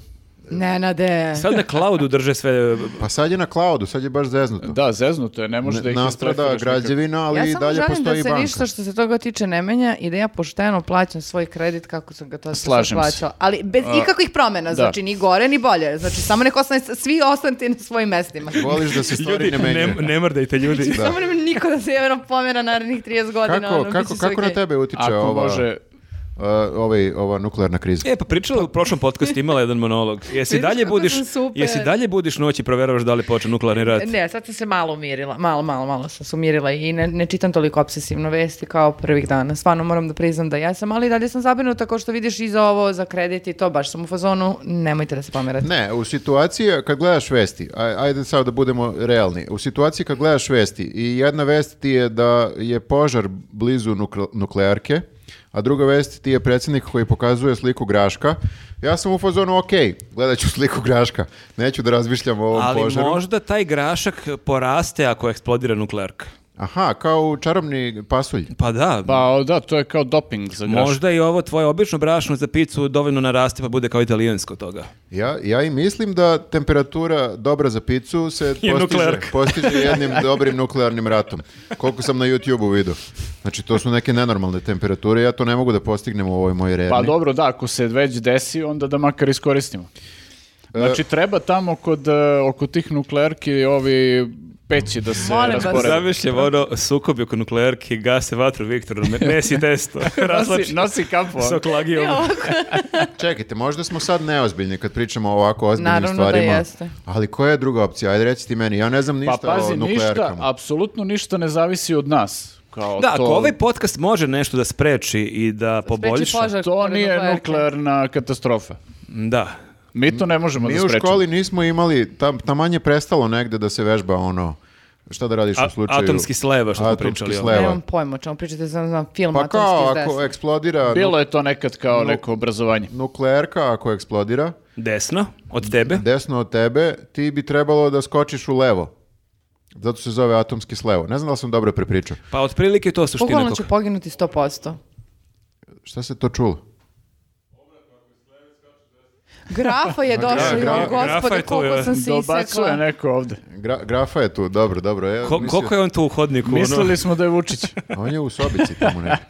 Speaker 4: Nenade.
Speaker 1: Sad na cloudu drže sve
Speaker 2: Pa sad je na cloudu, sad je baš zeznuto.
Speaker 3: Da, zeznuto je, ne može da
Speaker 2: Ne-
Speaker 3: ih
Speaker 2: Nastrada
Speaker 3: istrefiraš nikako.
Speaker 2: građevina, ali
Speaker 4: Ja
Speaker 2: i
Speaker 4: samo
Speaker 2: dalje
Speaker 4: želim
Speaker 2: postoji
Speaker 4: da se
Speaker 2: banka.
Speaker 4: ništa što se toga tiče ne menja i da ja pošteno plaćam svoj kredit kako sam ga to sve
Speaker 3: Slažem se.
Speaker 4: plaćala. Ali bez ikakvih promena, znači ni gore ni bolje. Znači samo nek ostane, svi ostanite na svojim mestima. Znači,
Speaker 2: Voliš da se stvari
Speaker 1: Ljudi,
Speaker 2: ne menjaju.
Speaker 1: ne, ne mrdajte ljudi.
Speaker 4: Samo nam niko da se jevno pomera narednih 30 godina.
Speaker 2: Kako,
Speaker 4: ono,
Speaker 2: kako,
Speaker 4: bit će
Speaker 2: kako
Speaker 4: sve
Speaker 2: na
Speaker 4: okej.
Speaker 2: tebe utiče
Speaker 3: Ako
Speaker 2: ova,
Speaker 3: može...
Speaker 2: uh, ovaj, ova nuklearna kriza?
Speaker 1: E, pa pričala u prošlom podcastu imala jedan monolog. Jesi
Speaker 4: Vidiš
Speaker 1: dalje
Speaker 4: kako
Speaker 1: budiš,
Speaker 4: sam super.
Speaker 1: jesi dalje budiš noć i proveravaš da li počne nuklearni rat?
Speaker 4: Ne, sad sam se malo umirila, malo, malo, malo sam se umirila i ne, ne čitam toliko obsesivno vesti kao prvih dana. Stvarno moram da priznam da jesam, ali i dalje sam zabrinuta kao što vidiš i za ovo, za kredit i to, baš sam u fazonu, nemojte da se pomerate.
Speaker 2: Ne, u situaciji kad gledaš vesti, aj- ajde sad da budemo realni, u situaciji kad gledaš vesti i jedna vest ti je da je požar blizu nukle- nuklearke, a druga vest ti je predsjednik koji pokazuje sliku Graška, ja sam u fazonu, ok, gledat ću sliku Graška, neću da razmišljam o ovom
Speaker 1: Ali
Speaker 2: požaru.
Speaker 1: možda taj grašak poraste ako eksplodira nuklearka.
Speaker 2: Aha, kao u čarobni pasulj.
Speaker 1: Pa da,
Speaker 3: Pa o, da, to je kao doping za graš.
Speaker 1: možda i ovo tvoje obično brašno za picu dovoljno naraste pa bude kao italijansko toga.
Speaker 2: Ja, ja i mislim da temperatura dobra za picu se postiže,
Speaker 1: nuklearka.
Speaker 2: postiže jednim dobrim nuklearnim ratom. Koliko sam na YouTube-u vidio. Znači, to su neke nenormalne temperature, ja to ne mogu da postignem u ovoj mojoj rerni.
Speaker 3: Pa dobro, da, ako se već desi, onda da makar iskoristimo.
Speaker 2: E-
Speaker 3: Znači, treba tamo kod, e, oko tih nuklearki ovi peći da se
Speaker 4: Molim vas.
Speaker 3: rasporede.
Speaker 1: Zamišljam ono sukobi oko nuklearki, gase vatru Viktor, nesi testo,
Speaker 3: Nosi, nosi kapu. ono. a?
Speaker 1: sa oklagijom.
Speaker 2: Čekajte, možda smo sad neozbiljni kad pričamo o ovako ozbiljnim
Speaker 4: Naravno da
Speaker 2: stvarima.
Speaker 4: jeste.
Speaker 2: Ali koja je druga opcija? Ajde reci ti meni, ja ne znam
Speaker 3: Pa
Speaker 2: ništa
Speaker 3: pazi,
Speaker 2: o nuklearkama.
Speaker 3: ništa, apsolutno ništa ne zavisi od nas.
Speaker 2: Pa
Speaker 3: Kao
Speaker 1: Da,
Speaker 3: to,
Speaker 1: ako ovaj podcast može nešto da spreči i da poboljša,
Speaker 4: požar
Speaker 3: to
Speaker 4: pored
Speaker 3: nije
Speaker 4: nuklearke.
Speaker 3: nuklearna katastrofa.
Speaker 1: da.
Speaker 3: Mi to ne možemo da
Speaker 2: Mi u
Speaker 3: sprečimo.
Speaker 2: školi nismo imali, tam, taman je prestalo negde da se vežba ono Šta da radiš
Speaker 1: A-
Speaker 2: u slučaju...
Speaker 1: atomski sleva, što smo
Speaker 2: Atomski
Speaker 1: pričali, ono.
Speaker 2: sleva.
Speaker 4: Nemam pojma o čemu pričate, znam, znam film
Speaker 2: Pa
Speaker 4: atomski
Speaker 2: kao
Speaker 4: iz
Speaker 2: ako
Speaker 4: desna.
Speaker 2: eksplodira
Speaker 3: Bilo je to nekad kao neko obrazovanje.
Speaker 2: nu- nukleerka, ako eksplodira,
Speaker 1: Desno, od tebe.
Speaker 2: desno od tebe, ti bi trebalo da skočiš u levo. Zato se zove atomski slevo. Ne znam da li sam dobro prepričao.
Speaker 1: Pa otprilike to je suština.
Speaker 4: Bukvalno
Speaker 1: koga-
Speaker 4: ću poginuti 100%.
Speaker 2: Šta se to čulo?
Speaker 4: Grafa je došao,
Speaker 2: Gra- Gra-
Speaker 4: joj,
Speaker 1: Grafa
Speaker 4: gospode,
Speaker 1: je tu,
Speaker 4: koliko
Speaker 1: je.
Speaker 4: sam se
Speaker 3: Dobacuje
Speaker 4: isekla.
Speaker 3: neko ovde.
Speaker 2: Gra- grafa je tu, dobro, dobro. Ja,
Speaker 1: Ko-
Speaker 2: mislio-
Speaker 1: koliko je on tu u hodniku? ono?
Speaker 3: Mislili smo da je Vučić. Pa
Speaker 2: On je u sobici tamo neki.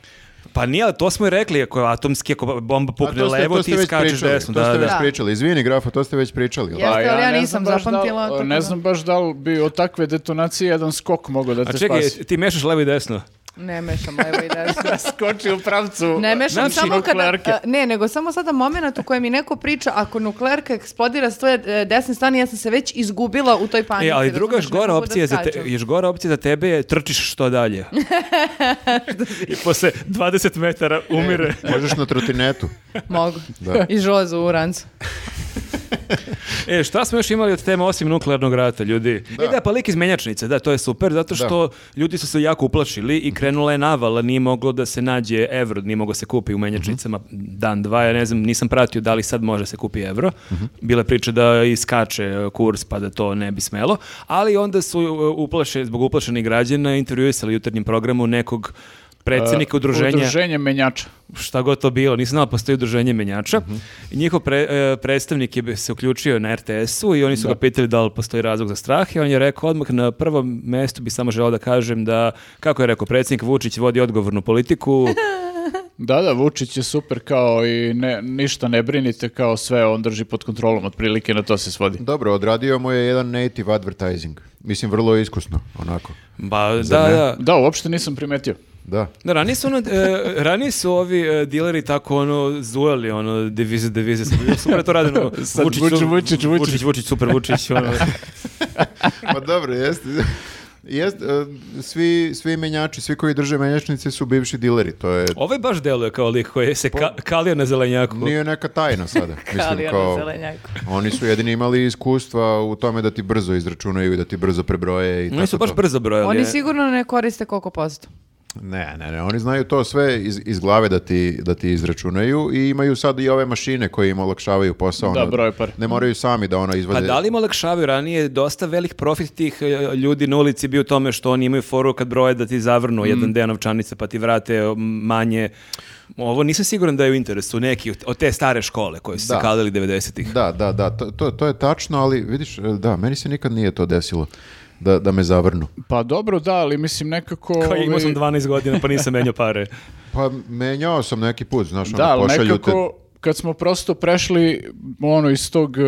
Speaker 1: Pa nije, ali to smo i rekli, ako je atomski, ako bomba
Speaker 2: A
Speaker 1: pukne
Speaker 2: to ste-
Speaker 1: levo,
Speaker 2: to ste
Speaker 1: ti
Speaker 2: već
Speaker 1: skačeš
Speaker 2: pričali,
Speaker 1: desno.
Speaker 2: To
Speaker 1: Da,
Speaker 2: ste već
Speaker 1: da.
Speaker 2: pričali. Izvini, grafa, to ste već pričali. jel da?
Speaker 4: Ja. Jeste, ali
Speaker 3: ne
Speaker 4: nisam
Speaker 3: znam baš
Speaker 4: zapamtila, tako da.
Speaker 3: Ne znam baš da li bi od takve detonacije jedan skok mogao da
Speaker 1: A
Speaker 3: te
Speaker 1: čekaj,
Speaker 3: spasi.
Speaker 1: ti mešaš levo i desno.
Speaker 4: Ne mešam levo i desno.
Speaker 3: Skoči u pravcu
Speaker 4: Ne mešam
Speaker 1: Znači,
Speaker 4: samo kada,
Speaker 3: nuklearke.
Speaker 4: a, ne, nego samo sada moment u kojem mi neko priča ako nuklearka eksplodira s tvoje e, desne strane, ja sam se već izgubila u toj panici.
Speaker 1: E, ali druga
Speaker 4: razumeš,
Speaker 1: još
Speaker 4: ne
Speaker 1: gora
Speaker 4: mogu da
Speaker 1: opcija za te,
Speaker 4: skačem.
Speaker 1: još gora opcija za tebe je trčiš što dalje. I posle 20 metara umire.
Speaker 2: Možeš na trotinetu.
Speaker 4: Mogu.
Speaker 2: Da.
Speaker 4: I žozu u rancu.
Speaker 1: E, šta smo još imali od tema osim nuklearnog rata, ljudi? Da. E da, pa lik iz menjačnice, da, to je super, zato što ljudi su se jako uplašili i krenula je navala, nije moglo da se nađe evro, nije moglo se kupi u menjačnicama dan, dva, ja ne znam, nisam pratio da li sad može se kupi evro. Bile priče da iskače e, kurs, pa da to ne bi smelo, ali onda su e, uplaše, zbog uplašenih građana intervjuisali u jutarnjem programu nekog predsjednika udruženja
Speaker 3: Uh, Udruženje menjača.
Speaker 1: šta god to bilo, nisam znao da postoji udruženje menjača. I njihov pre- e, predstavnik je bi- se uključio na RTS-u i oni su ga pitali da li postoji razlog za strah i on je rekao odmah na prvom mestu bi samo želeo da kažem da, kako je rekao, predsjednik Vučić vodi odgovornu politiku,
Speaker 3: Da, da, Vučić je super kao i ne, ništa ne brinite kao sve, on drži pod kontrolom, otprilike na to se svodi.
Speaker 2: Dobro, odradio mu je jedan native advertising. Mislim, vrlo iskusno, onako.
Speaker 1: ba Pa, da, da.
Speaker 3: Da, uopšte nisam primetio.
Speaker 2: Da.
Speaker 1: Da, ranije su, ono, e, ranije su ovi e, dileri tako ono zujali, ono, devize, devize, super, super je to radeno.
Speaker 3: Sad Vučić, Vučić, Vučić.
Speaker 1: Vučić, Vučić, super Vučić, ono.
Speaker 2: Pa dobro, jeste. Jest, e, svi, svi menjači, svi koji drže menjačnice su bivši dileri, to je...
Speaker 1: Ovo je Ovaj baš deluje kao lik koji se ka, kalio na zelenjaku.
Speaker 2: Nije neka tajna sada. Mislim,
Speaker 4: Kalio na
Speaker 2: kao,
Speaker 4: zelenjaku.
Speaker 2: oni su jedini imali iskustva u tome da ti brzo izračunaju i da ti brzo prebroje i tako
Speaker 1: Oni su baš
Speaker 2: to.
Speaker 1: brzo brojali.
Speaker 4: Oni
Speaker 1: e.
Speaker 4: sigurno ne koriste koliko posto.
Speaker 2: Ne, ne, ne, oni znaju to sve iz, iz glave da ti, da ti izračunaju i imaju sad i ove mašine koje im olakšavaju posao.
Speaker 3: Da,
Speaker 2: ono,
Speaker 3: broje pare.
Speaker 2: Ne moraju sami da ono
Speaker 1: Pa
Speaker 2: izvade.
Speaker 1: da li im olakšavaju ranije je dosta velik profit tih e, ljudi na ulici bio u tome što oni imaju foru kad broje da ti zavrnu
Speaker 3: Mm.
Speaker 1: jedan deo novčanice pa ti vrate e, manje. Ovo nisam siguran da je u interesu neki od- od te stare škole koje su
Speaker 2: Da.
Speaker 1: se kalili 90-ih.
Speaker 2: Da, da, da, to, to, to je tačno, ali vidiš, e, da, meni se nikad nije to desilo da, da me zavrnu.
Speaker 3: Pa dobro, da, ali mislim nekako...
Speaker 1: Kao imao
Speaker 3: ovaj,
Speaker 1: sam 12 godina pa nisam menjao pare.
Speaker 2: Pa menjao sam neki put, znaš,
Speaker 3: Da,
Speaker 2: ono,
Speaker 3: ali
Speaker 2: pošalju
Speaker 3: nekako
Speaker 2: te...
Speaker 3: kad smo prosto prešli ono iz tog eh,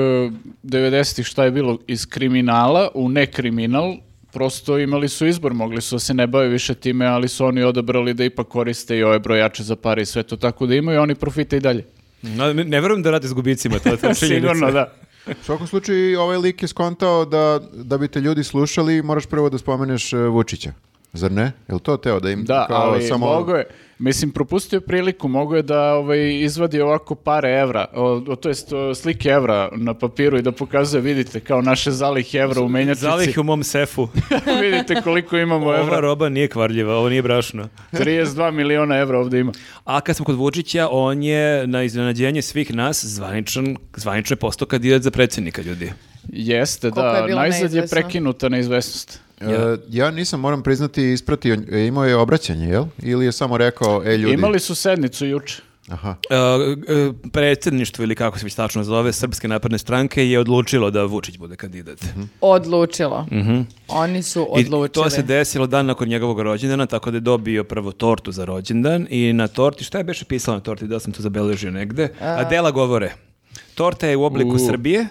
Speaker 3: 90-ih šta je bilo iz kriminala u nekriminal, prosto imali su izbor, mogli su da se ne bave više time, ali su oni odabrali da ipak koriste i ove brojače za pare i sve to tako da imaju oni profite i dalje.
Speaker 1: No, ne ne verujem da rade s gubicima, to je to je činjenica.
Speaker 3: Sigurno, da.
Speaker 2: U svakom slučaju, i ovaj lik je skontao da, da bi te ljudi slušali, moraš prvo da spomeneš e, Vučića. Zar ne? Je li to teo da im
Speaker 3: Da,
Speaker 2: kao
Speaker 3: ali
Speaker 2: samo... ono.
Speaker 3: mogo je, mislim, propustio je priliku, mogo je da ovaj, izvadi ovako pare evra, o, o, to jest o, slike evra na papiru i da pokazuje, vidite, kao naše zalih evra u menjačici,
Speaker 1: Zalih u mom sefu.
Speaker 3: vidite koliko imamo
Speaker 1: Ova
Speaker 3: evra,
Speaker 1: roba nije kvarljiva, ovo nije brašno.
Speaker 3: 32 miliona evra ovde ima.
Speaker 1: A kad smo kod Vučića, on je na iznenađenje svih nas zvaničan, zvanično je postao kandidat za predsjednika ljudi.
Speaker 3: Jeste,
Speaker 4: Koliko je
Speaker 3: da,
Speaker 4: bilo
Speaker 3: najzad je
Speaker 4: neizvesno?
Speaker 3: prekinuta neizvesnost.
Speaker 2: E, ja nisam, moram priznati, ispratio, e, imao je obraćanje, jel? Ili je samo rekao, e ljudi...
Speaker 3: Imali su sednicu juče.
Speaker 2: Aha.
Speaker 1: E, e, predsjedništvo ili kako se već tačno zove Srpske napredne stranke je odlučilo da Vučić bude kandidat.
Speaker 4: Odlučilo. Oni su odlučili.
Speaker 1: I to se desilo dan nakon njegovog rođendana, tako da je dobio prvo tortu za rođendan i na torti, šta je beše pisalo na torti, da sam to zabeležio negde, a dela govore. Torta je u obliku
Speaker 3: U.
Speaker 1: Srbije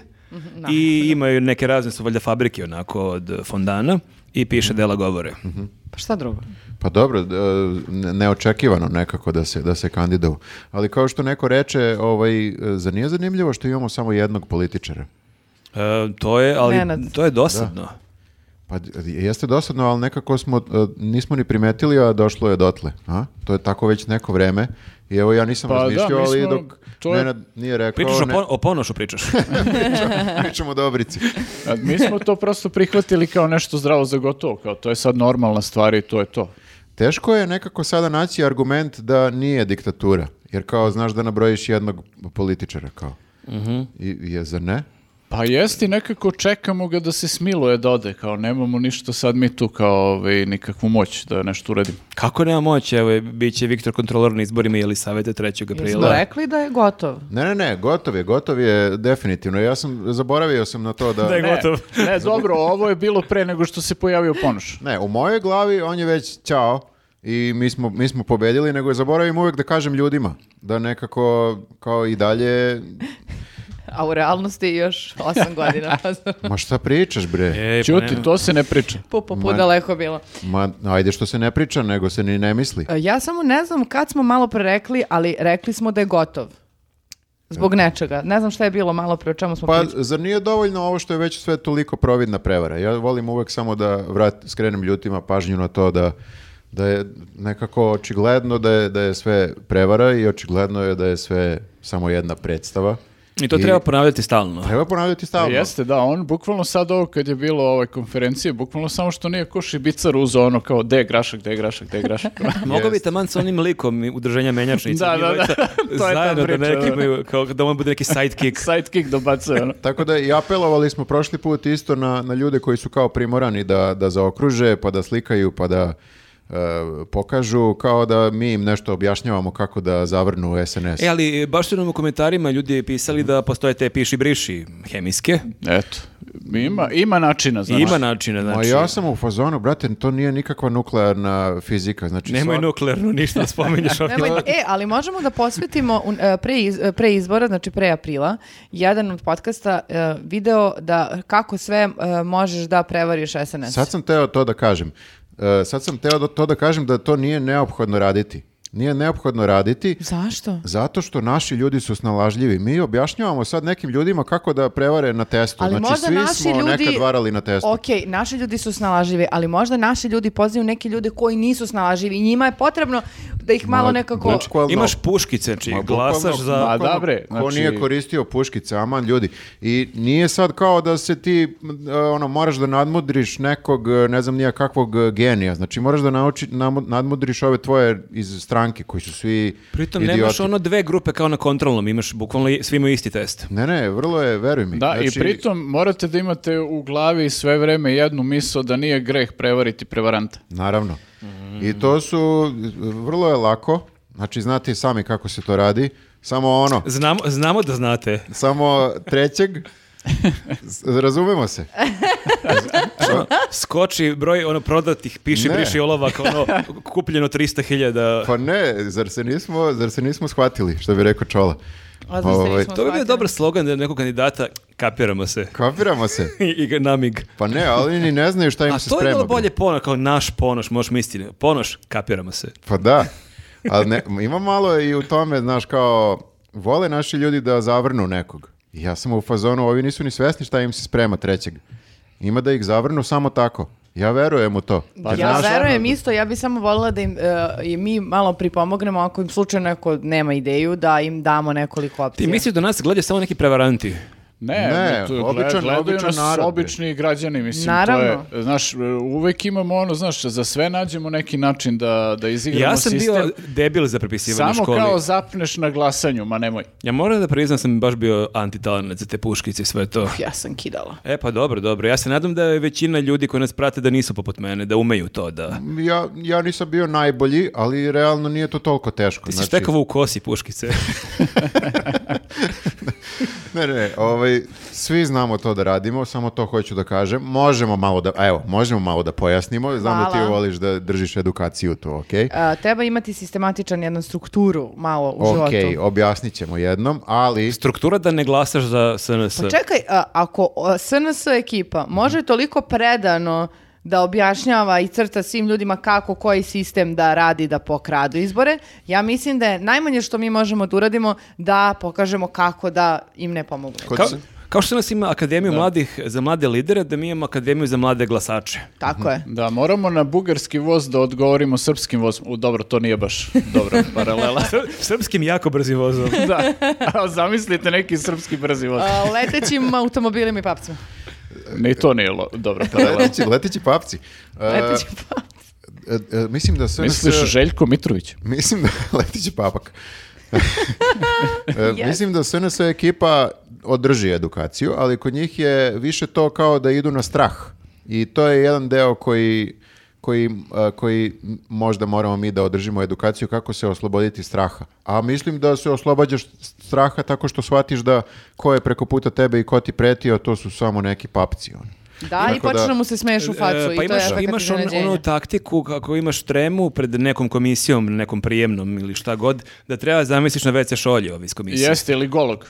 Speaker 1: i imaju neke razne su valjda fabrike onako od fondana i piše dela govore.
Speaker 4: Pa šta drugo?
Speaker 2: Pa dobro, d- e, ne- neočekivano nekako da se, da se kandidovu. Ali kao što neko reče, ovaj, e, zar nije zanimljivo što imamo samo jednog političara?
Speaker 1: E, to je, ali
Speaker 4: Nenad.
Speaker 1: to je dosadno.
Speaker 2: Pa d- jeste dosadno, ali nekako smo, e, nismo ni primetili, a došlo je dotle. A? To je tako već neko vreme. I evo ja nisam
Speaker 3: Pa da,
Speaker 2: razmišljao,
Speaker 3: mi
Speaker 2: ali
Speaker 3: smo-
Speaker 2: dok
Speaker 3: to je-
Speaker 2: Nenad nije rekao...
Speaker 1: Pričaš o,
Speaker 2: ne-
Speaker 1: pon- o ponošu, pričaš.
Speaker 2: pričamo o Dobrici.
Speaker 3: A Mi smo to prosto prihvatili kao nešto zdravo za gotovo, kao to je sad normalna stvar i to je to.
Speaker 2: Teško je nekako sada naći argument da nije diktatura. Jer kao, znaš da nabrojiš jednog političara, kao. I, je, zar ne?
Speaker 3: Pa jesti, nekako čekamo ga da se smiluje da ode, kao nemamo ništa sad mi tu kao ovaj, nikakvu moć da nešto uradimo.
Speaker 1: Kako nema moć, evo, je, bit će Viktor kontrolor na izborima ili savete 3.
Speaker 4: Jesmo
Speaker 1: aprila. E,
Speaker 4: rekli da je gotov.
Speaker 2: Ne, ne, ne, gotov je, gotov je definitivno. Ja sam, zaboravio sam na Pa to da...
Speaker 1: Da je
Speaker 3: Ne,
Speaker 1: Gotov.
Speaker 3: E, ne, dobro, ovo je bilo pre nego što se pojavio Ponoš.
Speaker 2: Ne, u mojoj glavi on je već ćao i mi smo, mi smo pobedili, nego je zaboravim uvek da kažem ljudima da nekako kao i dalje,
Speaker 4: A u realnosti još 8 godina.
Speaker 2: ma šta pričaš bre?
Speaker 1: Ej, pa
Speaker 3: Ćuti,
Speaker 1: nema.
Speaker 3: to se ne priča.
Speaker 4: pu, pu, pu, daleko bilo.
Speaker 2: Ma, ajde što se ne priča, nego se ni ne misli.
Speaker 4: E, Ja samo ne znam kad smo malo pre rekli, ali rekli smo da je gotov. Zbog nečega. Ne znam šta je bilo malo pre, o čemu smo
Speaker 2: E. Pa
Speaker 4: pričali.
Speaker 2: zar nije dovoljno ovo što je već sve toliko providna prevara? Ja volim uvek samo da vrat, skrenem ljutima pažnju na to da da je nekako očigledno da je, da je sve prevara i očigledno je da je sve samo jedna predstava.
Speaker 1: I to treba ponavljati stalno.
Speaker 2: Treba ponavljati stalno.
Speaker 3: Pa Jeste, da, on bukvalno sad ovo kad je bilo ove konferencije, bukvalno samo što nije ko šibicar uzeo ono kao de grašak, de grašak, de grašak.
Speaker 1: Mogu Pa bi taman sa onim likom i udruženja menjačnica.
Speaker 3: Da,
Speaker 1: mi
Speaker 3: da, da.
Speaker 1: dvojica
Speaker 3: To je ta
Speaker 1: Zajedno da
Speaker 3: priča,
Speaker 1: neki
Speaker 3: da.
Speaker 1: imaju, kao da on bude neki sidekick.
Speaker 3: Sidekick dobacuje ono.
Speaker 2: Tako da i apelovali smo prošli put isto na, na ljude koji su kao primorani da, da zaokruže, pa da slikaju, pa da e, pokažu, kao da mi im nešto objašnjavamo kako da zavrnu SNS.
Speaker 1: E, ali baš su nam u komentarima ljudi pisali da postoje te piši briši hemijske.
Speaker 3: Eto, ima, ima načina,
Speaker 1: I
Speaker 3: znaš.
Speaker 1: ima načina,
Speaker 2: Ma
Speaker 1: znači.
Speaker 2: ja sam u fazonu, brate, to nije nikakva nuklearna fizika. Znači,
Speaker 1: Nemoj
Speaker 2: svak-
Speaker 1: nuklearno ništa da spominješ ovdje.
Speaker 4: Nemoj- e, ali možemo da posvetimo un- e, pre, iz- e, pre izbora, znači pre aprila, jedan od podcasta e, video da kako sve e, možeš da prevariš SNS.
Speaker 2: Sad sam teo to da kažem. E, sad sam teo da- to da kažem da to nije neophodno raditi. Nije neophodno raditi
Speaker 4: Zašto?
Speaker 2: zato što naši ljudi su snalažljivi. Mi objašnjavamo sad nekim ljudima kako da prevare na testu.
Speaker 4: Ali
Speaker 2: znači,
Speaker 4: možda
Speaker 2: svi
Speaker 4: naši
Speaker 2: smo
Speaker 4: ljudi-
Speaker 2: nekad varali na testu.
Speaker 4: Ok, naši ljudi su snalažljivi, ali možda naši ljudi pozivaju neke ljude koji nisu snalažljivi i njima je potrebno da ih malo
Speaker 2: Ma, znači,
Speaker 4: nekako...
Speaker 2: bukvalno.
Speaker 1: Imaš puškice, znači
Speaker 2: Ma, bukvalno,
Speaker 1: glasaš za...
Speaker 3: Ma,
Speaker 2: bukvalno,
Speaker 3: da, bre,
Speaker 2: Ko
Speaker 3: znači-
Speaker 2: nije koristio puškice, aman ljudi. I nije sad kao da se ti m, e, ono, moraš da nadmudriš nekog, e, ne znam nija kakvog e, genija. Znači moraš da nauči, namu- nadmudriš ove tvoje iz stranke koji su svi
Speaker 1: Pritom
Speaker 2: idioti.
Speaker 1: nemaš ono dve grupe kao na kontrolnom, imaš bukvalno i- svi imaju isti test.
Speaker 2: Ne, ne, vrlo je, veruj mi.
Speaker 3: Da,
Speaker 2: Znači,
Speaker 3: i pritom morate da imate u glavi sve vreme jednu misao da nije greh prevariti prevaranta.
Speaker 2: Naravno.
Speaker 1: Mm.
Speaker 2: I to su, vrlo je lako, znači znate i sami kako se to radi, samo ono,
Speaker 1: Znamo, znamo da znate.
Speaker 2: samo trećeg, s- razumemo se.
Speaker 1: Skoči broj ono prodatih, piši,
Speaker 2: Ne.
Speaker 1: briši olovak, ono kupljeno 300.000.
Speaker 2: Pa ne, zar se nismo, zar se nismo shvatili, što bi rekao Čola.
Speaker 4: A, znači,
Speaker 2: Ovaj,
Speaker 4: nismo
Speaker 1: To bi bio
Speaker 4: shvatili.
Speaker 1: dobar slogan da nekog kandidata kapiramo se.
Speaker 2: Kapiramo se.
Speaker 1: I- I namig.
Speaker 2: Pa ne, ali ni ne znaju šta im
Speaker 1: A
Speaker 2: se
Speaker 1: to je
Speaker 2: sprema.
Speaker 1: bilo
Speaker 2: bre.
Speaker 1: bolje ponoš, kao naš ponoš, možeš misliti. Ponoš, kapiramo se.
Speaker 2: Pa da. Ali ne, ima malo i u tome, znaš, kao, vole naši ljudi da zavrnu nekog. I Ja sam u fazonu, ovi nisu ni svesni šta im se sprema trećeg. Ima da ih zavrnu samo tako. Ja verujem u to. Jer
Speaker 4: Pa ja
Speaker 2: naš-
Speaker 4: verujem isto, ja bi samo voljela da im e, i mi malo pripomognemo ako im slučajno neko nema ideju da im damo nekoliko opcija.
Speaker 1: Ti misliš da nas gledaju samo neki prevaranti?
Speaker 3: Ne,
Speaker 2: Ne,
Speaker 3: ne, to je-
Speaker 2: običan-
Speaker 3: gledaju
Speaker 2: običan
Speaker 3: nas
Speaker 2: narod, bre.
Speaker 3: obični građani, mislim,
Speaker 4: Naravno.
Speaker 3: to je, znaš, uvek imamo ono, znaš, za sve nađemo neki način da, da izigramo
Speaker 1: Ja sam
Speaker 3: sistem.
Speaker 1: bio debil za prepisivanje u
Speaker 3: Samo
Speaker 1: školi.
Speaker 3: kao zapneš na glasanju, ma nemoj.
Speaker 1: Ja moram da priznam sam baš bio antitalenac za te puškice i sve to.
Speaker 4: Ja sam kidala.
Speaker 1: E pa dobro, dobro. Ja se nadam da je većina ljudi koji nas prate da nisu poput mene, da umeju to, da...
Speaker 2: Ja, ja nisam bio najbolji, ali realno nije to toliko teško.
Speaker 1: Ti si
Speaker 2: Znači-
Speaker 1: štekavo u kosi puškice.
Speaker 2: Ne, ne, ovaj, svi znamo to da radimo, samo to hoću da kažem. Možemo malo da, a evo, možemo malo da pojasnimo. Znam da
Speaker 4: Hvala.
Speaker 2: ti voliš da držiš edukaciju tu, okej?
Speaker 4: E, treba imati sistematičan jednu strukturu malo u
Speaker 2: Ok,
Speaker 4: životu.
Speaker 2: objasnit ćemo jednom, ali...
Speaker 1: Struktura da ne glasaš za SNS.
Speaker 4: Pa čekaj, a, ako a, SNS ekipa može toliko predano da objašnjava i crta svim ljudima kako koji sistem da radi da pokradu izbore, ja mislim da je najmanje što mi možemo da uradimo da pokažemo kako da im ne pomogu.
Speaker 2: Kod
Speaker 1: Kao,
Speaker 2: se-
Speaker 1: Kao što nas ima Akademiju mladih za mlade lidere, da mi imamo Akademiju za mlade glasače.
Speaker 4: Tako je.
Speaker 3: Da, moramo na bugarski voz da odgovorimo srpskim vozom. U, dobro, to nije baš dobra paralela.
Speaker 1: Srpskim jako brzim vozom.
Speaker 3: da, a zamislite neki srpski brzi voz.
Speaker 4: A, Uh, letećim automobilima i papcima.
Speaker 3: Ni to nije lo- dobra paralela.
Speaker 2: Leteći, leteći papci. E,
Speaker 4: Letećim pa- papcima.
Speaker 2: e, e, mislim da sve...
Speaker 3: Misliš Željko Mitrović?
Speaker 2: Mislim da letići papak. E, Mislim da SNS ekipa održi edukaciju, ali kod njih je više to kao da idu na strah. I to je jedan deo koji, koji, e, koji možda moramo mi da održimo edukaciju kako se osloboditi straha. A mislim da se oslobađaš straha tako što shvatiš da ko je preko puta tebe i ko ti pretio, to su samo neki papci. ono.
Speaker 4: Da, i
Speaker 2: Tako da-
Speaker 4: počne mu se smeješ u facu.
Speaker 1: E, pa
Speaker 4: i to je
Speaker 1: imaš,
Speaker 4: efekat
Speaker 1: imaš on- ono
Speaker 4: iznenađenja.
Speaker 1: onu taktiku kako imaš tremu pred nekom komisijom, nekom prijemnom ili šta god, da treba zamisliš na WC šolje ovi iz komisije.
Speaker 3: Jeste ili golog?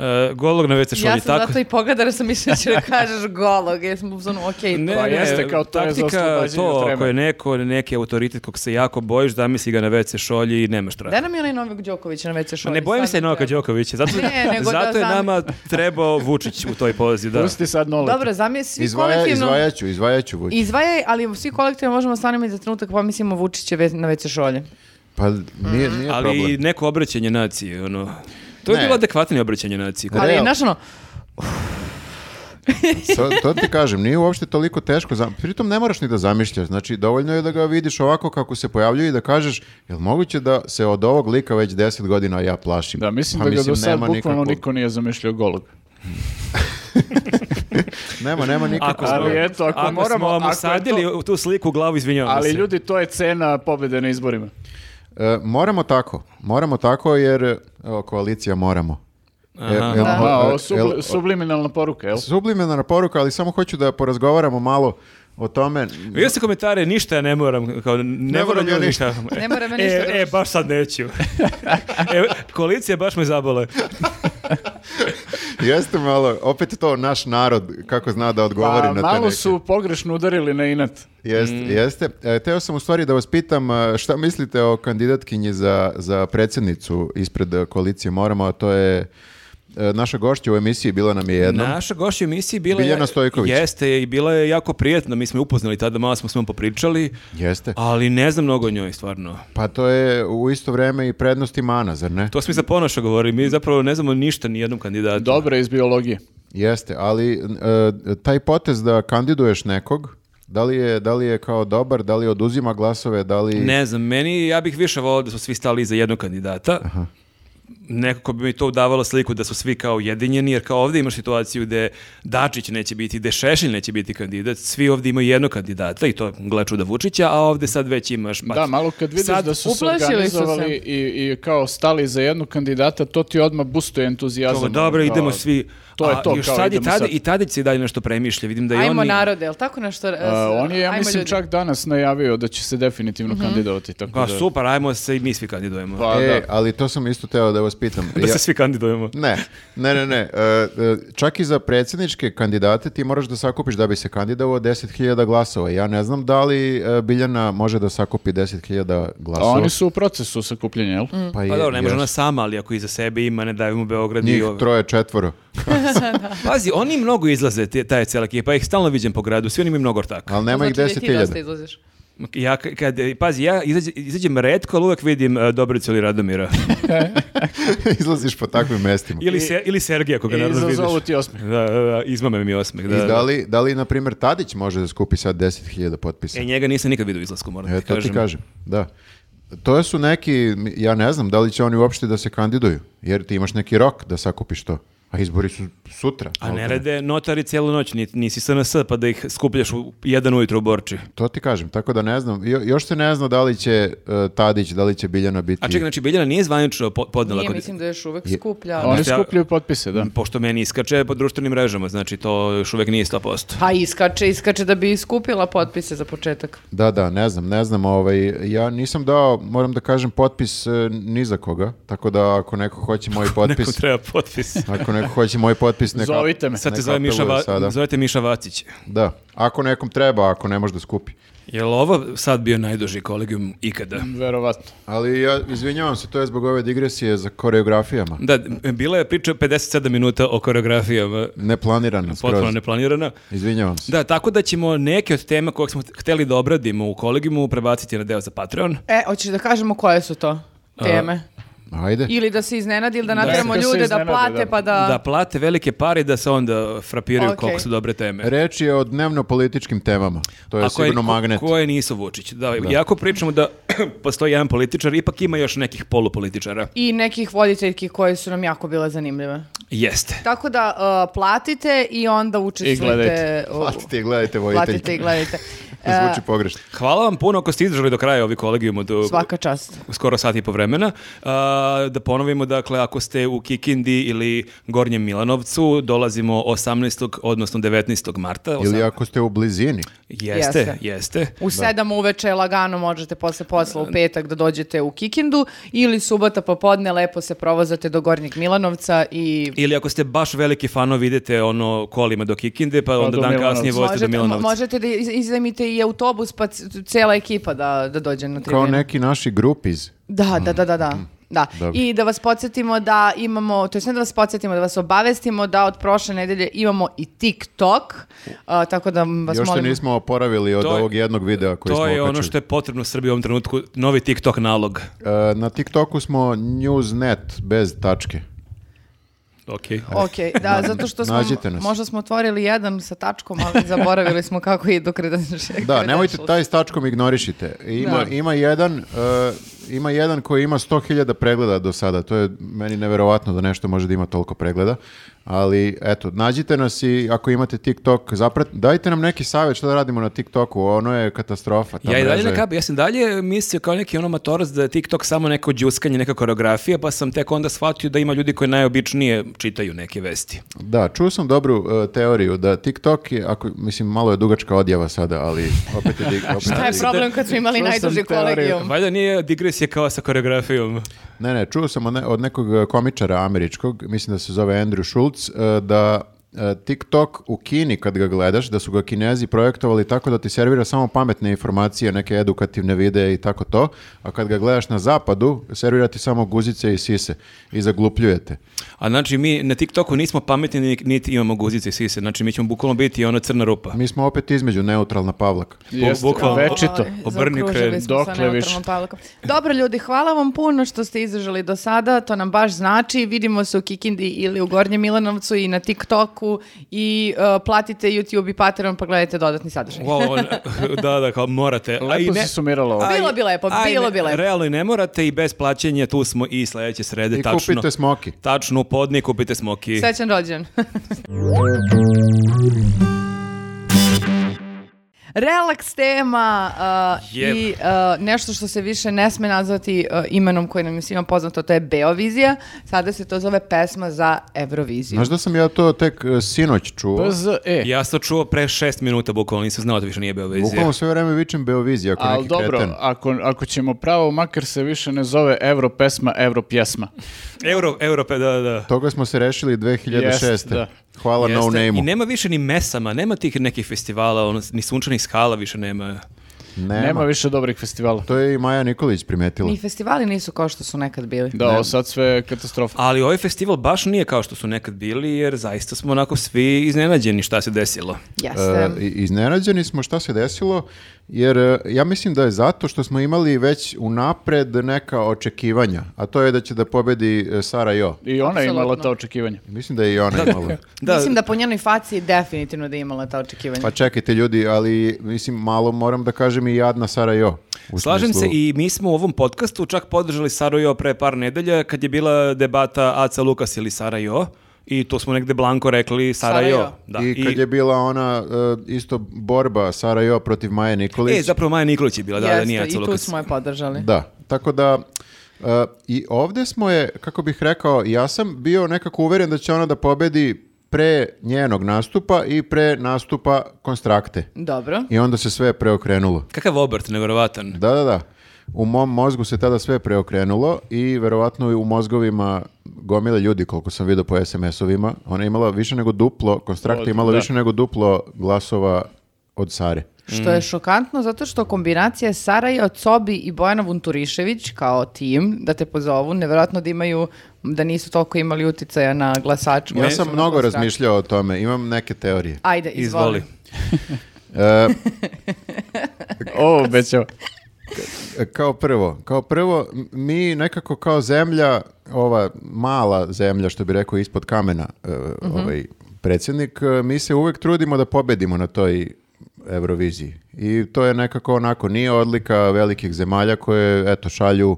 Speaker 1: E, golog na WC šolje,
Speaker 4: Ja sam
Speaker 1: tako.
Speaker 4: zato i pogledala jer sam mislila da će da kažeš golog. Ja sam u zonu, okej, pa, to je-
Speaker 3: Pa jeste, kao to je za
Speaker 1: taktika
Speaker 3: oslobađanje od
Speaker 1: to,
Speaker 3: treme.
Speaker 1: ako je neko, neki autoritet kog se jako bojiš, zamisli ga na WC šolji i nemaš traga.
Speaker 4: Daj nam je onaj Novak Đoković na WC šolji.
Speaker 1: Ma Pa ne bojim se Novaka Đokovića, zato,
Speaker 4: Ne, nego da
Speaker 1: zato je
Speaker 4: zamisli-
Speaker 1: nama trebao Vučić u toj pozi. Da.
Speaker 3: Pusti sad nole.
Speaker 4: Dobro, zamijes svi
Speaker 2: Izvaja,
Speaker 4: kolektivno...
Speaker 2: izvajaću, izvajaću. Vuć.
Speaker 4: Izvajaj, ali svi kolektivno možemo stanemo i za trenutak pomislimo Vučiće ve- na WC šolje.
Speaker 2: Pa nije, nije
Speaker 1: Ali
Speaker 2: problem.
Speaker 1: neko obraćanje naciji, ono... To je
Speaker 2: Ne.
Speaker 1: bilo adekvatnije obraćanje naciji.
Speaker 4: Ali,
Speaker 2: Real.
Speaker 4: znaš ono,
Speaker 2: to, to ti kažem, nije uopšte toliko teško, zam- pritom ne moraš ni da zamišljaš, znači dovoljno je da ga vidiš ovako kako se pojavljuje i da kažeš, jel moguće da se od ovog lika već 10 godina ja plašim?
Speaker 3: Da, mislim
Speaker 2: Pa
Speaker 3: da ga do sad
Speaker 2: nema
Speaker 3: bukvalno
Speaker 2: nikakvog-
Speaker 3: niko nije zamišljao golog.
Speaker 2: Nema, nema nikakvog.
Speaker 1: smo-
Speaker 3: Ali eto, ako moramo-
Speaker 1: smo vam
Speaker 3: ako je
Speaker 1: usadili
Speaker 3: to-
Speaker 1: u tu sliku u glavu, izvinjavam
Speaker 3: Ali
Speaker 1: se.
Speaker 3: ljudi, to je cena pobjede na izborima.
Speaker 2: E, moramo tako, moramo tako jer, evo, koalicija moramo. E, jel-
Speaker 3: A,
Speaker 2: e,
Speaker 3: ovo
Speaker 2: jel-
Speaker 3: subli- Ono, subliminalna poruka, jel?
Speaker 2: subliminarna poruka, ali samo hoću da porazgovaramo malo o tome.
Speaker 1: Vidio se komentare, ništa ja ne moram, kao ne, moram
Speaker 2: moram ja
Speaker 1: ja ništa.
Speaker 4: Ne moram ja
Speaker 1: E,
Speaker 4: ništa,
Speaker 1: E,
Speaker 4: druže.
Speaker 1: baš sad neću. e, koalicija baš me zabole.
Speaker 2: Jeste malo, opet to naš narod, kako zna da odgovori
Speaker 3: Pa,
Speaker 2: na te
Speaker 3: malo
Speaker 2: neke-
Speaker 3: su pogrešno udarili na inat.
Speaker 2: Jeste,
Speaker 1: Mm.
Speaker 2: jeste. E, teo sam u stvari da vas pitam e, šta mislite o kandidatkinji za, za predsjednicu ispred e, koalicije Moramo, a to je e, naša gošća u emisiji bila nam je jedna.
Speaker 1: Naša gošća u emisiji bila
Speaker 2: Biljana Stojković.
Speaker 1: Jeste, i bila je jako prijetna. Mi smo je upoznali tada, malo smo s njom popričali.
Speaker 2: Jeste.
Speaker 1: Ali ne znam mnogo o njoj, stvarno.
Speaker 2: Pa to je u isto vrijeme i prednost i mana, zar ne?
Speaker 1: To smo i za ponoša govorili. Mi zapravo ne znamo ništa ni jednom kandidatu.
Speaker 3: Dobro je iz biologije.
Speaker 2: Jeste, ali e, taj potez da kandiduješ nekog, da li, je, da li je kao dobar, da li oduzima glasove, da li...
Speaker 1: Ne znam, meni, ja bih više volao da su svi stali iza jednog kandidata. Nekako bi mi to udavalo sliku da su svi kao ujedinjeni, jer kao ovdje imaš situaciju gde Dačić neće biti, gde Šešelj neće biti kandidat, svi ovdje imaju jednog kandidata i to gle čuda Vučića, a ovdje sad već imaš... pa-
Speaker 3: Da, malo kad vidiš
Speaker 1: Sad,
Speaker 3: da su se
Speaker 4: uplašili su se.
Speaker 3: organizovali i, i kao stali za jednog kandidata, to ti odmah boostuje entuzijazam.
Speaker 1: Kao, dobro,
Speaker 3: Kao,
Speaker 1: idemo svi.
Speaker 3: To je
Speaker 1: A
Speaker 3: to,
Speaker 1: još
Speaker 3: kao,
Speaker 1: sad i
Speaker 3: idemo
Speaker 1: tada,
Speaker 3: sad.
Speaker 1: i tada se i dalje nešto premišlja. Vidim da i
Speaker 4: ajmo
Speaker 1: oni...
Speaker 4: narode, jel tako nešto? e,
Speaker 2: E,
Speaker 3: A, on je, ja mislim, čak danas najavio da će se definitivno kandidovati. Tako
Speaker 1: Pa
Speaker 3: da,
Speaker 1: super, ajmo se i mi svi kandidujemo.
Speaker 3: Pa,
Speaker 2: Mhm. E,
Speaker 3: da.
Speaker 2: ali to sam isto teo da vas pitam.
Speaker 1: da
Speaker 2: Ja-
Speaker 1: se svi kandidujemo.
Speaker 2: Ne, ne, ne, ne. E, e, čak i za predsjedničke kandidate ti moraš da sakupiš da bi se kandidovao 10.000 glasova. Ja ne znam da li e, Biljana može da sakupi 10.000
Speaker 3: A
Speaker 2: glasova.
Speaker 3: oni su u procesu sakupljenja, jel?
Speaker 2: je-
Speaker 1: Pa dobro, ne može
Speaker 2: jesu.
Speaker 1: ona sama, ali ako iza sebe ima, ne davimo Beograd i
Speaker 2: Njih
Speaker 1: ove.
Speaker 2: troje, četvoro.
Speaker 1: Pazi, oni mnogo izlaze, te, ta je cijela ekipa, ja ih stalno viđem po gradu, svi oni imaju mnogo ortaka.
Speaker 2: Ali nema ih 10.000.
Speaker 4: izlaziš.
Speaker 1: Ja, k- kad, pazi, ja izađe- izađem redko, ali uvek vidim uh, Dobricu ili Radomira.
Speaker 2: Izlaziš po takvim mestima.
Speaker 1: Ili, se, ili Sergija, koga
Speaker 3: I
Speaker 1: naravno vidiš.
Speaker 3: izazovu ti osmeh.
Speaker 1: Da, da, da, izmame mi osmeh. Da,
Speaker 2: I da
Speaker 1: da.
Speaker 2: li, da li, na primjer, Tadić može da skupi sad 10.000 potpisa?
Speaker 1: E, njega nisam nikad vidio u izlasku, moram
Speaker 2: E,
Speaker 1: ti
Speaker 2: to
Speaker 1: kažem.
Speaker 2: ti kažem, da. To su neki, ja ne znam da li će oni uopšte da se kandiduju, jer ti imaš neki rok da sakupiš to. A izbori su sutra.
Speaker 1: A ne rade notari cijelu noć, ni- nisi SNS, pa da ih skupljaš u jedan ujutro u Borči.
Speaker 2: To ti kažem, tako da ne znam. Jo- još se ne zna da li će e, Tadić, da li će Biljana biti...
Speaker 1: A čekaj, znači Biljana nije zvanično po- podnela
Speaker 4: Nije,
Speaker 1: kod-
Speaker 4: mislim da još uvek skuplja. ono,
Speaker 3: Oni
Speaker 1: Znači, ja-
Speaker 3: skupljaju potpise, da.
Speaker 1: Pošto meni iskače po društvenim mrežama, znači to još uvek nije 100%.
Speaker 4: Pa iskače, iskače da bi skupila potpise za početak.
Speaker 2: Da, da, ne znam, ne znam. Ovaj, ja nisam dao, moram da kažem, potpis e, ni za koga, tako da ako neko hoće moj
Speaker 1: Neko
Speaker 2: potpis...
Speaker 1: treba potpis.
Speaker 2: Ako neko hoće moj potpis, neka...
Speaker 3: Zovite me.
Speaker 1: Sad te
Speaker 2: Neka
Speaker 1: zove Miša,
Speaker 2: apeluje
Speaker 1: Va-
Speaker 2: sada.
Speaker 1: zovete Miša Vacić.
Speaker 2: Da, ako nekom treba, ako ne može da skupi.
Speaker 1: Je li ovo sad bio najduži kolegium ikada?
Speaker 3: Verovatno.
Speaker 2: Ali ja izvinjavam se, to je zbog ove digresije za koreografijama.
Speaker 1: Da, bila je priča 57 minuta o koreografijama,
Speaker 2: Neplanirano,
Speaker 1: potpuno
Speaker 2: skroz.
Speaker 1: neplanirana.
Speaker 2: Izvinjavam se.
Speaker 1: Da, tako da ćemo neke od tema koje smo hteli da obradimo u kolegiumu prebaciti na deo za Patreon.
Speaker 4: E, hoćeš da kažemo koje su to teme?
Speaker 2: Ajde.
Speaker 4: Ili da se iznenadi ili da nateramo
Speaker 3: Da se
Speaker 4: ljude da
Speaker 3: iznenade,
Speaker 4: plate
Speaker 3: da.
Speaker 4: pa da...
Speaker 1: Da plate velike pare i da se onda frapiraju
Speaker 4: Okej.
Speaker 1: koliko su dobre teme.
Speaker 2: Reč je o dnevno-političkim temama. To je
Speaker 1: A koje-
Speaker 2: sigurno
Speaker 1: ko-
Speaker 2: magnet.
Speaker 1: Koje nisu Vučić. Da, jako pričamo da postoji jedan političar, ipak ima još nekih polupolitičara.
Speaker 4: I nekih voditeljki koje su nam jako bile zanimljive.
Speaker 1: Jeste.
Speaker 4: Tako da uh, platite i onda učestvujete.
Speaker 3: gledajte.
Speaker 4: u-
Speaker 2: Platite i gledajte
Speaker 4: Platite i
Speaker 2: vojiteljke.
Speaker 4: gledajte.
Speaker 2: Zvuči
Speaker 4: E,
Speaker 2: pogrešno.
Speaker 1: Hvala vam puno ako ste izdržali do kraja ovi kolegijum od uh,
Speaker 4: svaka čast.
Speaker 1: skoro sat i po vremena. A, da ponovimo, dakle, ako ste u Kikindi ili Gornjem Milanovcu, dolazimo 18. odnosno 19. marta.
Speaker 2: Ili
Speaker 1: Osam-
Speaker 2: ako ste u blizini.
Speaker 1: Jeste, jeste.
Speaker 4: Jeste. U sedam uveče lagano možete posle posla u petak da dođete u Kikindu ili subota popodne lepo se provozate do Gornjeg Milanovca i
Speaker 1: Ili ako ste baš veliki fanovi, idete ono kolima do Kikinde, pa onda
Speaker 3: do
Speaker 1: dan kasnije
Speaker 3: Milanovca.
Speaker 1: vozite do
Speaker 4: možete, mo-
Speaker 1: Milanovca.
Speaker 4: možete da iz- iznajmite i autobus pa c- cela ekipa da, da dođe na tribinu.
Speaker 2: Kao neki naši grupiz.
Speaker 4: Da, da, da, da, da. Da.
Speaker 2: Mm. Dobro.
Speaker 4: I da vas podsjetimo da imamo, to je ne da vas podsjetimo, da vas obavestimo da od prošle nedelje imamo i TikTok, a, tako da vas
Speaker 2: Još se
Speaker 4: molim...
Speaker 2: nismo oporavili od
Speaker 1: To je-
Speaker 2: ovog jednog videa koji smo
Speaker 1: To je ono
Speaker 2: okačili.
Speaker 1: što je potrebno Srbiji u ovom trenutku, novi TikTok nalog.
Speaker 2: E, Na TikToku smo newsnet bez tačke.
Speaker 1: Okay.
Speaker 4: Ok, da, zato što smo,
Speaker 2: Nađite nas.
Speaker 4: možda smo otvorili jedan sa tačkom, ali zaboravili smo kako i do
Speaker 2: Da, nemojte taj s tačkom ignorišite. Ima,
Speaker 4: Da.
Speaker 2: ima, jedan, e, ima jedan koji ima 100.000 pregleda do sada. To je meni neverovatno da nešto može da ima toliko pregleda. Ali, eto, nađite nas i ako imate TikTok, zaprat, dajte nam neki savjet što da radimo na TikToku. Ono je katastrofa. ta
Speaker 1: Ja i dalje
Speaker 2: mreža
Speaker 1: ne
Speaker 2: je-
Speaker 1: kapiram, ja sam dalje mislio kao neki ono matorac da je TikTok samo neko đuskanje, neka koreografija, pa sam tek onda shvatio da ima ljudi koji najobičnije čitaju neke vesti.
Speaker 2: Da, čuo sam dobru e, teoriju da TikTok je, ako, mislim, malo je dugačka odjava sada, ali opet je... dig- opet
Speaker 4: Šta
Speaker 2: je
Speaker 4: je
Speaker 2: dig-
Speaker 4: problem kad smo imali
Speaker 3: Čuo sam
Speaker 4: najduži
Speaker 3: teoriju.
Speaker 4: kolegijum?
Speaker 1: Valjda nije digresija kao sa koreografijom.
Speaker 2: Ne, ne, čuo sam od, ne- od nekog e, komičara američkog, mislim da se zove Andrew Schultz, e, da e, TikTok u Kini kad ga gledaš, da su ga Kinezi projektovali tako da ti servira samo pametne informacije, neke edukativne videe i tako to, a kad ga gledaš na zapadu, servira ti samo guzice i sise i zaglupljujete.
Speaker 1: A znači mi na TikToku nismo pametni ni- niti imamo guzice i sise, znači mi ćemo bukvalno biti ono crna rupa.
Speaker 2: Mi smo opet između neutralna Pavlaka.
Speaker 3: Jeste,
Speaker 1: bukvalno.
Speaker 3: večito.
Speaker 4: Oj,
Speaker 1: Obrni
Speaker 4: zaokružili
Speaker 1: kren.
Speaker 4: smo sa
Speaker 3: Dokle
Speaker 4: neutralnom
Speaker 3: više?
Speaker 4: palukom. Dobro ljudi, hvala vam puno što ste izdržali do sada, to nam baš znači. Vidimo se u Kikindi ili u Gornjem Milanovcu i na TikToku i uh, platite YouTube i Patreon pa gledajte dodatni sadržaj.
Speaker 1: Wow, on- da, da, kao morate. A i
Speaker 3: Lepo
Speaker 1: ne-
Speaker 3: si sumirala ovo.
Speaker 1: a i-
Speaker 4: Bilo bi lepo,
Speaker 1: a i
Speaker 4: bilo
Speaker 1: ne-
Speaker 4: bi lepo.
Speaker 1: Realno i ne morate i bez plaćanja, tu smo i sledeće srede.
Speaker 2: I
Speaker 1: tačno,
Speaker 2: kupite smoki.
Speaker 1: Tačno, u podni kupite smoki.
Speaker 4: Srećan rođen. Relaks tema uh,
Speaker 1: Jep.
Speaker 4: i uh, nešto što se više ne sme nazvati uh, imenom koje nam je svima poznato, to je Beovizija. Sada se to zove pesma za Euroviziju.
Speaker 2: Znaš da sam ja to tek e, sinoć
Speaker 4: Pa
Speaker 2: čuo?
Speaker 3: BZE.
Speaker 1: Ja sam to čuo pre šest minuta, bukvalno nisam znao da više nije bio vizija.
Speaker 2: Bukvalno sve vreme vičem Beovizija, ako
Speaker 3: Ali
Speaker 2: neki
Speaker 3: dobro,
Speaker 2: kreten.
Speaker 3: ako, ako ćemo pravo, makar se više ne zove Euro pesma, Euro pjesma.
Speaker 1: Euro, Europe, da, da.
Speaker 2: Toga smo se rešili 2006.
Speaker 3: Jest, da.
Speaker 2: Hvala
Speaker 1: Jeste.
Speaker 2: Pa No Name-u.
Speaker 1: I nema više ni mesama, nema tih nekih festivala, ono, ni sunčanih skala više nema.
Speaker 2: Nema.
Speaker 3: Nema više dobrih festivala.
Speaker 2: To je i Maja Nikolić primetila.
Speaker 4: Ni festivali nisu kao što su nekad bili.
Speaker 3: Da, ovo sad sve je katastrofa.
Speaker 1: Ali ovaj festival baš nije kao što su nekad bili, jer zaista smo onako svi iznenađeni šta se desilo.
Speaker 4: Jeste.
Speaker 2: E, i- iznenađeni smo šta se desilo, jer e, ja mislim da je zato što smo imali već unapred neka očekivanja, a to je da će da pobedi e, Sara Jo.
Speaker 3: I ona je imala
Speaker 4: Apsolutno.
Speaker 3: ta očekivanja.
Speaker 2: Mislim da je i ona imala.
Speaker 1: Da,
Speaker 4: Mislim da po njenoj faci je definitivno da je imala ta očekivanja.
Speaker 2: Pa čekajte ljudi, ali mislim malo moram da kažem i jadna Sara Jo. U
Speaker 1: Slažem se
Speaker 2: smislu-
Speaker 1: i mi smo u ovom podcastu čak podržali Sarajevo pre par nedelja kad je bila debata Aca Lukas ili Sarajevo i to smo negde blanko rekli Sarajevo.
Speaker 4: Sarajevo.
Speaker 1: Da.
Speaker 2: I kad je bila ona e, isto borba Sara Jo protiv Maje Nikolić.
Speaker 1: E, zapravo Maja Nikolić je bila, da, da,
Speaker 4: Jeste,
Speaker 1: nije
Speaker 4: I
Speaker 1: Aca
Speaker 4: tu
Speaker 1: Lukas.
Speaker 4: smo je podržali.
Speaker 2: Da, tako da e, i ovdje smo je, kako bih rekao, ja sam bio nekako uveren da će ona da pobedi pre njenog nastupa i pre nastupa konstrakte.
Speaker 4: Dobro.
Speaker 2: I onda se sve preokrenulo.
Speaker 1: Kakav obrt, nevjerovatan.
Speaker 2: Da, da, da. U mom mozgu se tada sve preokrenulo i verovatno i u mozgovima gomile ljudi, koliko sam vidio po SMS-ovima, ona je imala više nego duplo, konstrakta je
Speaker 3: Od-
Speaker 2: imala
Speaker 3: da.
Speaker 2: više nego duplo glasova od Sare.
Speaker 4: Što je šokantno zato što kombinacija Saraja od Sobi i Bojana Vunturišević kao tim da te pozovu, nevjerojatno da imaju da nisu toliko imali uticaja na glasač.
Speaker 2: Ja sam mnogo razmišljao o tome, imam neke teorije.
Speaker 4: Ajde, izvoli.
Speaker 1: Izvoli.
Speaker 2: E,
Speaker 3: O, obećao.
Speaker 2: E, Kao prvo, kao prvo, m- mi nekako kao zemlja, ova mala zemlja, što bi rekao, ispod kamena, e, ovaj predsjednik, e, mi se uvek trudimo da pobedimo na toj Euroviziji. I to je nekako onako, nije odlika velikih zemalja koje, eto, šalju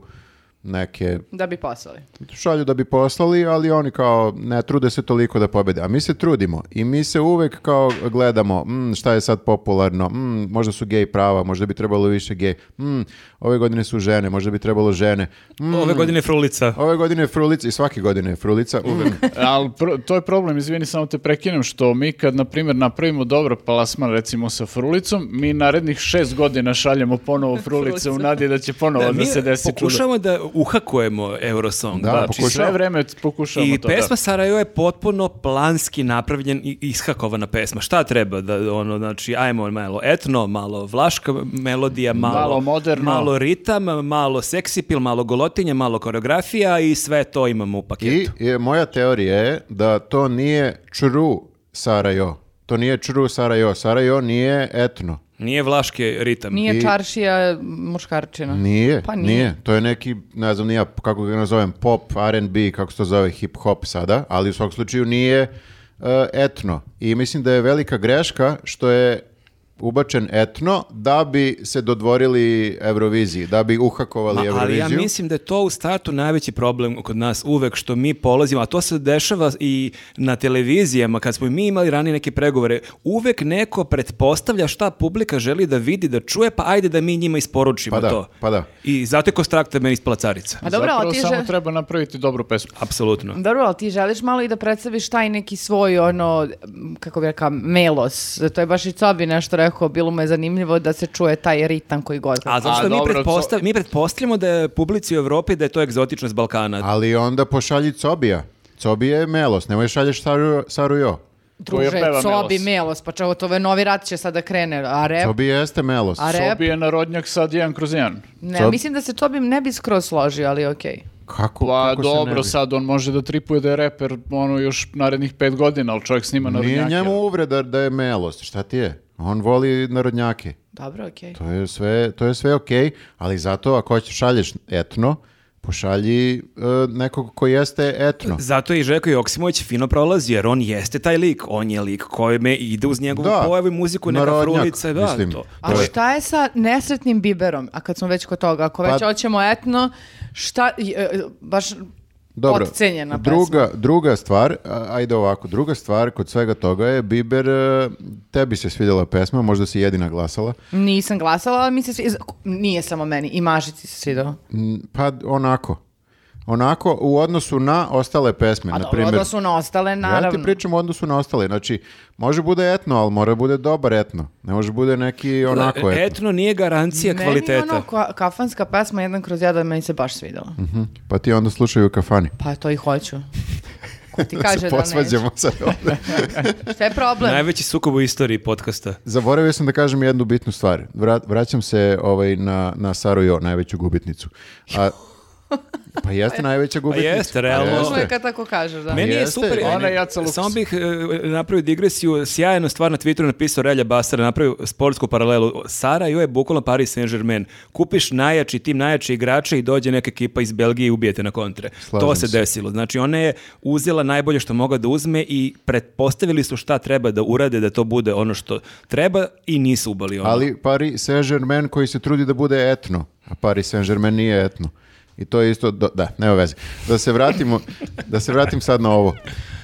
Speaker 2: neke,
Speaker 4: Da bi poslali.
Speaker 2: šalju da bi poslali, ali oni kao ne trude se toliko da pobede. A mi se trudimo i mi se uvek kao gledamo "Mm, šta je sad popularno, "Mm, možda su gej prava, možda bi trebalo više gej, "Mm, ove godine su žene, možda bi trebalo žene, "Mm,
Speaker 1: Ove godine frulica.
Speaker 2: ove godine je frulica i svake godine je frulica, uvek.
Speaker 3: Ali pro- to je problem, izvini, samo te prekinem, što mi kad, na primjer, napravimo dobro palasman, recimo sa frulicom, mi narednih šest godina šaljemo ponovo frulice u nadi da će ponovo da,
Speaker 1: mi
Speaker 3: se desi čudo.
Speaker 1: pokušavamo da uhakujemo Eurosong.
Speaker 2: Da,
Speaker 3: Znači, sve
Speaker 2: pokušavamo.
Speaker 3: vreme pokušamo
Speaker 1: I
Speaker 3: to. da.
Speaker 1: pesma Sarajevo je potpuno planski napravljen i ishakovana pesma. Šta treba? Da, ono, znači, ajmo malo etno, malo vlaška melodija, malo,
Speaker 3: Malo moderno.
Speaker 1: malo ritam, malo seksipil, malo golotinje, malo koreografija i sve to imamo u
Speaker 2: I
Speaker 1: paketu.
Speaker 2: je, moja teorija je da to nije true Sarajevo. To nije true Sarajevo. Sarajevo nije etno.
Speaker 1: Nije vlaški ritam.
Speaker 4: Nije
Speaker 2: I-
Speaker 4: čaršija muškarčina.
Speaker 2: Nije,
Speaker 4: Pa
Speaker 2: nije.
Speaker 4: nije.
Speaker 2: To je neki, ne znam, nije, kako ga nazovem, pop, R&B, kako se to zove, hip-hop sada, ali u svakom slučaju nije uh, etno. I mislim da je velika greška što je ubačen etno da bi se dodvorili Euroviziji, da bi uhakovali
Speaker 1: Ma, Pa, ali
Speaker 2: Euroviziju.
Speaker 1: ja mislim da je to u startu najveći problem kod nas uvek što mi polazimo, a to se dešava i na televizijama kad smo i mi imali ranije neke pregovore. Uvek neko pretpostavlja šta publika želi da vidi, da čuje, pa ajde da mi njima isporučimo
Speaker 2: Pa da,
Speaker 1: to.
Speaker 2: pa da.
Speaker 1: I zato je Kostrakta meni ispala carica.
Speaker 4: A dobro,
Speaker 3: Zapravo
Speaker 4: ali ti
Speaker 3: samo
Speaker 4: že-
Speaker 3: treba napraviti dobru pesmu.
Speaker 1: Apsolutno.
Speaker 4: Dobro, ali ti želiš malo i da predstaviš taj neki svoj, ono, m, kako bi rekao, melos. To je baš i Cobi nešto rekao, bilo mu je zanimljivo da se čuje taj ritam koji god.
Speaker 1: A zato
Speaker 3: A,
Speaker 1: što mi,
Speaker 3: dobro,
Speaker 1: pretpostav-
Speaker 3: co-
Speaker 1: mi pretpostavljamo da je publici u Evropi da je to egzotičnost Balkana.
Speaker 2: Ali onda pošalji Cobija. Cobija je melos, nemoj šalješ Saru, Sarujo.
Speaker 4: Druže,
Speaker 3: Koja peva
Speaker 4: Cobi,
Speaker 3: melos.
Speaker 4: melos, pa čevo, to je novi rat će sada krene. A rep,
Speaker 2: Cobija jeste melos.
Speaker 4: E, a rep,
Speaker 3: Sobi je narodnjak sad jedan kroz jedan.
Speaker 4: ne,
Speaker 2: Cob-
Speaker 4: mislim da se Cobi ne bi skroz složio, ali okej.
Speaker 2: Kako,
Speaker 3: Pa
Speaker 2: kako se ne
Speaker 3: dobro,
Speaker 2: bi?
Speaker 3: sad on može da tripuje da je reper ono, još narednih pet godina, ali čovjek snima narodnjake.
Speaker 2: Nije njemu uvreda da je melos, šta ti je? On voli narodnjake.
Speaker 4: Dobro, okej.
Speaker 2: To je sve, to je sve okej, ali zato ako hoćeš šalješ etno, pošalji e, nekog ko jeste etno.
Speaker 1: Zato je i Žeko Joksimović fino prolazi, jer on jeste taj lik. On je lik kojime ide uz njegovu
Speaker 2: Da.
Speaker 1: pojavu i muziku, neka
Speaker 2: Narodnjak,
Speaker 1: frulica. Da,
Speaker 2: mislim.
Speaker 1: to.
Speaker 4: A
Speaker 2: To je-
Speaker 4: šta je sa nesretnim biberom? A kad smo već kod toga, ako već
Speaker 2: Pa-
Speaker 4: hoćemo etno, šta, i, e, baš
Speaker 2: Dobro.
Speaker 4: potcenjena pesma.
Speaker 2: druga, druga stvar, a- ajde ovako, druga stvar kod svega toga je Biber, e, tebi se svidjela pesma, možda si jedina glasala.
Speaker 4: Nisam glasala, ali mi se svi... Nije samo meni, i Mažici se svidao.
Speaker 2: Mm, Pa onako. Onako u odnosu na ostale pesme, na
Speaker 4: A dobro,
Speaker 2: primjer.
Speaker 4: odnosu na ostale,
Speaker 2: Ja ti
Speaker 4: naravno.
Speaker 2: pričam u odnosu na ostale. Znači, može bude etno, ali mora bude dobar etno. Ne može bude neki onako etno.
Speaker 1: Etno nije garancija kvaliteta.
Speaker 4: Meni ono ka- kafanska pesma jedan kroz jedan meni se baš svidela.
Speaker 2: Mhm. Pa ti onda slušaju u kafani.
Speaker 4: Pa to i hoću. Ko ti
Speaker 2: se
Speaker 4: kaže da,
Speaker 2: posvađamo sad ovde.
Speaker 4: neće? Šta je problem?
Speaker 1: Najveći sukob u istoriji podcasta.
Speaker 2: Zaboravio sam da kažem jednu bitnu stvar. Vra- vraćam se ovaj, na, na Saru Jo, najveću gubitnicu. A, pa jeste najveća gubitnica. Pa
Speaker 1: jeste, realno.
Speaker 4: Uvijek kad tako kažeš, da.
Speaker 1: Meni je
Speaker 2: Jeste.
Speaker 1: super.
Speaker 3: Ona
Speaker 1: meni-
Speaker 3: je Jaca Lukas.
Speaker 1: Samo bih e, napravio digresiju. Sjajnu stvar na Twitteru napisao Relja Basara, napravio sportsku paralelu. Sara Jo je bukvalno Paris Saint-Germain. Kupiš najjači tim, najjači igrače i dođe neka ekipa iz Belgije i ubijete na kontre.
Speaker 2: Slažem
Speaker 1: to se,
Speaker 2: se.
Speaker 1: desilo. Znači ona je uzela najbolje što mogla da uzme i pretpostavili su šta treba da urade da to bude ono što treba i nisu ubali ono.
Speaker 2: Ali Paris Saint-Germain koji se trudi da bude etno, a Paris Saint-Germain nije etno. I to je isto, do- da, nema veze. Da se vratimo, da se vratim sad na ovo.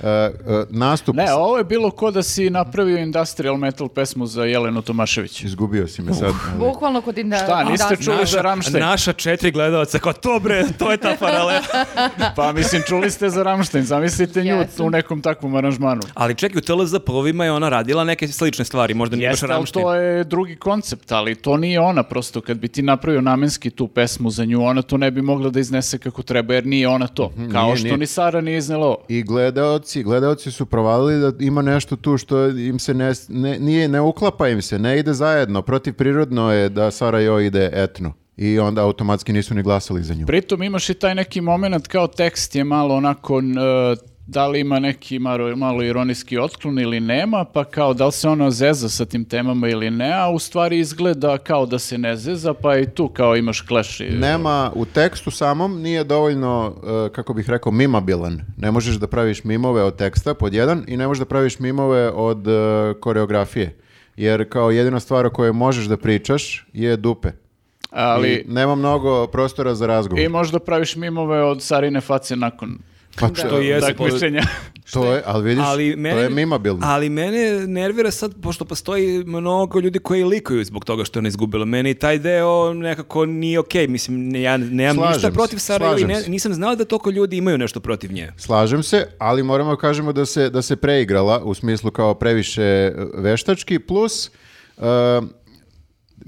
Speaker 2: E, e, nastup,
Speaker 3: Ne, ovo je bilo ko da si napravio industrial metal pesmu za Jelenu Tomašević.
Speaker 2: izgubio si me sad. ali-
Speaker 4: Bukvalno kod inda...
Speaker 3: Šta, niste
Speaker 4: industry.
Speaker 3: čuli? za Rammstein.
Speaker 1: naša četiri gledalaca, kao to bre, to je ta paralela.
Speaker 3: Pa mislim, čuli ste za Ramštajn, zamislite nju
Speaker 4: Jesam.
Speaker 3: u nekom takvom aranžmanu.
Speaker 1: Ali čekaj, u TLZ povima je ona radila neke slične stvari, možda nije baš
Speaker 3: Jeste, ali
Speaker 1: Rammstein.
Speaker 3: to je drugi koncept, ali to nije ona prosto. Kad bi ti napravio namenski tu pesmu za nju, ona to ne bi mogla da iznese kako treba, jer nije ona to. Kao
Speaker 2: Mhm, nije,
Speaker 3: što
Speaker 2: nije.
Speaker 3: ni Sara nije iznela ovo.
Speaker 2: I gledaoci reci, gledalci su provalili da ima nešto tu što im se ne, ne, nije, ne uklapa im se, ne ide zajedno, protivprirodno je da Sarajevo ide etno. I onda automatski nisu ni glasali za nju.
Speaker 3: Pritom imaš i taj neki moment kao tekst je malo onako n- e, da li ima neki maro- malo ironijski otklon ili nema, pa kao da li se ono zeza sa tim temama ili ne, a u stvari izgleda kao da se ne zeza, pa i tu kao imaš clash. i-
Speaker 2: Nema, u tekstu samom nije dovoljno, e, kako bih rekao, mimabilan. Ne možeš da praviš mimove od teksta, pod jedan, i ne možeš da praviš mimove od e, koreografije. Jer kao jedina stvar o kojoj možeš da pričaš je dupe.
Speaker 3: Ali
Speaker 2: I nema mnogo prostora za razgovor.
Speaker 3: i možda praviš mimove od Sarine face nakon
Speaker 2: Pa što je,
Speaker 1: Jeste,
Speaker 3: takmičenja.
Speaker 2: to je, ali vidiš,
Speaker 1: Ali mene,
Speaker 2: to je mimabilno.
Speaker 1: Ali mene nervira sad, pošto postoji mnogo ljudi koji likuju zbog toga što je ona izgubila. Meni taj deo nekako nije okej. Mislim, ne- ja nemam
Speaker 2: Slažem
Speaker 1: ništa
Speaker 2: se,
Speaker 1: protiv Sarajeva i
Speaker 2: slažem
Speaker 1: ne-
Speaker 2: se.
Speaker 1: nisam znao da toliko ljudi imaju nešto protiv nje.
Speaker 2: Slažem se, ali moramo da kažemo da se, da se preigrala u smislu kao previše e, veštački, plus e,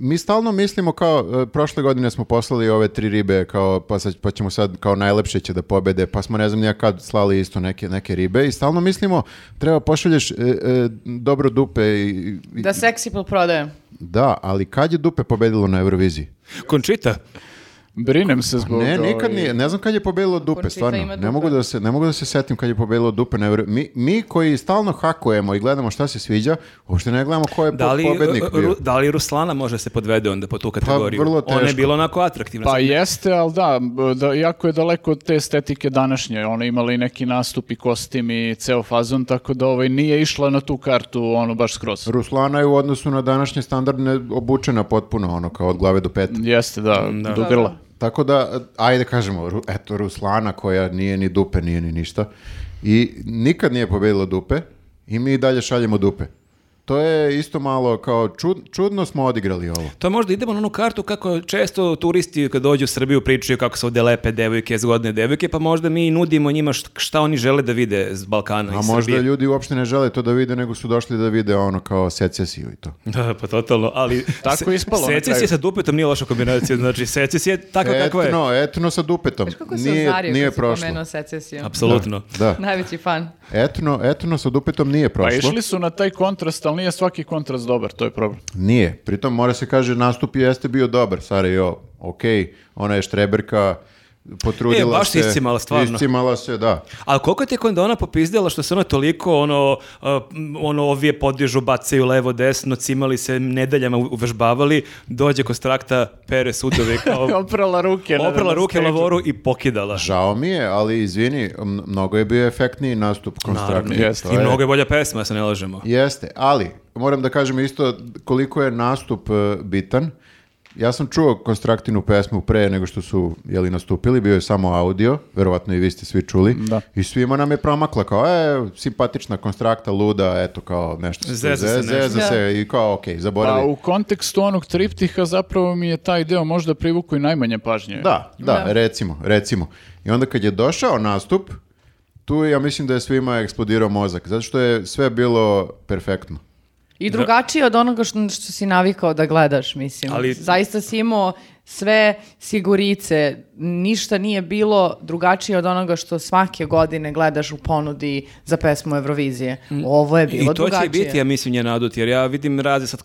Speaker 2: mi stalno mislimo kao, e, prošle godine smo poslali ove tri ribe, kao, pa, sad, pa ćemo sad kao najlepše će da pobede, pa smo ne znam nija kad slali isto neke, neke ribe i stalno mislimo treba pošalješ e, e, dobro dupe i, i-
Speaker 4: Da Sexy prodaje.
Speaker 2: da, ali kad je dupe pobedilo na Euroviziji?
Speaker 1: Končita,
Speaker 3: Brinem se zbog
Speaker 2: Ne,
Speaker 3: ovaj,
Speaker 2: nikad nije. Ne znam kad je pobedilo dupe,
Speaker 4: Končita ima
Speaker 2: stvarno.
Speaker 4: dupe.
Speaker 2: Ne mogu da se ne mogu da se setim kad je pobedilo dupe na Euro- Mi, mi koji stalno hakujemo i gledamo šta se sviđa, uopšte ne gledamo ko je
Speaker 1: da
Speaker 2: da
Speaker 1: li, uh,
Speaker 2: pobednik
Speaker 1: Ru-
Speaker 2: bio. Pa,
Speaker 1: da li Ruslana može se podvede onda po tu kategoriju?
Speaker 2: vrlo
Speaker 1: Ona je
Speaker 2: teško.
Speaker 1: bila onako atraktivna.
Speaker 3: Pa
Speaker 1: Sad
Speaker 3: jeste, ali da, b- da, jako je daleko od te estetike današnje. Ona je imala i neki nastup i kostim i ceo fazon, tako da ovaj, nije išla na tu kartu ono baš skroz.
Speaker 2: Ruslana je u odnosu na današnje standardne obučena potpuno ono kao od glave do peta.
Speaker 3: Jeste, da,
Speaker 1: Mm,
Speaker 3: do grla.
Speaker 2: Tako da uh, ajde kažemo, Ru- eto Ruslana koja nije ni dupe, nije ni ništa. I nikad nije pobedila dupe i mi i dalje šaljemo dupe. To je isto malo kao čud- čudno smo odigrali ovo.
Speaker 1: To možda idemo na onu kartu kako često turisti kad dođu u Srbiju pričaju kako su ovdje lepe devojke, zgodne devojke, pa možda mi nudimo njima št- šta oni žele da vide s Balkana
Speaker 2: A
Speaker 1: i
Speaker 2: možda
Speaker 1: Srbije.
Speaker 2: ljudi uopšte ne žele to da vide, nego su došli da vide ono kao secesiju i to.
Speaker 1: Da, pa totalno, ali...
Speaker 3: Tako je ispalo na kraju.
Speaker 1: Secis je sa dupetom nije loša kombinacija, znači secis je takva kakva je.
Speaker 2: Etno, etno sa dupetom.
Speaker 4: Kako se
Speaker 2: Nije,
Speaker 4: ozario
Speaker 2: nije
Speaker 4: kad si
Speaker 2: prošlo.
Speaker 4: pomenuo secesiju?
Speaker 1: Apsolutno.
Speaker 2: Da,
Speaker 4: Najveći fan.
Speaker 2: etno, etno sa dupetom nije
Speaker 3: Pa
Speaker 2: prošlo.
Speaker 3: išli su na taj kontrast, ali nije svaki kontrast dobar, to je problem.
Speaker 2: Nije. Pritom mora se kaže nastup jeste bio dobar, Sarajevo. Ok, ona je štreberka, potrudila
Speaker 1: E, baš
Speaker 2: se.
Speaker 1: iscimala, stvarno.
Speaker 2: Iscimala se, da.
Speaker 1: Ali koliko je tek onda ona popizdjela što se ona toliko ono, uh, m, ono ovije podižu, bacaju levo, desno, cimali se, nedeljama u- uvežbavali, dođe kod strakta, pere sudove kao...
Speaker 3: Oprala ruke. na-
Speaker 1: Oprala
Speaker 3: na
Speaker 1: ruke
Speaker 3: stage-u.
Speaker 1: lavoru i pokidala.
Speaker 2: Žao mi je, ali izvini, m- mnogo je bio efektniji nastup konstrakta.
Speaker 3: jeste.
Speaker 2: To
Speaker 1: I
Speaker 2: je-
Speaker 1: mnogo je bolja pesma, da se ne lažemo.
Speaker 2: Jeste, ali moram da kažem isto koliko je nastup e, bitan. Ja sam čuo Konstraktinu pesmu pre nego što su jeli nastupili, bio je samo audio, verovatno i vi ste svi čuli.
Speaker 3: Da.
Speaker 2: I svima nam je promakla kao, e, simpatična Konstrakta, luda, eto kao nešto.
Speaker 1: Zeza se
Speaker 2: zeza
Speaker 1: nešto.
Speaker 2: se i kao, okej,
Speaker 3: Pa
Speaker 2: zaboravili.
Speaker 3: u kontekstu onog triptiha zapravo mi je taj deo možda privukao i najmanje pažnje.
Speaker 2: Da, da,
Speaker 4: Da.
Speaker 2: recimo, recimo. I onda kad je došao nastup, tu ja mislim da je svima eksplodirao mozak, zato što je sve bilo perfektno.
Speaker 4: I drugačije od onoga što, što si navikao da gledaš, mislim.
Speaker 1: Ali-
Speaker 4: Zaista si imao sve sigurice, ništa nije bilo drugačije od onoga što svake godine gledaš u ponudi za pesmu Eurovizije. Ovo je
Speaker 1: Mm. I
Speaker 4: bilo
Speaker 1: to
Speaker 4: drugačije.
Speaker 1: će biti, ja mislim, njen adut, jer ja vidim razne sad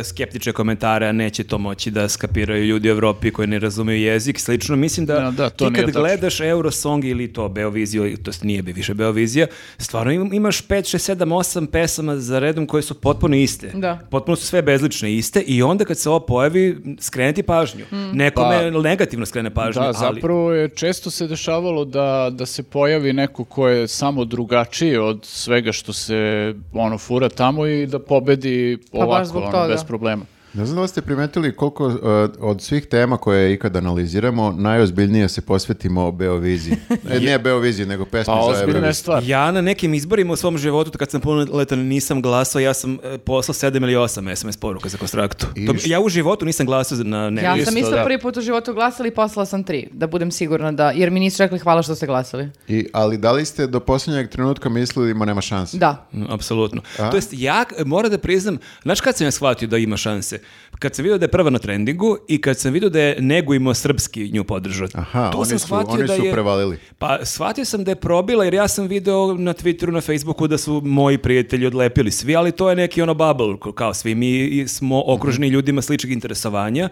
Speaker 1: e, skeptične komentare, a neće to moći da skapiraju ljudi u Evropi koji ne razumeju jezik, slično. Mislim da,
Speaker 3: Da, da, to
Speaker 1: ti
Speaker 3: nije
Speaker 1: kad
Speaker 3: tačno.
Speaker 1: gledaš Eurosong ili to Beoviziju, to jest nije bi više Beovizija, stvarno im- imaš 5, 6, 7, 8 pesama za redom koje su potpuno iste.
Speaker 4: Da.
Speaker 1: Potpuno su sve bezlične iste i onda kad se ovo pojavi, skreneti pažnju. Nekome negativno skrene pažnju,
Speaker 3: Mm. Pa- Da,
Speaker 1: ali...
Speaker 3: zapravo je često se dešavalo da, da se pojavi neko ko je samo drugačiji od svega što se ono fura tamo i da pobedi
Speaker 4: Pa baš
Speaker 3: ovako,
Speaker 4: zbog
Speaker 3: ono,
Speaker 4: toga.
Speaker 3: bez problema.
Speaker 2: Ne znam da li ste primetili koliko uh, od svih tema koje ikad analiziramo, najozbiljnije se posvetimo o Beoviziji. E, nije Beoviziji, nego pesmi
Speaker 3: Pa
Speaker 2: za
Speaker 3: ozbiljna je
Speaker 2: Euroviziju.
Speaker 3: stvar.
Speaker 1: Ja na nekim izborima u svom životu kad sam punoletan nisam glasao, ja sam e, poslao 7 ili 8 SMS poruka za konstraktu. To-
Speaker 2: Iš.
Speaker 1: ja u životu nisam glasao za- na ne.
Speaker 4: Ja
Speaker 3: Isto,
Speaker 4: sam isto
Speaker 3: da.
Speaker 4: prvi put u životu glasala i poslala sam tri, da budem sigurna da, jer mi nisu rekli hvala što ste glasali.
Speaker 2: I, ali da li ste do posljednjeg trenutka mislili ma nema šanse?
Speaker 4: Da.
Speaker 1: Mm, Apsolutno. To jest, ja e, moram da priznam, znaš kad sam ja shvatio da ima šanse? Kad sam vidio da je prva na trendingu i kad sam vidio da je negujmo srpski nju podržao.
Speaker 2: Aha,
Speaker 1: tu
Speaker 2: oni
Speaker 1: sam
Speaker 2: su-
Speaker 1: shvatio
Speaker 2: oni
Speaker 1: da
Speaker 2: su
Speaker 1: je-
Speaker 2: prevalili.
Speaker 1: Pa shvatio sam da je probila jer ja sam video na Twitteru, na Facebooku da su moji prijatelji odlepili svi, ali to je neki ono bubble, ko- kao svi mi i smo okruženi ljudima sličnih interesovanja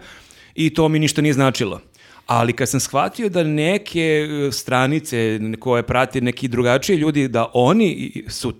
Speaker 1: i to mi ništa nije značilo. Ali kad sam shvatio da neke e, stranice koje prate neki drugačiji ljudi, da oni i- su...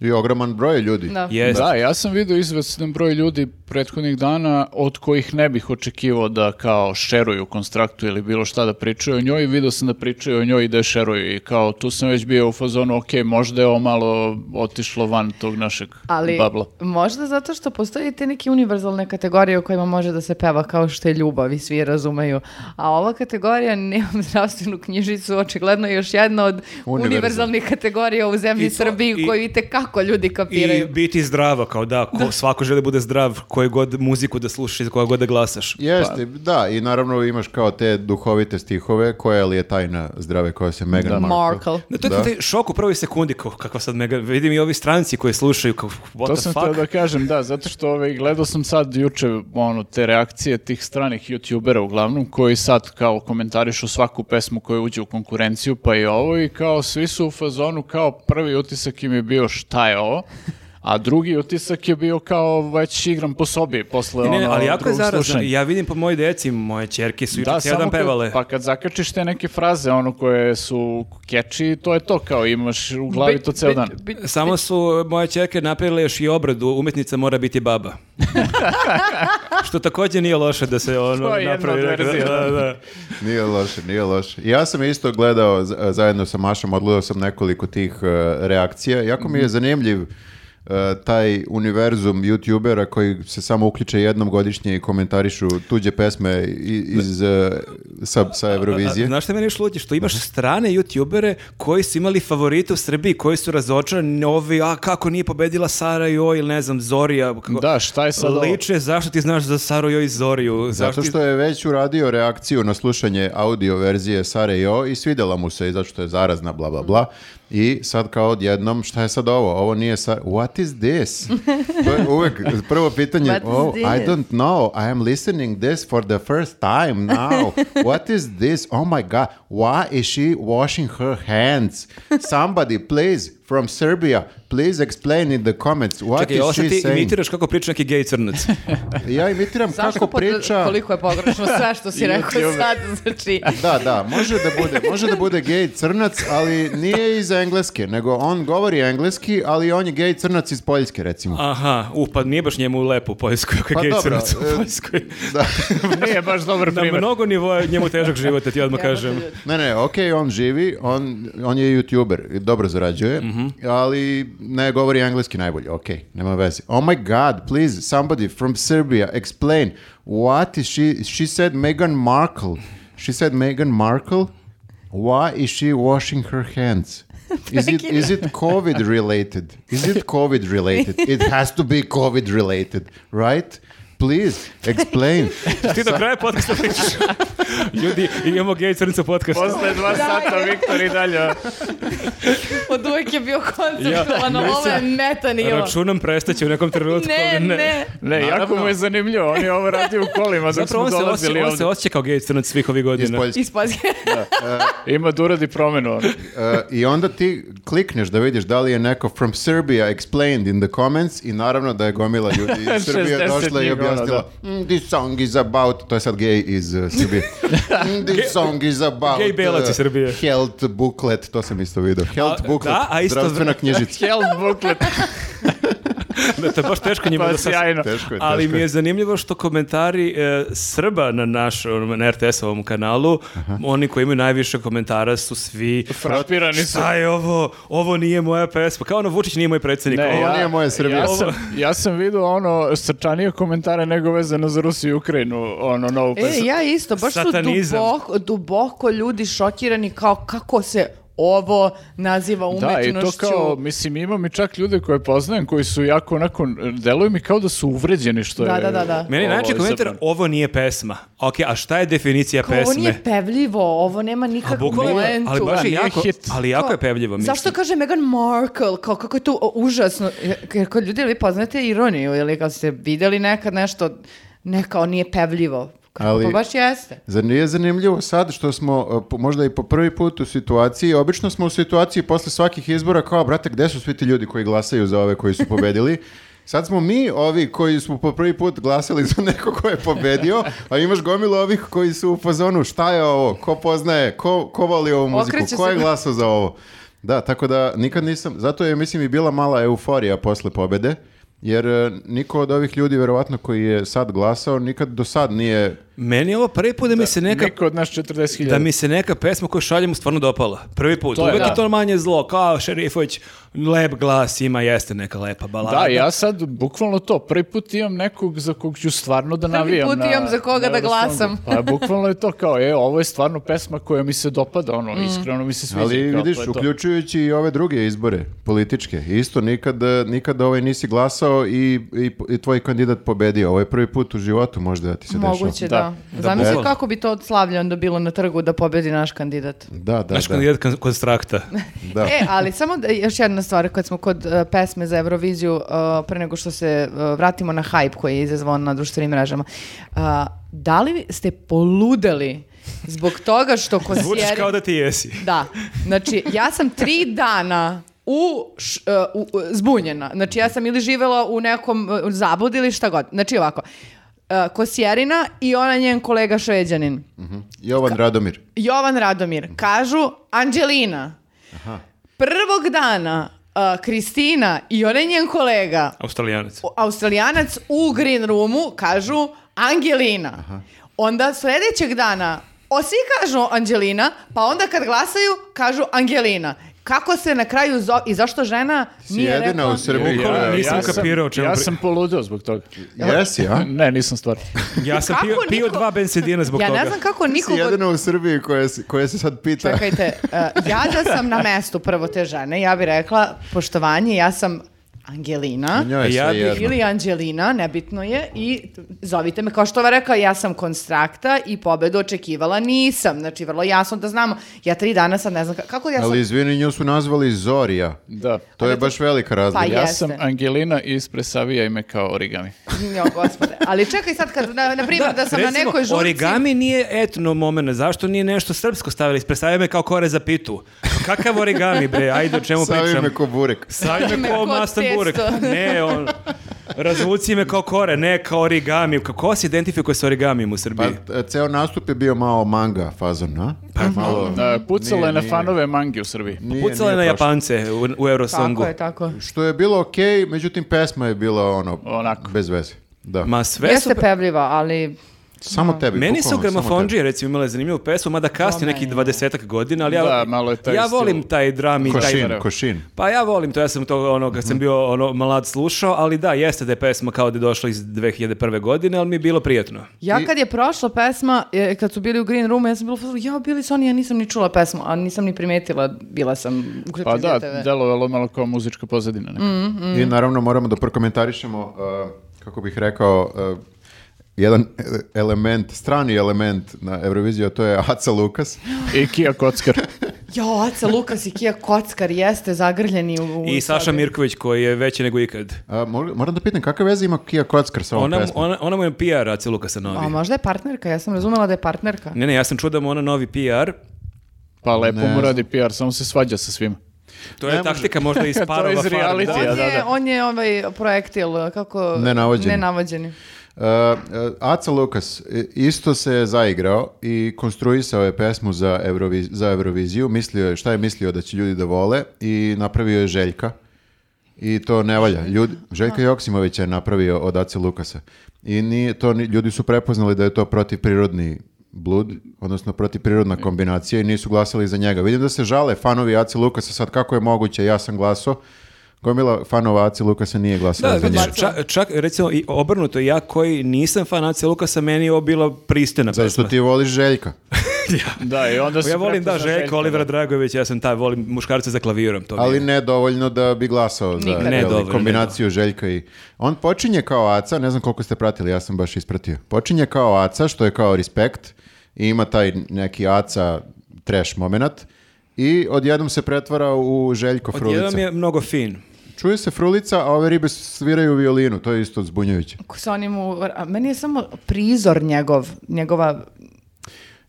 Speaker 2: I ogroman broj ljudi.
Speaker 4: Da.
Speaker 1: Jest,
Speaker 3: Da, ja sam vidio izvestan broj ljudi prethodnih dana od kojih ne bih očekivao da kao šeruju konstraktu ili bilo šta da pričaju o njoj. Vidio sam da pričaju o njoj i da je šeruju i kao tu sam već bio u fazonu, ok, možda je ovo malo otišlo van tog našeg
Speaker 4: Ali
Speaker 3: babla.
Speaker 4: možda zato što postoje te neke univerzalne kategorije u kojima može da se peva kao što je ljubav i svi je razumeju. A ova kategorija nemam zdravstvenu knjižicu, očigledno je još jedna od
Speaker 2: Univerzal.
Speaker 4: univerzalnih kategorija u zemlji
Speaker 1: I to-
Speaker 4: Srbiji
Speaker 1: i-
Speaker 4: koju i tekako ljudi
Speaker 1: I
Speaker 4: kapiraju.
Speaker 1: biti zdrava, kao da, ko, svako želi da bude zdrav, koju god muziku da slušaš, i koja god da glasaš.
Speaker 2: Jeste,
Speaker 1: Pa.
Speaker 2: da, i naravno imaš kao te duhovite stihove, koja li je tajna zdrave koja se Meghan Markle.
Speaker 4: Markle.
Speaker 1: Da, to je
Speaker 2: Da.
Speaker 1: taj šok u prvoj sekundi, kao, kako sad mega, vidim i ovi stranci koji slušaju, kao, what
Speaker 3: To
Speaker 1: the
Speaker 3: sam
Speaker 1: fuck?
Speaker 3: htio da kažem, da, zato što ovaj, gledao sam sad juče ono, te reakcije tih stranih youtubera uglavnom, koji sad kao komentarišu svaku pesmu koja uđe u konkurenciju, pa i ovo, i kao svi su u fazonu, kao prvi utisak im je bio šta je ovo, a drugi utisak je bio kao već igram po sobi posle
Speaker 1: Ne,
Speaker 3: ono
Speaker 1: ne, ali jako je
Speaker 3: drugog
Speaker 1: zarazno.
Speaker 3: slušanja.
Speaker 1: Ja vidim po moje deci, moje čerke su juče cijel dan
Speaker 3: samo kad-
Speaker 1: pevale.
Speaker 3: pa kad zakačiš te neke fraze ono koje su catchy, to je to kao imaš u glavi to ceo dan.
Speaker 1: Samo su moje čerke napravile još i obradu, umetnica mora biti baba. Što također nije loše da se ono
Speaker 3: To je jedna
Speaker 1: napravi.
Speaker 3: od
Speaker 1: neka-
Speaker 3: verzija,
Speaker 1: da,
Speaker 3: da.
Speaker 1: da.
Speaker 2: Nije loše, nije loše. Ja sam isto gledao z- e, zajedno sa Mašom, odgledao sam nekoliko tih e, reakcija. Jako mi je zanimljiv e, taj univerzum youtubera koji se samo uključe jednom godišnje i komentarišu tuđe pesme i- iz, e, sa, sa
Speaker 1: A,
Speaker 2: Eurovizije.
Speaker 1: Znaš šta meni još luti? Što imaš strane youtubere koji su imali favorite u Srbiji, koji su razočarani ovi, a kako nije pobedila Sara Joj ili ne znam, Zorija. Kako...
Speaker 3: Da, šta je sad ovo?
Speaker 1: Liče, zašto ti znaš za Saru Joj i Zoriju?
Speaker 2: Pa Zato
Speaker 1: Zašto ti-
Speaker 2: što je već uradio reakciju na slušanje audio verzije Sare Jo i svidela mu se i zato što je zarazna bla bla bla i sad kao odjednom šta je sad ovo? Ovo nije sa What is this? To je uvek prvo pitanje
Speaker 4: What is
Speaker 2: oh, I
Speaker 4: this?"
Speaker 2: don't know. I am listening this for the first time now. What is this? Oh my god. Why is she washing her hands? Somebody please from Serbia please explain in the comments what
Speaker 1: Čekaj, ovo
Speaker 2: is
Speaker 1: sad
Speaker 2: she
Speaker 1: ti
Speaker 2: saying?
Speaker 1: imitiraš kako priča neki gej crnac.
Speaker 2: Ja imitiram
Speaker 4: Zašto
Speaker 2: kako
Speaker 4: pod-
Speaker 2: priča.
Speaker 4: Koliko je pogrešno sve što si rekao
Speaker 3: YouTuber.
Speaker 4: sad, znači...
Speaker 2: Da, da, može da bude, može da bude gej crnac, ali nije iz engleske, nego on govori engleski, ali on je gej crnac iz Poljske, recimo.
Speaker 1: Aha, uh, pa nije baš njemu lepo u Poljskoj, kako
Speaker 2: Pa
Speaker 1: je gej
Speaker 2: dobro,
Speaker 1: crnac u
Speaker 2: e,
Speaker 1: Poljskoj.
Speaker 2: Da.
Speaker 3: Nije baš dobar
Speaker 1: Na
Speaker 3: primjer.
Speaker 1: mnogo nivoa je njemu težak život, da ti odmah kažem.
Speaker 2: Ne, ne, okej, on živi, on, on je youtuber, i dobro zarađuje, ali ne govori engleski najbolje, okej, nema veze. Oh my god, please, somebody from Serbia, explain, what is she, she said Meghan Markle, she said Meghan Markle, why is she washing her hands? Is it is it COVID related? Is it COVID related? It has to be COVID related, right? Please explain.
Speaker 1: Ti do kraja podcasta pričaš. Ljudi, imamo gej crnca podcast.
Speaker 3: Posle dva sata Viktor i dalje.
Speaker 4: Od uvek je bio konceptualan,
Speaker 1: Ja-
Speaker 4: ovo je meta nivo.
Speaker 1: Računam prestaće u nekom trenutku.
Speaker 4: Ne,
Speaker 1: ali
Speaker 4: ne.
Speaker 3: Ne, jako mu je zanimljivo, on je ovo radio u kolima dok
Speaker 1: Zapravo
Speaker 3: smo
Speaker 1: on se,
Speaker 3: dolazili
Speaker 1: osjeća, on
Speaker 3: ovdje.
Speaker 1: se osjeća kao gej crnac svih ovih
Speaker 2: Iz
Speaker 1: godina.
Speaker 2: Poljske.
Speaker 4: Iz Poljske.
Speaker 3: Ima da uradi promenu. ono.
Speaker 2: E, I onda ti klikneš da vidiš da li je neko from Serbia explained in the comments i naravno da je gomila ljudi iz Srbije
Speaker 3: 60
Speaker 2: došla i
Speaker 3: njih, ono,
Speaker 2: objasnila "Mm, this song is about, to je sad gej iz uh, Srbije, "Mm, this song is about
Speaker 1: Gej belac iz
Speaker 2: uh,
Speaker 1: Srbije."
Speaker 2: health booklet, to sam isto vidio, health
Speaker 1: A,
Speaker 2: booklet,
Speaker 1: da, a isto-
Speaker 2: zdravstvena knjižica.
Speaker 3: Health booklet,
Speaker 1: Da, to je baš teško njima
Speaker 3: pa
Speaker 1: da sas-
Speaker 3: sjajno.
Speaker 2: Teško je,
Speaker 1: Ali
Speaker 2: teško
Speaker 1: mi
Speaker 2: je.
Speaker 1: je zanimljivo što komentari e, Srba na naš, onom, na RTS-ovom kanalu, oni koji imaju najviše komentara su svi...
Speaker 3: Frapirani su.
Speaker 1: Šta je ovo? Ovo nije moja pesma. Kao ono, Vučić nije moj predsjednik.
Speaker 3: Ne,
Speaker 1: Ovo-
Speaker 2: ja- nije moja Srbija.
Speaker 3: Ja
Speaker 2: Ovo-
Speaker 3: sam, ja sam vidio ono srčanije komentare nego vezano za Rusiju i Ukrajinu, ono novu
Speaker 4: E,
Speaker 3: pesmu.
Speaker 4: ja isto, baš su
Speaker 1: Satanizam.
Speaker 4: duboko, duboko ljudi šokirani kao kako se ovo naziva
Speaker 3: Da, i
Speaker 4: umetnošću.
Speaker 3: to kao, mislim, imam i čak ljude koje poznajem koji su jako onako, deluju mi kao da su uvređeni što
Speaker 4: Da,
Speaker 3: je...
Speaker 4: da, da, da.
Speaker 1: Meni je
Speaker 3: ovo
Speaker 1: najčešći komentar,
Speaker 3: izabrano.
Speaker 1: ovo nije pesma. Ok, a šta je definicija
Speaker 4: Kao,
Speaker 1: pesme?
Speaker 4: ovo nije pevljivo, ovo nema
Speaker 1: A
Speaker 4: nikakvu
Speaker 1: bukvalno,
Speaker 4: poentu.
Speaker 1: ali baš
Speaker 3: Da,
Speaker 1: je
Speaker 3: nije
Speaker 1: jako,
Speaker 3: hit.
Speaker 1: ali jako je pevljivo. mislim.
Speaker 4: Zašto kaže Meghan Markle? Kao, kako je to o, užasno? Jer kao ljudi, vi poznate ironiju ili kao ste vidjeli nekad nešto ne kao nije pevljivo. Kako,
Speaker 2: Ali-
Speaker 4: pa baš jeste.
Speaker 2: Zar nije zanimljivo sad što smo uh, po- možda i po prvi put u situaciji, obično smo u situaciji posle svakih izbora kao, brate, gde su svi ti ljudi koji glasaju za ove koji su pobedili? Sad smo mi ovi koji smo po prvi put glasali za neko ko je pobedio, a imaš gomilu ovih koji su u fazonu šta je ovo, ko poznaje, ko, ko voli ovu muziku,
Speaker 4: Okreće
Speaker 2: ko je
Speaker 4: se.
Speaker 2: glasao za ovo. Da, tako da nikad nisam, zato je mislim i bila mala euforija posle pobede, jer e, niko od ovih ljudi verovatno koji je sad glasao nikad do sad nije
Speaker 1: Meni je ovo prvi put da mi se neka
Speaker 3: Niko od nas 40.000.
Speaker 1: da mi se neka pesma koju šaljem stvarno dopala. Prvi put.
Speaker 3: To je,
Speaker 1: Uvijek
Speaker 3: da.
Speaker 1: je to manje zlo. Kao Šerifović, lep glas ima, jeste neka lepa
Speaker 4: Pa
Speaker 1: balada.
Speaker 3: Da, ja sad bukvalno to, prvi put imam nekog za kog ću stvarno da navijam.
Speaker 4: put
Speaker 3: na-
Speaker 4: imam za koga
Speaker 3: na
Speaker 4: da
Speaker 3: Eurosongu.
Speaker 4: glasam.
Speaker 3: Pa bukvalno je to kao, e, ovo je stvarno pesma koja mi se dopada, ono,
Speaker 4: Mm.
Speaker 3: iskreno mi se sviđa.
Speaker 2: Ali
Speaker 3: kao,
Speaker 2: vidiš,
Speaker 3: to je to.
Speaker 2: uključujući i ove druge izbore političke, isto nikad, eh, nikad ovaj nisi glasao i, i, i tvoj kandidat pobedio. Ovo je prvi put u životu možda da ti se dešava.
Speaker 4: Moguće,
Speaker 3: Da.
Speaker 4: da.
Speaker 1: Da,
Speaker 4: Zamisli
Speaker 1: bukvalno.
Speaker 4: kako bi to od slavlja onda bilo na trgu da pobedi naš kandidat.
Speaker 2: Da, da,
Speaker 1: Znaš
Speaker 2: da.
Speaker 1: kad je kon- konstrakta.
Speaker 2: da.
Speaker 4: E, ali samo da, još jedna stvar, kad smo kod e, pesme za Euroviziju, e, pre nego što se e, vratimo na hype koji je izazvan na društvenim mrežama, a, da li ste poludeli zbog toga što
Speaker 1: Zvučiš
Speaker 4: kosjeri...
Speaker 1: kao da ti jesi.
Speaker 4: Da, znači ja sam tri dana u, š- e, u- u- zbunjena. Znači ja sam ili živela u nekom e, zabudi ili šta god. Znači ovako, e, Kosjerina i ona njen kolega Šveđanin.
Speaker 2: Mhm. Jovan Radomir.
Speaker 4: Jovan Radomir, kažu Anđelina. Prvog dana a, Kristina i onaj njen kolega,
Speaker 1: Australijanac.
Speaker 4: o- australijanac u Green Roomu, kažu Angelina. Onda sljedećeg dana, o svi kažu Anđelina, pa onda kad glasaju, kažu Angelina. Kako se na kraju zo- i zašto žena
Speaker 2: Si
Speaker 4: nije
Speaker 2: jedina
Speaker 4: rekla...
Speaker 2: u Srbiji.
Speaker 1: Bukvalno
Speaker 2: koja-
Speaker 1: nisam
Speaker 3: sam-
Speaker 1: kapirao o čemu
Speaker 3: Ja
Speaker 1: pri-
Speaker 3: sam poludeo zbog toga.
Speaker 2: Jesi, a?
Speaker 3: Ne, nisam stvarno.
Speaker 1: Ja sam
Speaker 4: Kako
Speaker 1: pio, pio
Speaker 4: niko-
Speaker 1: dva bensedina zbog
Speaker 4: Ja
Speaker 1: toga.
Speaker 4: ne znam kako
Speaker 2: Niko
Speaker 4: nikog od
Speaker 2: jedina u Srbiji koja, se- koja se sad pita.
Speaker 4: Čekajte, e, ja da sam na mestu prvo te žene, ja bih rekla, poštovanje, ja sam Angelina
Speaker 2: Njoj je
Speaker 1: Ja
Speaker 2: sve
Speaker 1: bih-
Speaker 2: jedno.
Speaker 4: ili Anđelina, nebitno je, i zovite me, kao što ova rekla, ja sam konstrakta i pobedu očekivala nisam, znači vrlo jasno da znamo, ja tri dana sad ne znam ka- kako ja sam...
Speaker 2: Ali izvini, nju su nazvali Zorija.
Speaker 3: Da.
Speaker 2: To je baš velika razlika.
Speaker 4: Pa
Speaker 3: Ja
Speaker 4: Jeste.
Speaker 3: sam Angelina iz Presavija ime kao origami.
Speaker 4: Jo, gospode. Ali čekaj sad, kad, na, na primjer, da, sam na
Speaker 1: Recimo,
Speaker 4: nekoj žurci...
Speaker 1: origami nije etno momena. Zašto nije nešto srpsko stavili? Predstavljaju me kao kore za pitu. Kakav origami, bre? Ajde, o čemu
Speaker 2: Savi
Speaker 1: pričam?
Speaker 2: me ko burek.
Speaker 1: Savi
Speaker 4: Me
Speaker 1: me kao
Speaker 4: ko
Speaker 1: mastan burek.
Speaker 4: testo.
Speaker 1: Ne, on... Razvuci me kao kore, ne kao origami. Kako se identifikuje sa origamijem u
Speaker 2: Pa,
Speaker 1: Srbiji?
Speaker 2: e, ceo nastup je bio malo manga fazon, a? Pa, malo...
Speaker 3: Da, E, pucala je
Speaker 2: Nije,
Speaker 3: na
Speaker 2: nije.
Speaker 3: fanove mangi u Srbiji.
Speaker 2: Nije,
Speaker 1: Pucala je na
Speaker 2: nije prošlo.
Speaker 1: Japance u, u Eurosongu.
Speaker 4: Tako je, tako.
Speaker 2: Što je bilo okej, međutim pesma je bila ono,
Speaker 3: Onako.
Speaker 2: bez veze. Da.
Speaker 1: Ma sve
Speaker 4: Jeste
Speaker 1: su...
Speaker 4: pevljiva, ali...
Speaker 2: samo tebi.
Speaker 1: Meni su
Speaker 2: Pa bukvalno samo
Speaker 1: gramofonđije recimo imale zanimljivu pesmu, mada kasnije
Speaker 4: Ona
Speaker 1: neki
Speaker 4: je.
Speaker 1: dvadesetak godina, ali ja,
Speaker 3: Da, malo je taj
Speaker 1: ja
Speaker 3: stil.
Speaker 1: volim taj dram i
Speaker 2: tebi.
Speaker 1: taj
Speaker 2: Košin, košin.
Speaker 1: Pa ja volim to, ja sam to ono, kad sam bio ono, mlad slušao, ali da, jeste da je pesma kao da je došla iz 2001. godine, ali mi je bilo prijetno.
Speaker 4: Ja
Speaker 2: I-
Speaker 4: kad je prošla pesma, e, kad su bili u Green Roomu, ja sam bila, u fazonu, ja bili su oni, ja nisam ni čula pesmu, a nisam ni primetila, bila sam uključena
Speaker 3: Pa da,
Speaker 4: TV.
Speaker 3: delovalo je malo kao muzička pozadina. neka.
Speaker 4: Mm.
Speaker 2: I naravno moramo da prokomentarišemo, uh, kako bih rekao, uh, jedan e, element, strani element na Euroviziju, a to je Aca Lukas. Uh,
Speaker 3: I Kija Kockar.
Speaker 4: Jo, Aca Lukas i Kija Kockar jeste zagrljeni u... u
Speaker 1: I Saša
Speaker 4: sobi.
Speaker 1: Mirković koji je veći nego ikad.
Speaker 2: Uh, mor- moram da pitam, kakve veze ima Kija Kockar sa ovom
Speaker 1: Ona,
Speaker 2: pesmom?
Speaker 1: ona, ona mu je PR Aca Lukasa novi.
Speaker 4: A možda je partnerka, ja sam razumela da je partnerka.
Speaker 1: Ne, ne, ja sam čuo da mu ona novi PR.
Speaker 3: Pa lepo
Speaker 2: Ne
Speaker 3: mu radi PR, samo se svađa sa svima.
Speaker 1: To je
Speaker 2: Ne može.
Speaker 1: taktika možda iz
Speaker 3: To je
Speaker 1: parova.
Speaker 3: iz
Speaker 1: Farm,
Speaker 3: realitija.
Speaker 1: da.
Speaker 4: On,
Speaker 3: Ja, da,
Speaker 4: je,
Speaker 3: da.
Speaker 4: on je ovaj projektil, kako...
Speaker 2: Nenavođeni.
Speaker 4: Nenavođeni.
Speaker 2: Uh, uh, Aca Lukas e, isto se je zaigrao i konstruisao je pesmu za, Eurovi- za Euroviziju, mislio je šta je mislio da će ljudi da vole i napravio je Željka. I to ne valja. Ljudi, Željka Joksimović je napravio od Ace Lukasa. I nije, to, ni- ljudi su prepoznali da je to protivprirodni blud, odnosno protivprirodna kombinacija i nisu glasali za njega. Vidim da se žale fanovi Ace Lukasa sad kako je moguće, ja sam glasao. Gomila fanova Ace Lukasa nije glasala
Speaker 1: Da,
Speaker 2: za
Speaker 1: vidiš,
Speaker 2: njega.
Speaker 1: čak, čak, recimo i obrnuto, ja koji nisam fan Aca Lukasa, meni je ovo bila pristojna pesma.
Speaker 2: Zato što ti voliš Željka.
Speaker 3: Da, i onda se
Speaker 1: Ja volim da
Speaker 3: prepozna
Speaker 1: Željko,
Speaker 3: Željka,
Speaker 1: Olivera
Speaker 3: da.
Speaker 1: Dragović, ja sam taj, volim muškarce za klavirom. To mi je.
Speaker 2: Ali ne dovoljno da bi glasao za
Speaker 4: Nikad.
Speaker 2: jel,
Speaker 1: Ne dovoljno,
Speaker 2: kombinaciju Željka i... On počinje kao Aca, ne znam koliko ste pratili, ja sam baš ispratio. Počinje kao Aca, što je kao respekt i ima taj neki Aca trash moment i odjednom se pretvara u Željko Frulica.
Speaker 1: Odjednom je mnogo fin.
Speaker 2: Čuje se frulica, a ove ribe sviraju violinu, to je isto zbunjujuće.
Speaker 4: Ko sa onim u- a Meni je samo prizor njegov, njegova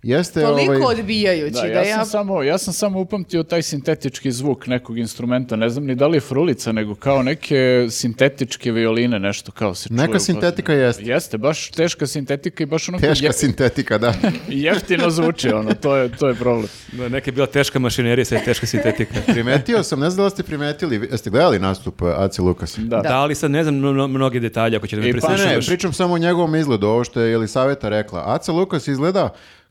Speaker 2: Jeste
Speaker 4: toliko
Speaker 2: ovaj,
Speaker 4: odbijajući da,
Speaker 3: Da, ja,
Speaker 4: ja...
Speaker 3: sam samo, ja sam samo upamtio taj sintetički zvuk nekog instrumenta, ne znam ni da li je frulica, nego kao neke sintetičke violine, nešto kao se čuje.
Speaker 2: Neka
Speaker 3: u pozadini.
Speaker 2: sintetika jeste.
Speaker 3: Jeste, baš teška sintetika i baš onako
Speaker 2: teška
Speaker 3: je-
Speaker 2: sintetika, da.
Speaker 3: jeftino zvuči, ono, to je, to je problem.
Speaker 1: Da, Neka je bila teška mašinerija, sad je teška sintetika.
Speaker 2: Primetio sam, ne znam da li ste primetili, vi- jeste gledali nastup eh, Aci Lukasa?
Speaker 3: Da.
Speaker 1: Da, ali sad ne znam mno- mnoge detalje ako će da
Speaker 3: E,
Speaker 1: mi
Speaker 3: pa
Speaker 2: Pa
Speaker 1: prisjećaš.
Speaker 2: ne, pričam samo o njegovom izgledu, ovo što je Elisaveta rekla. Aca Lukas izgleda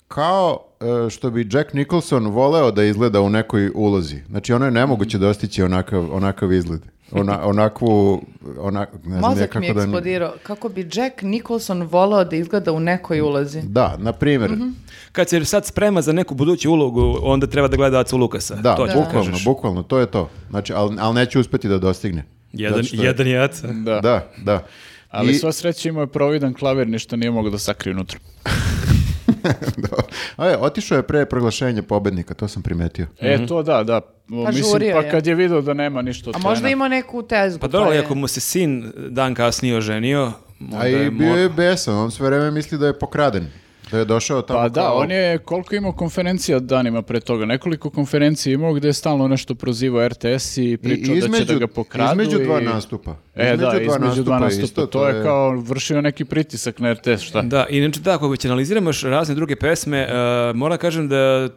Speaker 2: kao eh, što bi Jack Nicholson voleo da izgleda u nekoj ulozi. Znači, ono je nemoguće dostići onakav, onakav izgled. Ona, onakvu, onak, ne znam
Speaker 4: Mozak
Speaker 2: nekako
Speaker 4: mi je
Speaker 2: da...
Speaker 4: eksplodirao. Kako bi Jack Nicholson volao da izgleda u nekoj ulozi?
Speaker 2: Da, na primjer.
Speaker 4: Mhm.
Speaker 1: Kad se sad sprema za neku buduću ulogu, onda treba da gleda Acu Lukasa.
Speaker 2: Da,
Speaker 1: to ću ti
Speaker 2: bukvalno,
Speaker 1: kažeš.
Speaker 2: bukvalno, to je to. Znači, ali al neće uspeti da dostigne.
Speaker 1: Jedan,
Speaker 2: Zato što je- Mm.
Speaker 1: jedan je Aca.
Speaker 3: Da.
Speaker 2: Da, da.
Speaker 3: Ali
Speaker 2: I-
Speaker 3: sva sreća imao je providan klavir, ništa nije mogao da sakrije unutra.
Speaker 2: da. A je, otišao je pre proglašenja pobednika, to sam primetio.
Speaker 3: E, to da, da. O,
Speaker 4: Pa
Speaker 3: Mislim,
Speaker 4: žurio
Speaker 3: pa
Speaker 4: je.
Speaker 3: kad je video da nema ništa od
Speaker 4: A možda
Speaker 3: trena.
Speaker 4: ima neku tezgu.
Speaker 1: Pa dobro,
Speaker 4: pa je-
Speaker 1: iako mu se sin dan kasnije oženio, onda
Speaker 2: A i
Speaker 1: je
Speaker 2: bio
Speaker 1: mo-
Speaker 2: je besan, on sve vreme misli da je pokraden. Da je došao tamo
Speaker 3: Pa da,
Speaker 2: kao-
Speaker 3: on je koliko imao konferencija danima pre toga, nekoliko konferencija imao gde je stalno nešto prozivao RTS i
Speaker 2: I
Speaker 3: pričao da će da ga pokradu.
Speaker 2: Između dva
Speaker 3: i-
Speaker 2: nastupa.
Speaker 3: E, da, između dva nastupa.
Speaker 2: isto,
Speaker 3: to, je kao vršio neki pritisak na RTS, šta?
Speaker 1: Da, inače da, ako već analiziramo još razne druge pesme, mora moram kažem da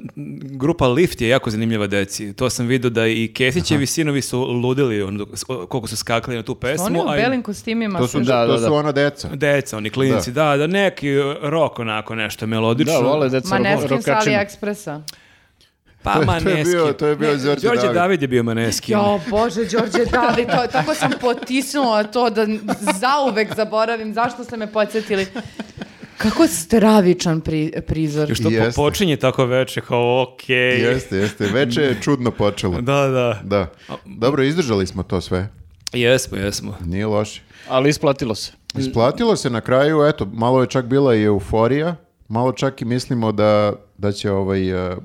Speaker 1: grupa Lift je jako zanimljiva deci. To sam vidio da i Kesićevi sinovi su ludili ono, dok- s- o- koliko su skakali na tu pesmu.
Speaker 4: Pa Oni u
Speaker 1: a i
Speaker 4: belim kostimima.
Speaker 2: To su,
Speaker 4: su-
Speaker 3: Da,
Speaker 2: to
Speaker 3: da,
Speaker 2: su
Speaker 3: da.
Speaker 2: ona deca.
Speaker 1: Deca, oni klinici, da. da, neki rok onako nešto melodično.
Speaker 3: Da, vole deca
Speaker 4: Ma ne
Speaker 3: ro-
Speaker 4: skim sa
Speaker 3: rokačinu.
Speaker 4: AliExpressa.
Speaker 1: Pa
Speaker 2: to je
Speaker 1: Maneski.
Speaker 2: bio, to je bio Đorđe
Speaker 1: Đorđe
Speaker 2: David.
Speaker 1: David. je bio Maneski.
Speaker 4: Jo, bože, Đorđe, da li to, tako sam potisnula to da zauvek zaboravim zašto ste me podsjetili. Kako stravičan pri, prizor.
Speaker 1: Što po-
Speaker 2: Jeste.
Speaker 1: počinje tako veče, kao okej.
Speaker 2: Jeste, jeste. Veče je čudno počelo.
Speaker 1: Da, da.
Speaker 2: Da. Dobro, izdržali smo to sve.
Speaker 1: Jesmo, jesmo.
Speaker 2: Nije loše.
Speaker 3: Ali isplatilo se.
Speaker 2: Isplatilo se na kraju, eto, malo je čak bila i euforija, malo čak i mislimo da, da će ovaj, e,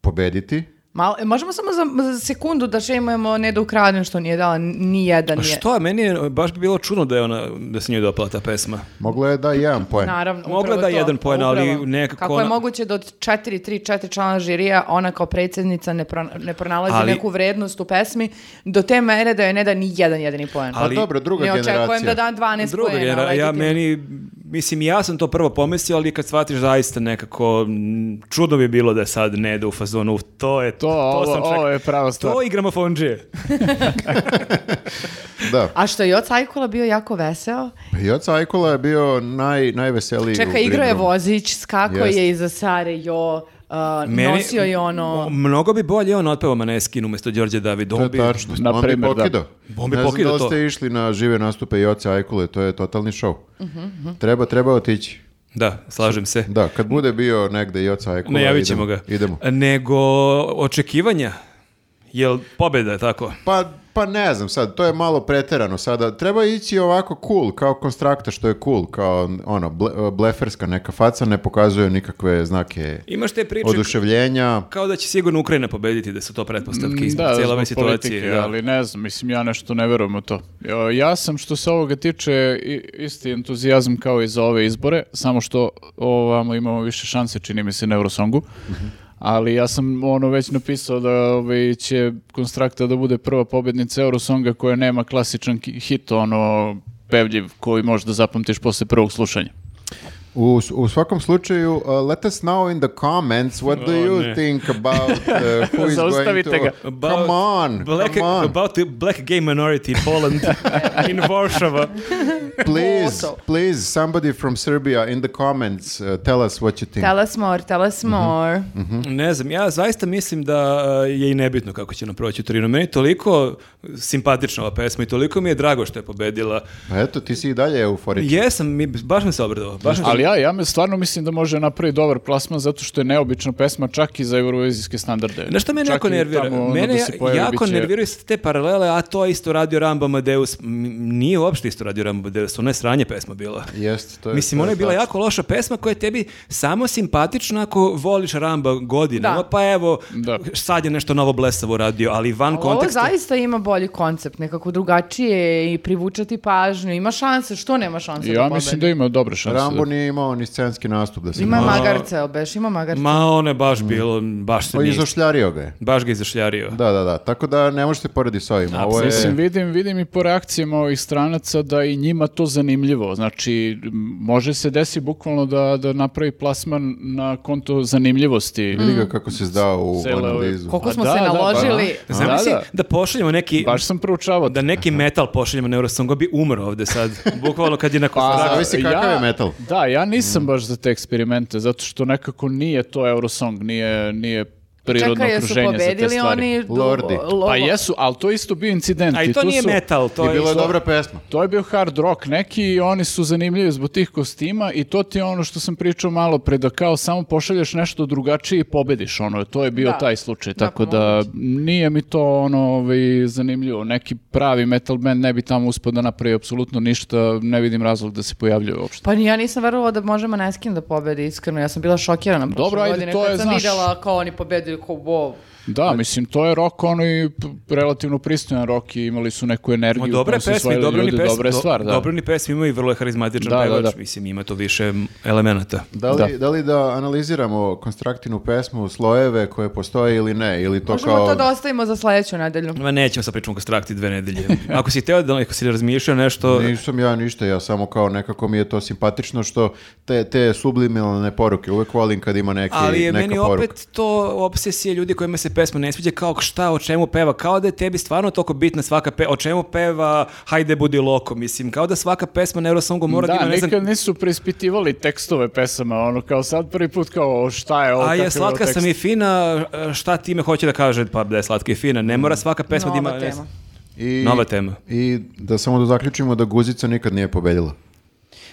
Speaker 2: pobediti.
Speaker 4: Malo, e, možemo samo za, za sekundu da šemujemo ne da ukradem što nije dala ni jedan.
Speaker 1: A
Speaker 4: je-
Speaker 1: što, meni je baš bi bilo čudno da je ona, da se njoj dopala ta pesma.
Speaker 2: Mogla je da jedan poen.
Speaker 4: Naravno,
Speaker 1: Mogla
Speaker 4: upravo
Speaker 1: da
Speaker 4: to.
Speaker 1: jedan poen, ali
Speaker 4: Upravo.
Speaker 1: nekako
Speaker 4: Kako je
Speaker 1: ona-
Speaker 4: moguće da od četiri, tri, četiri člana žirija ona kao predsjednica ne, prona- ne pronalazi
Speaker 1: Ali-
Speaker 4: neku vrednost u pesmi do te mere da joj ne da ni jedan jedini poen.
Speaker 2: Pa
Speaker 1: ali-
Speaker 2: dobro, druga
Speaker 4: ne
Speaker 2: generacija.
Speaker 4: očekujem da da 12
Speaker 1: Druga
Speaker 4: poena, ovaj,
Speaker 1: genera- ja
Speaker 4: legitimno.
Speaker 1: meni, mislim, ja sam to prvo pomislio, ali kad shvatiš zaista nekako, m, čudno bi bilo da je sad ne da u fazonu, "Uf, to je, to,
Speaker 3: To, ovo,
Speaker 1: sam čak-
Speaker 3: ovo je prava stvar.
Speaker 1: To i gramofonđije.
Speaker 2: Da.
Speaker 4: A što je i od Sajkula bio jako veseo.
Speaker 2: I od Sajkola je bio naj, najveseliji.
Speaker 4: Čeka,
Speaker 2: u
Speaker 4: igrao je
Speaker 2: Brindrumu.
Speaker 4: vozić, skako
Speaker 2: Jeste.
Speaker 4: je iza Sare, jo, uh,
Speaker 1: Meni-
Speaker 4: nosio je ono...
Speaker 3: Mm-hmm.
Speaker 1: m- Mnogo bi bolje on otpeo Maneskin umjesto Đorđe David.
Speaker 2: To
Speaker 1: On
Speaker 2: je
Speaker 1: bi-
Speaker 2: tačno.
Speaker 3: Na
Speaker 2: on bi
Speaker 3: primer, da.
Speaker 2: pokidao.
Speaker 1: On bi
Speaker 2: ne znam da
Speaker 1: pokidao
Speaker 2: li
Speaker 1: to.
Speaker 2: ste išli na žive nastupe Joce Ajkule, to je totalni šov. Treba, treba otići.
Speaker 1: Da, slažem se.
Speaker 2: Da, kad bude bio negde Joce Ajkula,
Speaker 1: Najavit ćemo
Speaker 2: idemo.
Speaker 1: ga.
Speaker 2: idemo.
Speaker 1: Nego, očekivanja, jel pobjeda je tako?
Speaker 2: Pa, pa ne znam sad, to je malo preterano sada. Treba ići ovako cool, kao konstrakta što je cool, kao ono, ble- bleferska neka faca, ne pokazuje nikakve znake
Speaker 1: Imaš te priče
Speaker 2: oduševljenja.
Speaker 1: kao da će sigurno Ukrajina pobediti, da su to pretpostavke iz
Speaker 3: Mm, Da,
Speaker 1: cijele ove
Speaker 3: zbog
Speaker 1: situacije.
Speaker 3: politike,
Speaker 1: da.
Speaker 3: ali ne znam, mislim, ja nešto ne verujem u to. Ja- Ja sam, što se ovoga tiče, i- isti entuzijazam kao i za ove izbore, samo što ovamo imamo više šanse, čini mi se, na Eurosongu.
Speaker 1: Mhm.
Speaker 3: Ali ja sam ono već napisao da ovaj, će Konstrakta da bude prva pobednica Eurosonga koja nema klasičan ki- hit, ono, pevljiv, koji možda zapamtiš posle prvog slušanja.
Speaker 2: U, u svakom slučaju, uh, let us know in the comments what do
Speaker 1: O,
Speaker 2: you
Speaker 1: ne.
Speaker 2: think about uh, who is going
Speaker 3: Zaustavite
Speaker 2: to...
Speaker 3: ga.
Speaker 2: come on,
Speaker 1: black,
Speaker 2: come on.
Speaker 1: About the black gay minority in Poland, in Warsaw.
Speaker 2: Please,
Speaker 4: Also.
Speaker 2: please, somebody from Serbia in the comments uh, tell us what you think.
Speaker 4: Tell us more, tell us
Speaker 2: Mm-hmm.
Speaker 4: more.
Speaker 1: Ne znam, ja zaista mislim da e, je i nebitno kako će nam proći u Torinu. Meni je toliko simpatična ova pesma i toliko mi je drago što je pobedila.
Speaker 2: Pa eto, ti si i dalje euforičan.
Speaker 1: Jesam, mi, baš sam se obradovao. Baš sam se
Speaker 3: Ali ja, ja me stvarno mislim da može napraviti dobar plasman zato što je neobična pesma čak i za eurovizijske standarde.
Speaker 1: Znaš šta mene jako nervira?
Speaker 2: ono
Speaker 3: ono,
Speaker 1: Mene jako nerviraju te paralele, a to je isto radio Rambo Amadeus. M, Nije uopšte isto radio Rambo Amadeus, ona je sranje pesma bila.
Speaker 2: Jeste, to je...
Speaker 1: Mislim,
Speaker 2: to
Speaker 1: ona je bila
Speaker 2: tačno.
Speaker 1: jako loša pesma koja je tebi samo simpatična ako voliš Ramba godinama,
Speaker 4: Da.
Speaker 1: pa evo,
Speaker 3: Da.
Speaker 1: sad je nešto novo blesavo radio, ali van
Speaker 4: Ali Ovo
Speaker 1: konteksta.
Speaker 4: zaista ima bolji koncept, nekako drugačije i privučati pažnju, ima šanse, što nema šanse da
Speaker 3: Ja
Speaker 4: pobedi?
Speaker 3: mislim da ima dobre šanse.
Speaker 2: Rambo nije imao ni scenski nastup da se...
Speaker 4: Ima
Speaker 2: Ma-
Speaker 4: magarce, obeš, ima magarce.
Speaker 1: Ma, ono je baš bilo, baš se
Speaker 2: Pa
Speaker 1: nije-
Speaker 2: izošljario ga je.
Speaker 1: Baš ga izašljario.
Speaker 2: Da, da, da. Tako da ne možete porediti s ovim. Ovo je...
Speaker 3: Mislim, vidim, vidim i po reakcijama ovih stranaca da i njima to zanimljivo. Znači, m, može se desi bukvalno da, da napravi plasman na konto zanimljivosti.
Speaker 1: Mm.
Speaker 2: Vidi ga kako se zdao u
Speaker 3: Cele ove-
Speaker 2: analizu.
Speaker 4: Koliko
Speaker 3: A
Speaker 4: smo
Speaker 3: da,
Speaker 4: se
Speaker 3: da, pa-
Speaker 4: naložili.
Speaker 3: A,
Speaker 1: Zamisli da,
Speaker 3: da,
Speaker 1: pošaljemo neki...
Speaker 3: Baš sam proučavao.
Speaker 1: Da neki metal pošaljemo na Eurosongo bi umro ovde sad. Bukvalno kad je na
Speaker 2: Pa,
Speaker 1: Kosovu.
Speaker 2: zavisi kakav je metal.
Speaker 3: Da, ja nisam baš za te eksperimente, zato što nekako nije to Eurosong, nije, nije prirodno
Speaker 4: Čekaj, jesu
Speaker 3: okruženje za te
Speaker 4: pobedili
Speaker 3: stvari.
Speaker 4: oni... du-
Speaker 2: Lordi.
Speaker 4: lo-
Speaker 3: Pa jesu, ali to je isto bio incident.
Speaker 1: A i to
Speaker 3: tu
Speaker 1: nije
Speaker 3: su-
Speaker 1: metal, to
Speaker 2: I
Speaker 1: je...
Speaker 2: bila je dobra pesma.
Speaker 3: To je bio hard rock neki i oni su zanimljivi zbog tih kostima i to ti je ono što sam pričao malo pre, da kao samo pošalješ nešto drugačije i pobediš ono, to je bio
Speaker 4: Da.
Speaker 3: taj slučaj,
Speaker 4: Da,
Speaker 3: tako
Speaker 4: pa
Speaker 3: da nije mi to ono ovaj, zanimljivo, neki pravi metal band ne bi tamo uspio da napravi apsolutno ništa, ne vidim razlog da se pojavljuje uopšte.
Speaker 4: Pa ni- ja nisam verovala da možemo Neskin da pobedi, iskreno. Ja sam bila šokirana prošle
Speaker 3: Dobro, ajde,
Speaker 4: godine
Speaker 3: to
Speaker 4: kad
Speaker 3: je,
Speaker 4: sam
Speaker 3: znaš-
Speaker 4: videla kao oni pobedili, kao wow.
Speaker 3: Da,
Speaker 1: Znači-
Speaker 3: mislim, to je rock ono i p- relativno pristojan rock i imali su neku energiju.
Speaker 1: Ma, dobre
Speaker 3: koju su
Speaker 1: pesme,
Speaker 3: osvojili
Speaker 1: dobro ni
Speaker 3: ljudi,
Speaker 1: pesme.
Speaker 3: dobra je stvar, da.
Speaker 1: Dobro ni pesme, imaju i vrlo je harizmatičan
Speaker 3: Da, da,
Speaker 1: pevač.
Speaker 3: da.
Speaker 1: Mislim, ima to više elemenata.
Speaker 2: Da li, da. li da analiziramo konstraktinu pesmu, slojeve koje postoje ili ne? Ili to
Speaker 4: Možemo
Speaker 2: kao...
Speaker 4: to da ostavimo za sledeću nedelju.
Speaker 1: Ma nećemo sa pričom konstrakti dve nedelje. Ako si teo da, ako si razmišljao nešto...
Speaker 2: Nisam ja ništa, ja samo kao nekako mi je to simpatično što te, te subliminalne poruke, uvek volim kad ima neki,
Speaker 1: Ali je
Speaker 2: neka
Speaker 1: meni
Speaker 2: poruka.
Speaker 1: opet to obsesije ljudi kojima se pesma ne sviđa kao šta, o čemu peva, kao da je tebi stvarno toliko bitna svaka pe, o čemu peva, hajde budi loko, mislim, kao da svaka pesma na Eurosongu mora da
Speaker 3: da,
Speaker 1: ima, ne znam,
Speaker 3: nikad nisu preispitivali tekstove pesama, ono kao sad prvi put kao o, šta je ovo,
Speaker 1: A
Speaker 3: kakav
Speaker 1: je
Speaker 3: ovo
Speaker 1: slatka
Speaker 3: tekst?
Speaker 1: sam i fina, šta time hoće da kaže? Pa da je slatka i fina. Ne mora svaka pesma da ima...
Speaker 4: Nova
Speaker 1: ne
Speaker 4: tema.
Speaker 1: znam.
Speaker 2: I,
Speaker 1: Nova tema.
Speaker 2: I da samo da zaključimo da Guzica nikad nije pobedila.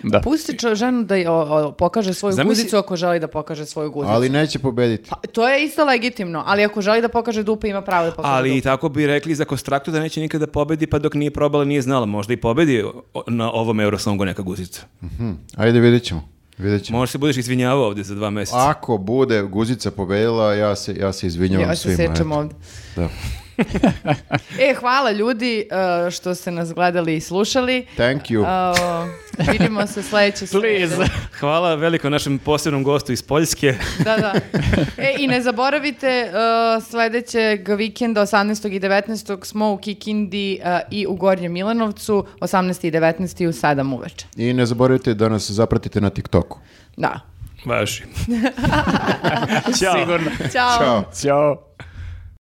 Speaker 3: Da.
Speaker 4: Pusti čo- ženu da je- o- o, pokaže svoju
Speaker 1: Zamisli-
Speaker 4: guzicu ako želi da pokaže svoju guzicu.
Speaker 2: Ali neće pobediti.
Speaker 4: Pa, to je isto legitimno, ali ako želi da pokaže dupe, ima pravo da pokaže
Speaker 1: Ali i
Speaker 4: dupe.
Speaker 1: tako bi rekli za Konstraktu da neće nikada pobedi, pa dok nije probala nije znala. Možda i pobedi o- na ovom Eurosongu neka guzica.
Speaker 2: Hm, Ajde, vidjet ćemo. Vidjet ćemo.
Speaker 1: Možda se budeš izvinjavao ovdje za dva mjeseca.
Speaker 2: Ako bude Guzica pobedila, ja se, ja se izvinjavam
Speaker 4: Ja se
Speaker 2: svima.
Speaker 4: sečem
Speaker 2: eto.
Speaker 4: ovde.
Speaker 2: Da.
Speaker 4: E, hvala ljudi uh, što ste nas gledali i slušali.
Speaker 2: Thank you.
Speaker 4: Uh, vidimo se sledeće
Speaker 3: Please.
Speaker 4: srede.
Speaker 1: Hvala veliko našem posebnom gostu iz Poljske.
Speaker 4: Da, da. E, i ne zaboravite, uh, sledećeg vikenda 18. i 19. smo u Kikindi uh, i u Gornjem Milanovcu, 18. i 19. u 7 uveče.
Speaker 2: I ne zaboravite da nas zapratite na TikToku.
Speaker 4: Da.
Speaker 1: Važi. Ćao.
Speaker 3: Sigurno.
Speaker 4: Ćao.
Speaker 2: Ćao.
Speaker 3: Ćao.